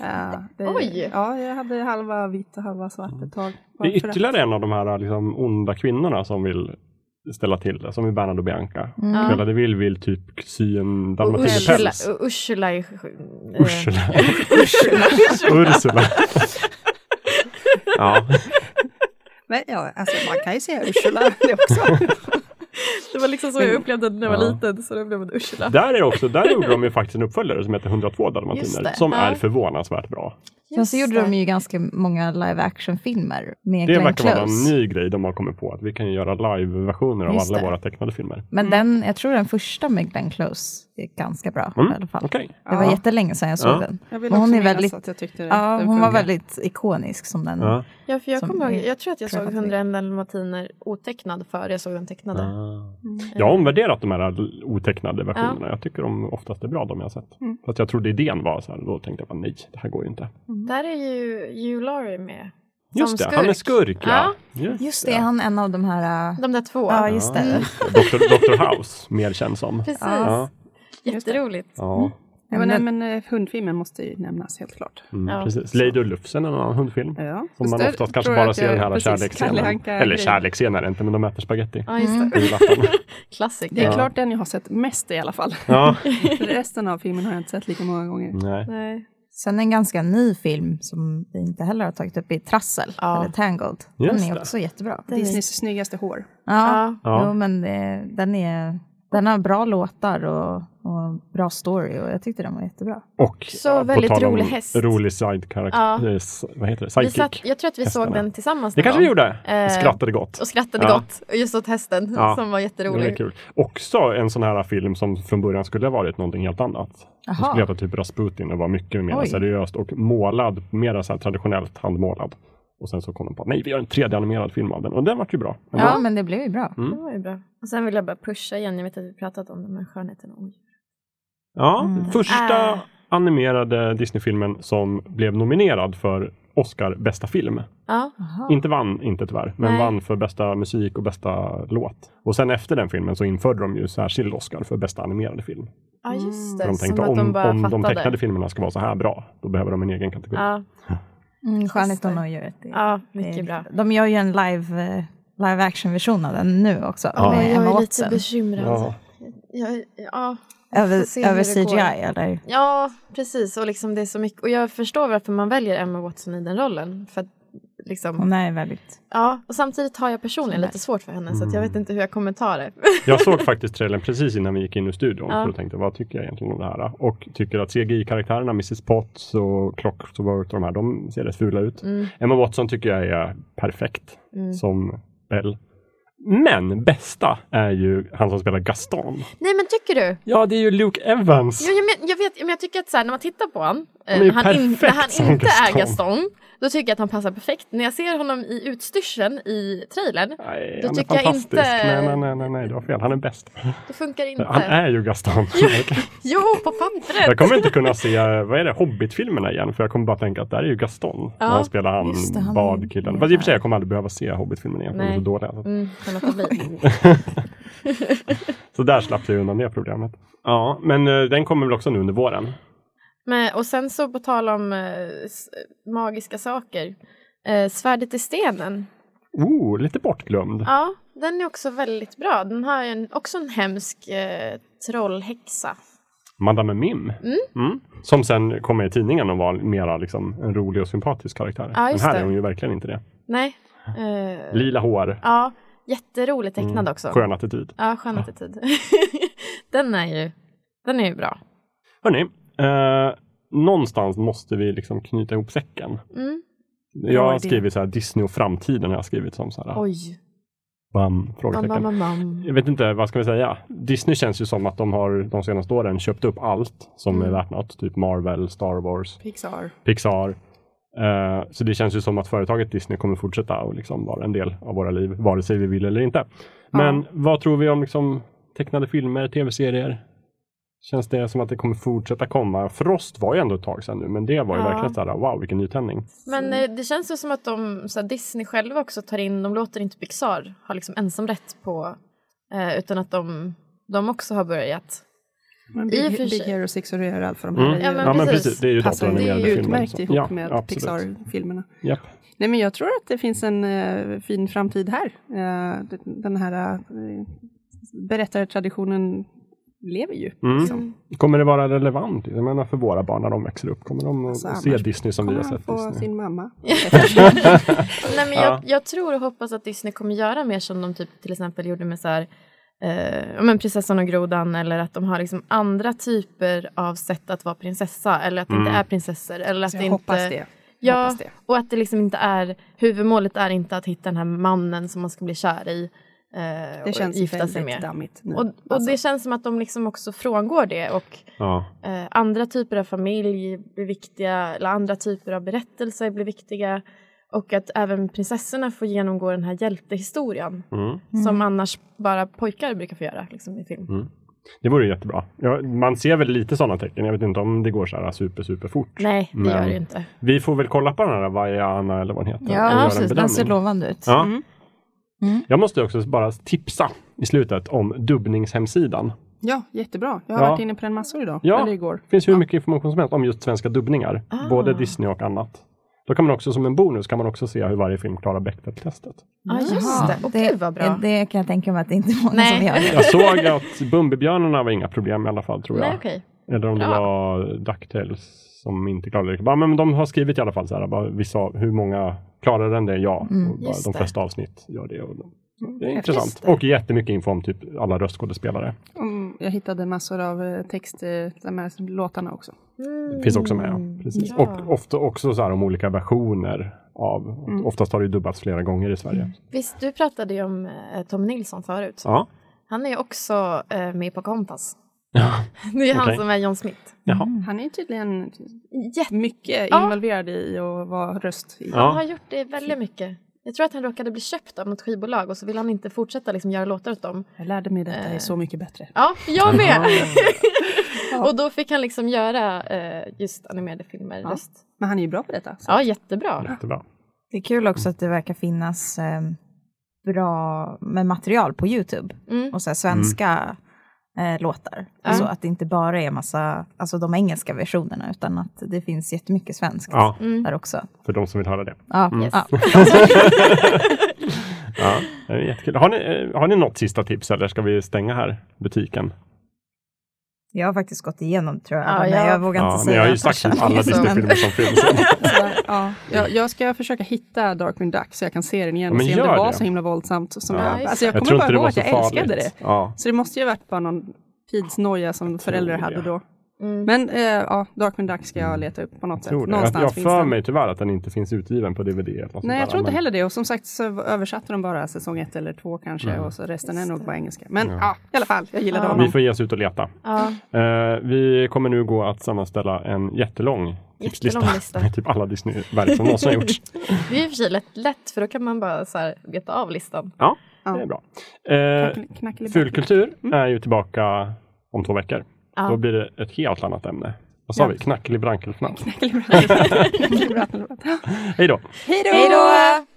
Speaker 2: Ja, det,
Speaker 3: Oj.
Speaker 2: Ja, jag hade halva vitt och halva svart ett tag.
Speaker 1: Det är
Speaker 2: Bara för att-
Speaker 1: ytterligare en av de här liksom, onda kvinnorna som vill ställa till det. Som i Bernard och Bianca.
Speaker 4: Ja.
Speaker 1: Cruella de Vil vill typ sy en
Speaker 3: Och Mm. Ursula,
Speaker 1: dalmatinerpäls.
Speaker 3: och Ursula är... sj- eh,
Speaker 1: Ursula. Ursula. ja.
Speaker 2: Nej, ja, alltså, man kan ju säga Ursula det också.
Speaker 3: Det var liksom så jag upplevde det när jag var
Speaker 1: Ja.
Speaker 3: liten, så då blev det Ursula.
Speaker 1: Där, är också, där gjorde de ju faktiskt en uppföljare som heter 102
Speaker 3: Just
Speaker 1: dalmatiner.
Speaker 3: det,
Speaker 1: Som
Speaker 3: ja.
Speaker 1: är förvånansvärt bra.
Speaker 4: sen så
Speaker 3: Just
Speaker 4: gjorde de
Speaker 3: det.
Speaker 4: ju ganska många live action-filmer med
Speaker 1: Det
Speaker 4: Glenn
Speaker 1: verkar vara en
Speaker 4: Close.
Speaker 1: ny grej de har kommit på. Att vi kan ju göra live-versioner av
Speaker 4: Just
Speaker 1: alla
Speaker 4: det.
Speaker 1: våra tecknade filmer.
Speaker 4: Men den, jag tror den första med Glenn Close är ganska bra
Speaker 1: Mm,
Speaker 4: i alla fall.
Speaker 1: Okej.
Speaker 4: Det var
Speaker 2: Ja.
Speaker 4: jättelänge sedan jag såg
Speaker 1: Ja.
Speaker 4: den.
Speaker 2: Jag vill också
Speaker 4: Men hon är
Speaker 2: minnas
Speaker 4: väldigt-
Speaker 2: att jag tyckte det.
Speaker 4: Ja,
Speaker 2: den
Speaker 4: hon var
Speaker 2: funkar.
Speaker 4: väldigt ikonisk som den.
Speaker 1: Ja.
Speaker 3: Ja, för jag,
Speaker 4: Som
Speaker 3: kommer ihåg,
Speaker 4: är
Speaker 3: jag tror att jag såg
Speaker 4: träffat
Speaker 3: 101 dalmatiner otecknad före jag såg den tecknade.
Speaker 1: Ah.
Speaker 3: Mm.
Speaker 1: Jag har omvärderat de här otecknade versionerna. Jag tycker de oftast är bra, de jag har sett.
Speaker 2: Mm.
Speaker 1: Fast
Speaker 3: Mm.
Speaker 1: jag trodde idén var så här, då tänkte jag bara nej, det här går ju inte.
Speaker 3: Där är ju Hugh Laurie med.
Speaker 1: Just det,
Speaker 3: Som
Speaker 1: han är
Speaker 3: skurk.
Speaker 1: skurk ja. Just,
Speaker 4: Just det, han är en av de här... äh,
Speaker 3: De där två.
Speaker 4: Ja, just
Speaker 1: Ja,
Speaker 4: det.
Speaker 1: just det. Dr. Dr. House, mer känd som.
Speaker 3: Precis. Mm.
Speaker 1: Ja,
Speaker 3: Jätteroligt.
Speaker 1: ja,
Speaker 2: Ja, men, nej, men eh, hundfilmen måste ju nämnas helt klart.
Speaker 1: mm,
Speaker 3: Ja.
Speaker 1: precis. Lady och Lufsen är en annan hundfilm.
Speaker 2: Ja.
Speaker 1: Som man
Speaker 2: Just det,
Speaker 1: oftast kanske
Speaker 2: tror jag
Speaker 1: bara
Speaker 2: att
Speaker 1: ser den
Speaker 2: jag-
Speaker 1: här
Speaker 2: precis, Kalle
Speaker 1: kärleksscenen.
Speaker 2: Anka-
Speaker 1: Eller
Speaker 2: grej.
Speaker 1: kärleksscenen är det inte, men de äter spagetti.
Speaker 3: Ja, just det.
Speaker 1: i latten.
Speaker 3: Klassiker.
Speaker 2: Det är
Speaker 1: Ja.
Speaker 2: klart den jag har sett mest i alla fall.
Speaker 1: Ja, Mm.
Speaker 2: För resten av filmen har jag inte sett lika många gånger.
Speaker 1: nej.
Speaker 3: Nej.
Speaker 4: Sen en ganska ny film som vi inte heller har tagit upp i Trassel,
Speaker 3: Ja.
Speaker 4: eller Tangled.
Speaker 1: Just
Speaker 4: den är
Speaker 1: det.
Speaker 4: också jättebra.
Speaker 2: Disneys snyggaste hår.
Speaker 4: Ja,
Speaker 3: Ja.
Speaker 1: Ja.
Speaker 4: Jo, men det, den, är, den har bra låtar och, och bra story och jag tyckte den var jättebra.
Speaker 1: Och
Speaker 3: Så
Speaker 1: ja, på
Speaker 3: väldigt
Speaker 1: tal om
Speaker 3: rolig häst.
Speaker 1: Rolig sidekaraktär.
Speaker 3: Ja.
Speaker 1: eh, s- Vad heter det?
Speaker 3: Vi
Speaker 1: Sidekick.
Speaker 3: satt, jag tror att vi
Speaker 1: Hästarna.
Speaker 3: såg den tillsammans.
Speaker 1: Det
Speaker 3: någon
Speaker 1: kanske vi
Speaker 3: gång.
Speaker 1: gjorde.
Speaker 3: Eh,
Speaker 1: Och skrattade gott.
Speaker 3: Och skrattade
Speaker 1: Ja.
Speaker 3: gott. Och Just åt hästen
Speaker 1: Ja.
Speaker 3: som var
Speaker 1: Det var
Speaker 3: jätterolig.
Speaker 1: kul. Också en sån här film som från början skulle ha varit någonting helt annat. Den
Speaker 4: Jaha.
Speaker 1: skulle heta typ Rasputin och var mycket mer
Speaker 4: Oj.
Speaker 1: seriöst och målad, mer så här traditionellt handmålad. Och sen så kom de på, nej vi gör en 3D-animerad film av den och den vart ju bra.
Speaker 4: Ja,
Speaker 1: ändå.
Speaker 4: men det blev ju bra.
Speaker 1: Mm.
Speaker 3: Det var ju bra. Och sen vill jag bara pusha igen, jag vet att vi pratat om det, men skönheten och odjuret.
Speaker 1: Ja,
Speaker 4: Mm.
Speaker 1: första
Speaker 3: Äh.
Speaker 1: animerade Disney-filmen som blev nominerad för Oscar bästa film.
Speaker 3: Ja,
Speaker 4: Jaha.
Speaker 1: Inte vann, inte tyvärr, men
Speaker 3: Nej.
Speaker 1: vann för bästa musik och bästa låt. Och sen efter den filmen så införde de ju särskild Oscar för bästa animerade film.
Speaker 3: ja just det.
Speaker 1: För de
Speaker 3: Som
Speaker 1: tänkte
Speaker 3: att
Speaker 1: om,
Speaker 3: de bara
Speaker 1: om de
Speaker 3: fattade.
Speaker 1: tecknade filmerna ska vara så här bra, då behöver de en egen kategori.
Speaker 3: Ja,
Speaker 4: Mm, Skönheten
Speaker 3: det.
Speaker 4: och djuret. det-
Speaker 3: ja,
Speaker 4: det-
Speaker 3: mycket bra.
Speaker 4: Eh, De gör ju en live, eh, live action-version av den nu också.
Speaker 3: Ja,
Speaker 4: Med Emma
Speaker 3: jag är lite
Speaker 4: Watson.
Speaker 3: bekymrad.
Speaker 1: Ja.
Speaker 3: Jag, ja. Får se
Speaker 4: Över,
Speaker 3: hur
Speaker 4: över
Speaker 3: det går.
Speaker 4: CGI eller?
Speaker 3: ja, precis. Och, liksom det är så mycket. och jag förstår varför man väljer Emma Watson i den rollen. För att, liksom,
Speaker 4: Hon är väldigt...
Speaker 3: ja. Och samtidigt har jag personligen lite svårt för henne, så att jag
Speaker 1: Mm.
Speaker 3: vet inte hur jag kommer ta det.
Speaker 1: Jag såg faktiskt trailern precis innan vi gick in i studion
Speaker 3: Ja.
Speaker 1: för och tänkte vad tycker jag egentligen om det här? Och tycker att CGI-karaktärerna, Mrs Potts och Clockwork och de här, de ser rätt fula ut.
Speaker 3: Mm.
Speaker 1: Emma Watson tycker jag är perfekt
Speaker 3: Mm.
Speaker 1: som Belle. Men bästa är ju han som spelar Gaston.
Speaker 3: Nej, men tycker du?
Speaker 1: Ja, det är ju Luke Evans.
Speaker 3: Jo, jag, men, jag vet, men jag tycker att så här, när man tittar på honom, eh,
Speaker 1: är
Speaker 3: när han, in,
Speaker 1: perfekt
Speaker 3: när han
Speaker 1: som
Speaker 3: inte är
Speaker 1: Gaston.
Speaker 3: Gaston, då tycker jag att han passar perfekt. När jag ser honom i utstyrseln i trailern,
Speaker 1: Nej,
Speaker 3: Då
Speaker 1: han är
Speaker 3: tycker jag
Speaker 1: fantastisk.
Speaker 3: inte-
Speaker 1: Nej, nej, nej, nej, nej, du har fel. Han är bäst.
Speaker 3: då funkar det inte.
Speaker 1: Han är ju Gaston.
Speaker 3: Jo, på
Speaker 1: jag
Speaker 3: pappret!
Speaker 1: kommer inte kunna se, vad är det, Hobbit-filmerna igen? För jag kommer bara tänka att där är ju Gaston.
Speaker 3: Ja.
Speaker 1: När han spelar han,
Speaker 4: Just det, han är-
Speaker 1: badkillen. Fast i och för sig, jag kommer aldrig behöva se Hobbit-filmerna igen. för De är
Speaker 3: Nej.
Speaker 1: så dåliga. Så-
Speaker 3: Mm, kan låta bli.
Speaker 1: Så där slapp jag undan det problemet. Ja, men eh, den kommer väl också nu under våren?
Speaker 3: Men, och sen så på tal om eh, s- magiska saker. Eh, Svärdet i stenen.
Speaker 1: Oh, lite bortglömd.
Speaker 3: Ja, den är också väldigt bra. Den har ju en, också en hemsk eh, trollhäxa.
Speaker 1: Madame Mim.
Speaker 3: Mm.
Speaker 1: Som sen kom med i tidningen och var mera liksom en rolig och sympatisk karaktär.
Speaker 3: Ja,
Speaker 1: men
Speaker 3: just
Speaker 1: här
Speaker 3: det.
Speaker 1: är hon ju verkligen inte det.
Speaker 3: Nej. Eh,
Speaker 1: Lila hår.
Speaker 3: ja, jätteroligt tecknad
Speaker 1: Mm,
Speaker 3: också.
Speaker 1: Skön attityd.
Speaker 3: Ja, skön attityd. den är ju den är ju bra.
Speaker 1: Hörni, eh, någonstans måste vi liksom knyta ihop säcken.
Speaker 3: Mm.
Speaker 1: Jag har
Speaker 2: idé.
Speaker 1: skrivit så här Disney och framtiden har jag skrivit som så här.
Speaker 3: Oj.
Speaker 1: Bam,
Speaker 3: Bam,
Speaker 1: frågetecken.
Speaker 3: bam, bam, bam.
Speaker 1: Jag vet inte, vad ska vi säga? Disney känns ju som att de har de senaste åren köpt upp allt som
Speaker 3: Mm.
Speaker 1: är värt något. Typ Marvel, Star Wars,
Speaker 2: Pixar.
Speaker 1: Pixar. Eh, så det känns ju som att företaget Disney kommer fortsätta och liksom vara en del av våra liv, vare sig vi vill eller inte. Men vad tror vi om liksom tecknade filmer, tv-serier? Känns det som att det kommer fortsätta komma? Frost var ju ändå ett tag sedan nu, men det var ju
Speaker 3: Ja.
Speaker 1: verkligen så här, wow, vilken nytändning.
Speaker 3: Men eh, det känns ju som att de, så här, Disney själva också tar in, de låter inte Pixar ha liksom ensamrätt på, eh, utan att de, de också har börjat.
Speaker 2: Men
Speaker 3: I och
Speaker 2: Big,
Speaker 3: för sig.
Speaker 2: Big Hero 6 och Röjar allt för de här
Speaker 1: Mm.
Speaker 2: är ju-
Speaker 3: Ja, men
Speaker 1: ja, men
Speaker 3: precis.
Speaker 1: precis. Det är ju
Speaker 2: passar ju- Alltså, det är
Speaker 1: datoranimerade
Speaker 2: ju
Speaker 1: filmer.
Speaker 2: utmärkt
Speaker 1: så.
Speaker 2: ihop
Speaker 1: Ja,
Speaker 2: med
Speaker 1: absolut.
Speaker 2: Pixar-filmerna.
Speaker 1: Japp.
Speaker 2: Nej, men jag tror att det finns en eh, fin framtid här. Eh, d- den här eh, berättartraditionen lever ju.
Speaker 1: Mm.
Speaker 2: Liksom.
Speaker 1: Kommer det vara relevant? Jag menar för våra barn när de växer upp, kommer de
Speaker 2: Alltså,
Speaker 1: att se
Speaker 2: annars
Speaker 1: Disney som vi
Speaker 2: Kommer
Speaker 1: har
Speaker 2: han
Speaker 1: sett
Speaker 2: få
Speaker 1: Disney?
Speaker 2: sin mamma?
Speaker 3: Nej, men
Speaker 1: Ja.
Speaker 3: jag, jag tror och hoppas att Disney kommer göra mer som de typ, till exempel gjorde med så här, eh, ja, men prinsessan och grodan eller att de har liksom andra typer av sätt att vara prinsessa eller att det
Speaker 1: Mm.
Speaker 3: inte är prinsessor. Eller att
Speaker 2: Så
Speaker 3: det
Speaker 2: jag
Speaker 3: inte,
Speaker 2: hoppas det.
Speaker 3: Ja,
Speaker 2: Hoppas det.
Speaker 3: och att det liksom inte är, huvudmålet är inte att hitta den här mannen som man ska bli kär i eh,
Speaker 2: Det känns
Speaker 3: och gifta sig
Speaker 2: väldigt
Speaker 3: med.
Speaker 2: dammigt nu.
Speaker 3: Och, och det känns som att de liksom också frångår det och
Speaker 1: Ja.
Speaker 3: eh, andra typer av familj blir viktiga, eller andra typer av berättelser blir viktiga. Och att även prinsessorna får genomgå den här hjältehistorien
Speaker 1: Mm.
Speaker 3: som annars bara pojkar brukar få göra liksom, i film.
Speaker 1: Mm. Det vore jättebra. Ja, man ser väl lite sådana tecken. Jag vet inte om det går så här super, super fort.
Speaker 3: Nej, det
Speaker 1: Men-
Speaker 3: gör det ju inte.
Speaker 1: Vi får väl kolla på den här Vaiana eller vad den heter. och göra
Speaker 4: Ja,
Speaker 1: en
Speaker 4: precis. Den
Speaker 1: bedömning.
Speaker 4: ser lovande ut.
Speaker 1: Ja.
Speaker 2: Mm.
Speaker 4: Mm.
Speaker 1: Jag måste också bara tipsa i slutet om dubbningshemsidan.
Speaker 2: Ja, jättebra. Jag har
Speaker 1: Ja.
Speaker 2: varit inne på den massor idag.
Speaker 1: Ja.
Speaker 2: Eller igår.
Speaker 1: Det finns hur mycket information som helst om just svenska dubbningar.
Speaker 3: Ah.
Speaker 1: Både Disney och annat. Då kan man också som en bonus kan man också se hur varje film klarar Bechdel-testet.
Speaker 3: Ja, Ah, just
Speaker 4: Jaha.
Speaker 3: det. Och
Speaker 4: Det-
Speaker 3: gud vad bra.
Speaker 4: Det kan jag tänka mig att det inte är många
Speaker 3: Nej.
Speaker 4: som gör. det.
Speaker 1: Jag såg att Bumbibjörnarna var inga problem i alla fall tror jag.
Speaker 3: Nej, okej.
Speaker 1: Eller om det
Speaker 3: Bra.
Speaker 1: var DuckTales som inte klarade det. Bara, Men de har skrivit i alla fall så här, bara, vissa, av- hur många klarar den det? Ja.
Speaker 4: Mm,
Speaker 1: och bara,
Speaker 3: just
Speaker 1: de
Speaker 3: det.
Speaker 1: flesta avsnitt gör det. Och det är
Speaker 3: Ja,
Speaker 1: intressant.
Speaker 3: just det.
Speaker 1: Och jättemycket info om typ alla röstskådespelare.
Speaker 2: Mm, jag hittade massor av eh, text, eh, de här låtarna också.
Speaker 3: Mm.
Speaker 1: Finns också med. Ja. Precis.
Speaker 3: Ja.
Speaker 1: Och ofta också så här om olika versioner av,
Speaker 2: Mm.
Speaker 1: oftast har det ju dubbats flera gånger i Sverige.
Speaker 3: Visst, du pratade ju om eh, Tom Nilsson förut.
Speaker 1: Ja.
Speaker 3: Han är ju också eh, med på Compass.
Speaker 1: Ja.
Speaker 3: Det är han
Speaker 1: Okej.
Speaker 3: som är John Smith.
Speaker 1: Jaha.
Speaker 2: Han är tydligen
Speaker 3: Mm. Jätte...
Speaker 2: mycket
Speaker 3: Ja.
Speaker 2: involverad i att vara röst. I.
Speaker 1: Ja.
Speaker 3: Han har gjort det väldigt mycket. Jag tror att han råkade bli köpt av något skivbolag och så vill han inte fortsätta liksom göra låtar åt dem.
Speaker 2: Jag lärde mig detta, är
Speaker 3: Eh.
Speaker 2: så mycket bättre.
Speaker 3: Ja, jag med! och då fick han liksom göra eh, just animerade filmer.
Speaker 2: Ja.
Speaker 3: Röst.
Speaker 2: Men han är ju bra på detta. Så.
Speaker 3: ja jättebra.
Speaker 1: Jättebra.
Speaker 4: Det är kul också att det verkar finnas eh, bra med material på Youtube.
Speaker 3: Mm.
Speaker 4: Och så här svenska eh, låtar.
Speaker 3: Ja.
Speaker 4: Så att det inte bara är massa, alltså de engelska versionerna. Utan att det finns jättemycket svenskt
Speaker 1: Ja,
Speaker 3: Mm.
Speaker 4: där också.
Speaker 1: för de som vill höra det.
Speaker 4: Ja,
Speaker 3: Yes.
Speaker 4: ja.
Speaker 1: Ja, det är jättekul. Har ni, eh, har ni något sista tips eller ska vi stänga här butiken?
Speaker 4: Jag har faktiskt gått igenom tror jag.
Speaker 3: Ja,
Speaker 4: men
Speaker 3: jag-
Speaker 4: jag vågar inte
Speaker 1: Ja, men
Speaker 4: säga.
Speaker 1: jag har ju
Speaker 4: att
Speaker 1: sagt
Speaker 4: farsan-
Speaker 1: typ alla
Speaker 4: så-
Speaker 1: Disney-filmer som finns.
Speaker 2: Så, ja. jag, jag ska försöka hitta Darkwing Duck så jag kan se den igen
Speaker 1: Ja,
Speaker 2: och
Speaker 1: men
Speaker 2: se om
Speaker 1: gör
Speaker 2: det var
Speaker 1: det.
Speaker 2: så himla våldsamt. Som
Speaker 1: Ja.
Speaker 2: jag, alltså jag
Speaker 1: Jag
Speaker 2: kommer
Speaker 1: tror
Speaker 2: bara
Speaker 1: inte det
Speaker 2: ihåg
Speaker 1: var
Speaker 2: att
Speaker 1: så
Speaker 2: jag älskade det.
Speaker 1: farligt. Ja.
Speaker 2: Så det måste ju ha varit bara någon tidsnoja som föräldrar hade
Speaker 1: jag.
Speaker 2: då.
Speaker 3: Mm.
Speaker 2: Men eh, ja, Darkwing Duck ska jag leta upp på något sätt.
Speaker 1: Tror det. Jag,
Speaker 2: Någonstans
Speaker 1: jag
Speaker 2: finns
Speaker 1: för
Speaker 2: den.
Speaker 1: mig tyvärr att den inte finns utgiven på DVD. Eller något
Speaker 2: Nej, jag
Speaker 1: sånt där,
Speaker 2: tror inte
Speaker 1: men-
Speaker 2: heller det. Och som sagt så översatte de bara säsong ett eller två kanske
Speaker 1: Mm.
Speaker 2: och så resten är nog bara engelska. Men
Speaker 1: Ja.
Speaker 2: ja, i alla fall, jag gillade
Speaker 3: Ja.
Speaker 2: honom.
Speaker 1: Vi får ge oss ut och leta.
Speaker 3: Ja,
Speaker 1: Eh, vi kommer nu gå att sammanställa en jättelång tipslista
Speaker 3: jättelång lista.
Speaker 1: med typ alla Disney-verk som någonsin har gjorts.
Speaker 3: Det är i och för sig lätt, lätt för då kan man bara så här, veta av listan.
Speaker 2: Ja.
Speaker 1: Det är bra. Eh,
Speaker 2: Knack- knack- knack-
Speaker 1: Fulkultur är ju tillbaka om två veckor.
Speaker 3: Ja.
Speaker 1: Då blir det ett helt annat ämne. Vad sa
Speaker 2: Ja.
Speaker 1: vi? Knackelibrankelfnatt.
Speaker 2: knack- knack- knack- knack- knack- knack- knack- knack- knack- knack- knack- knack- knack-
Speaker 1: Hej då!
Speaker 2: Hej då!
Speaker 3: Hej då!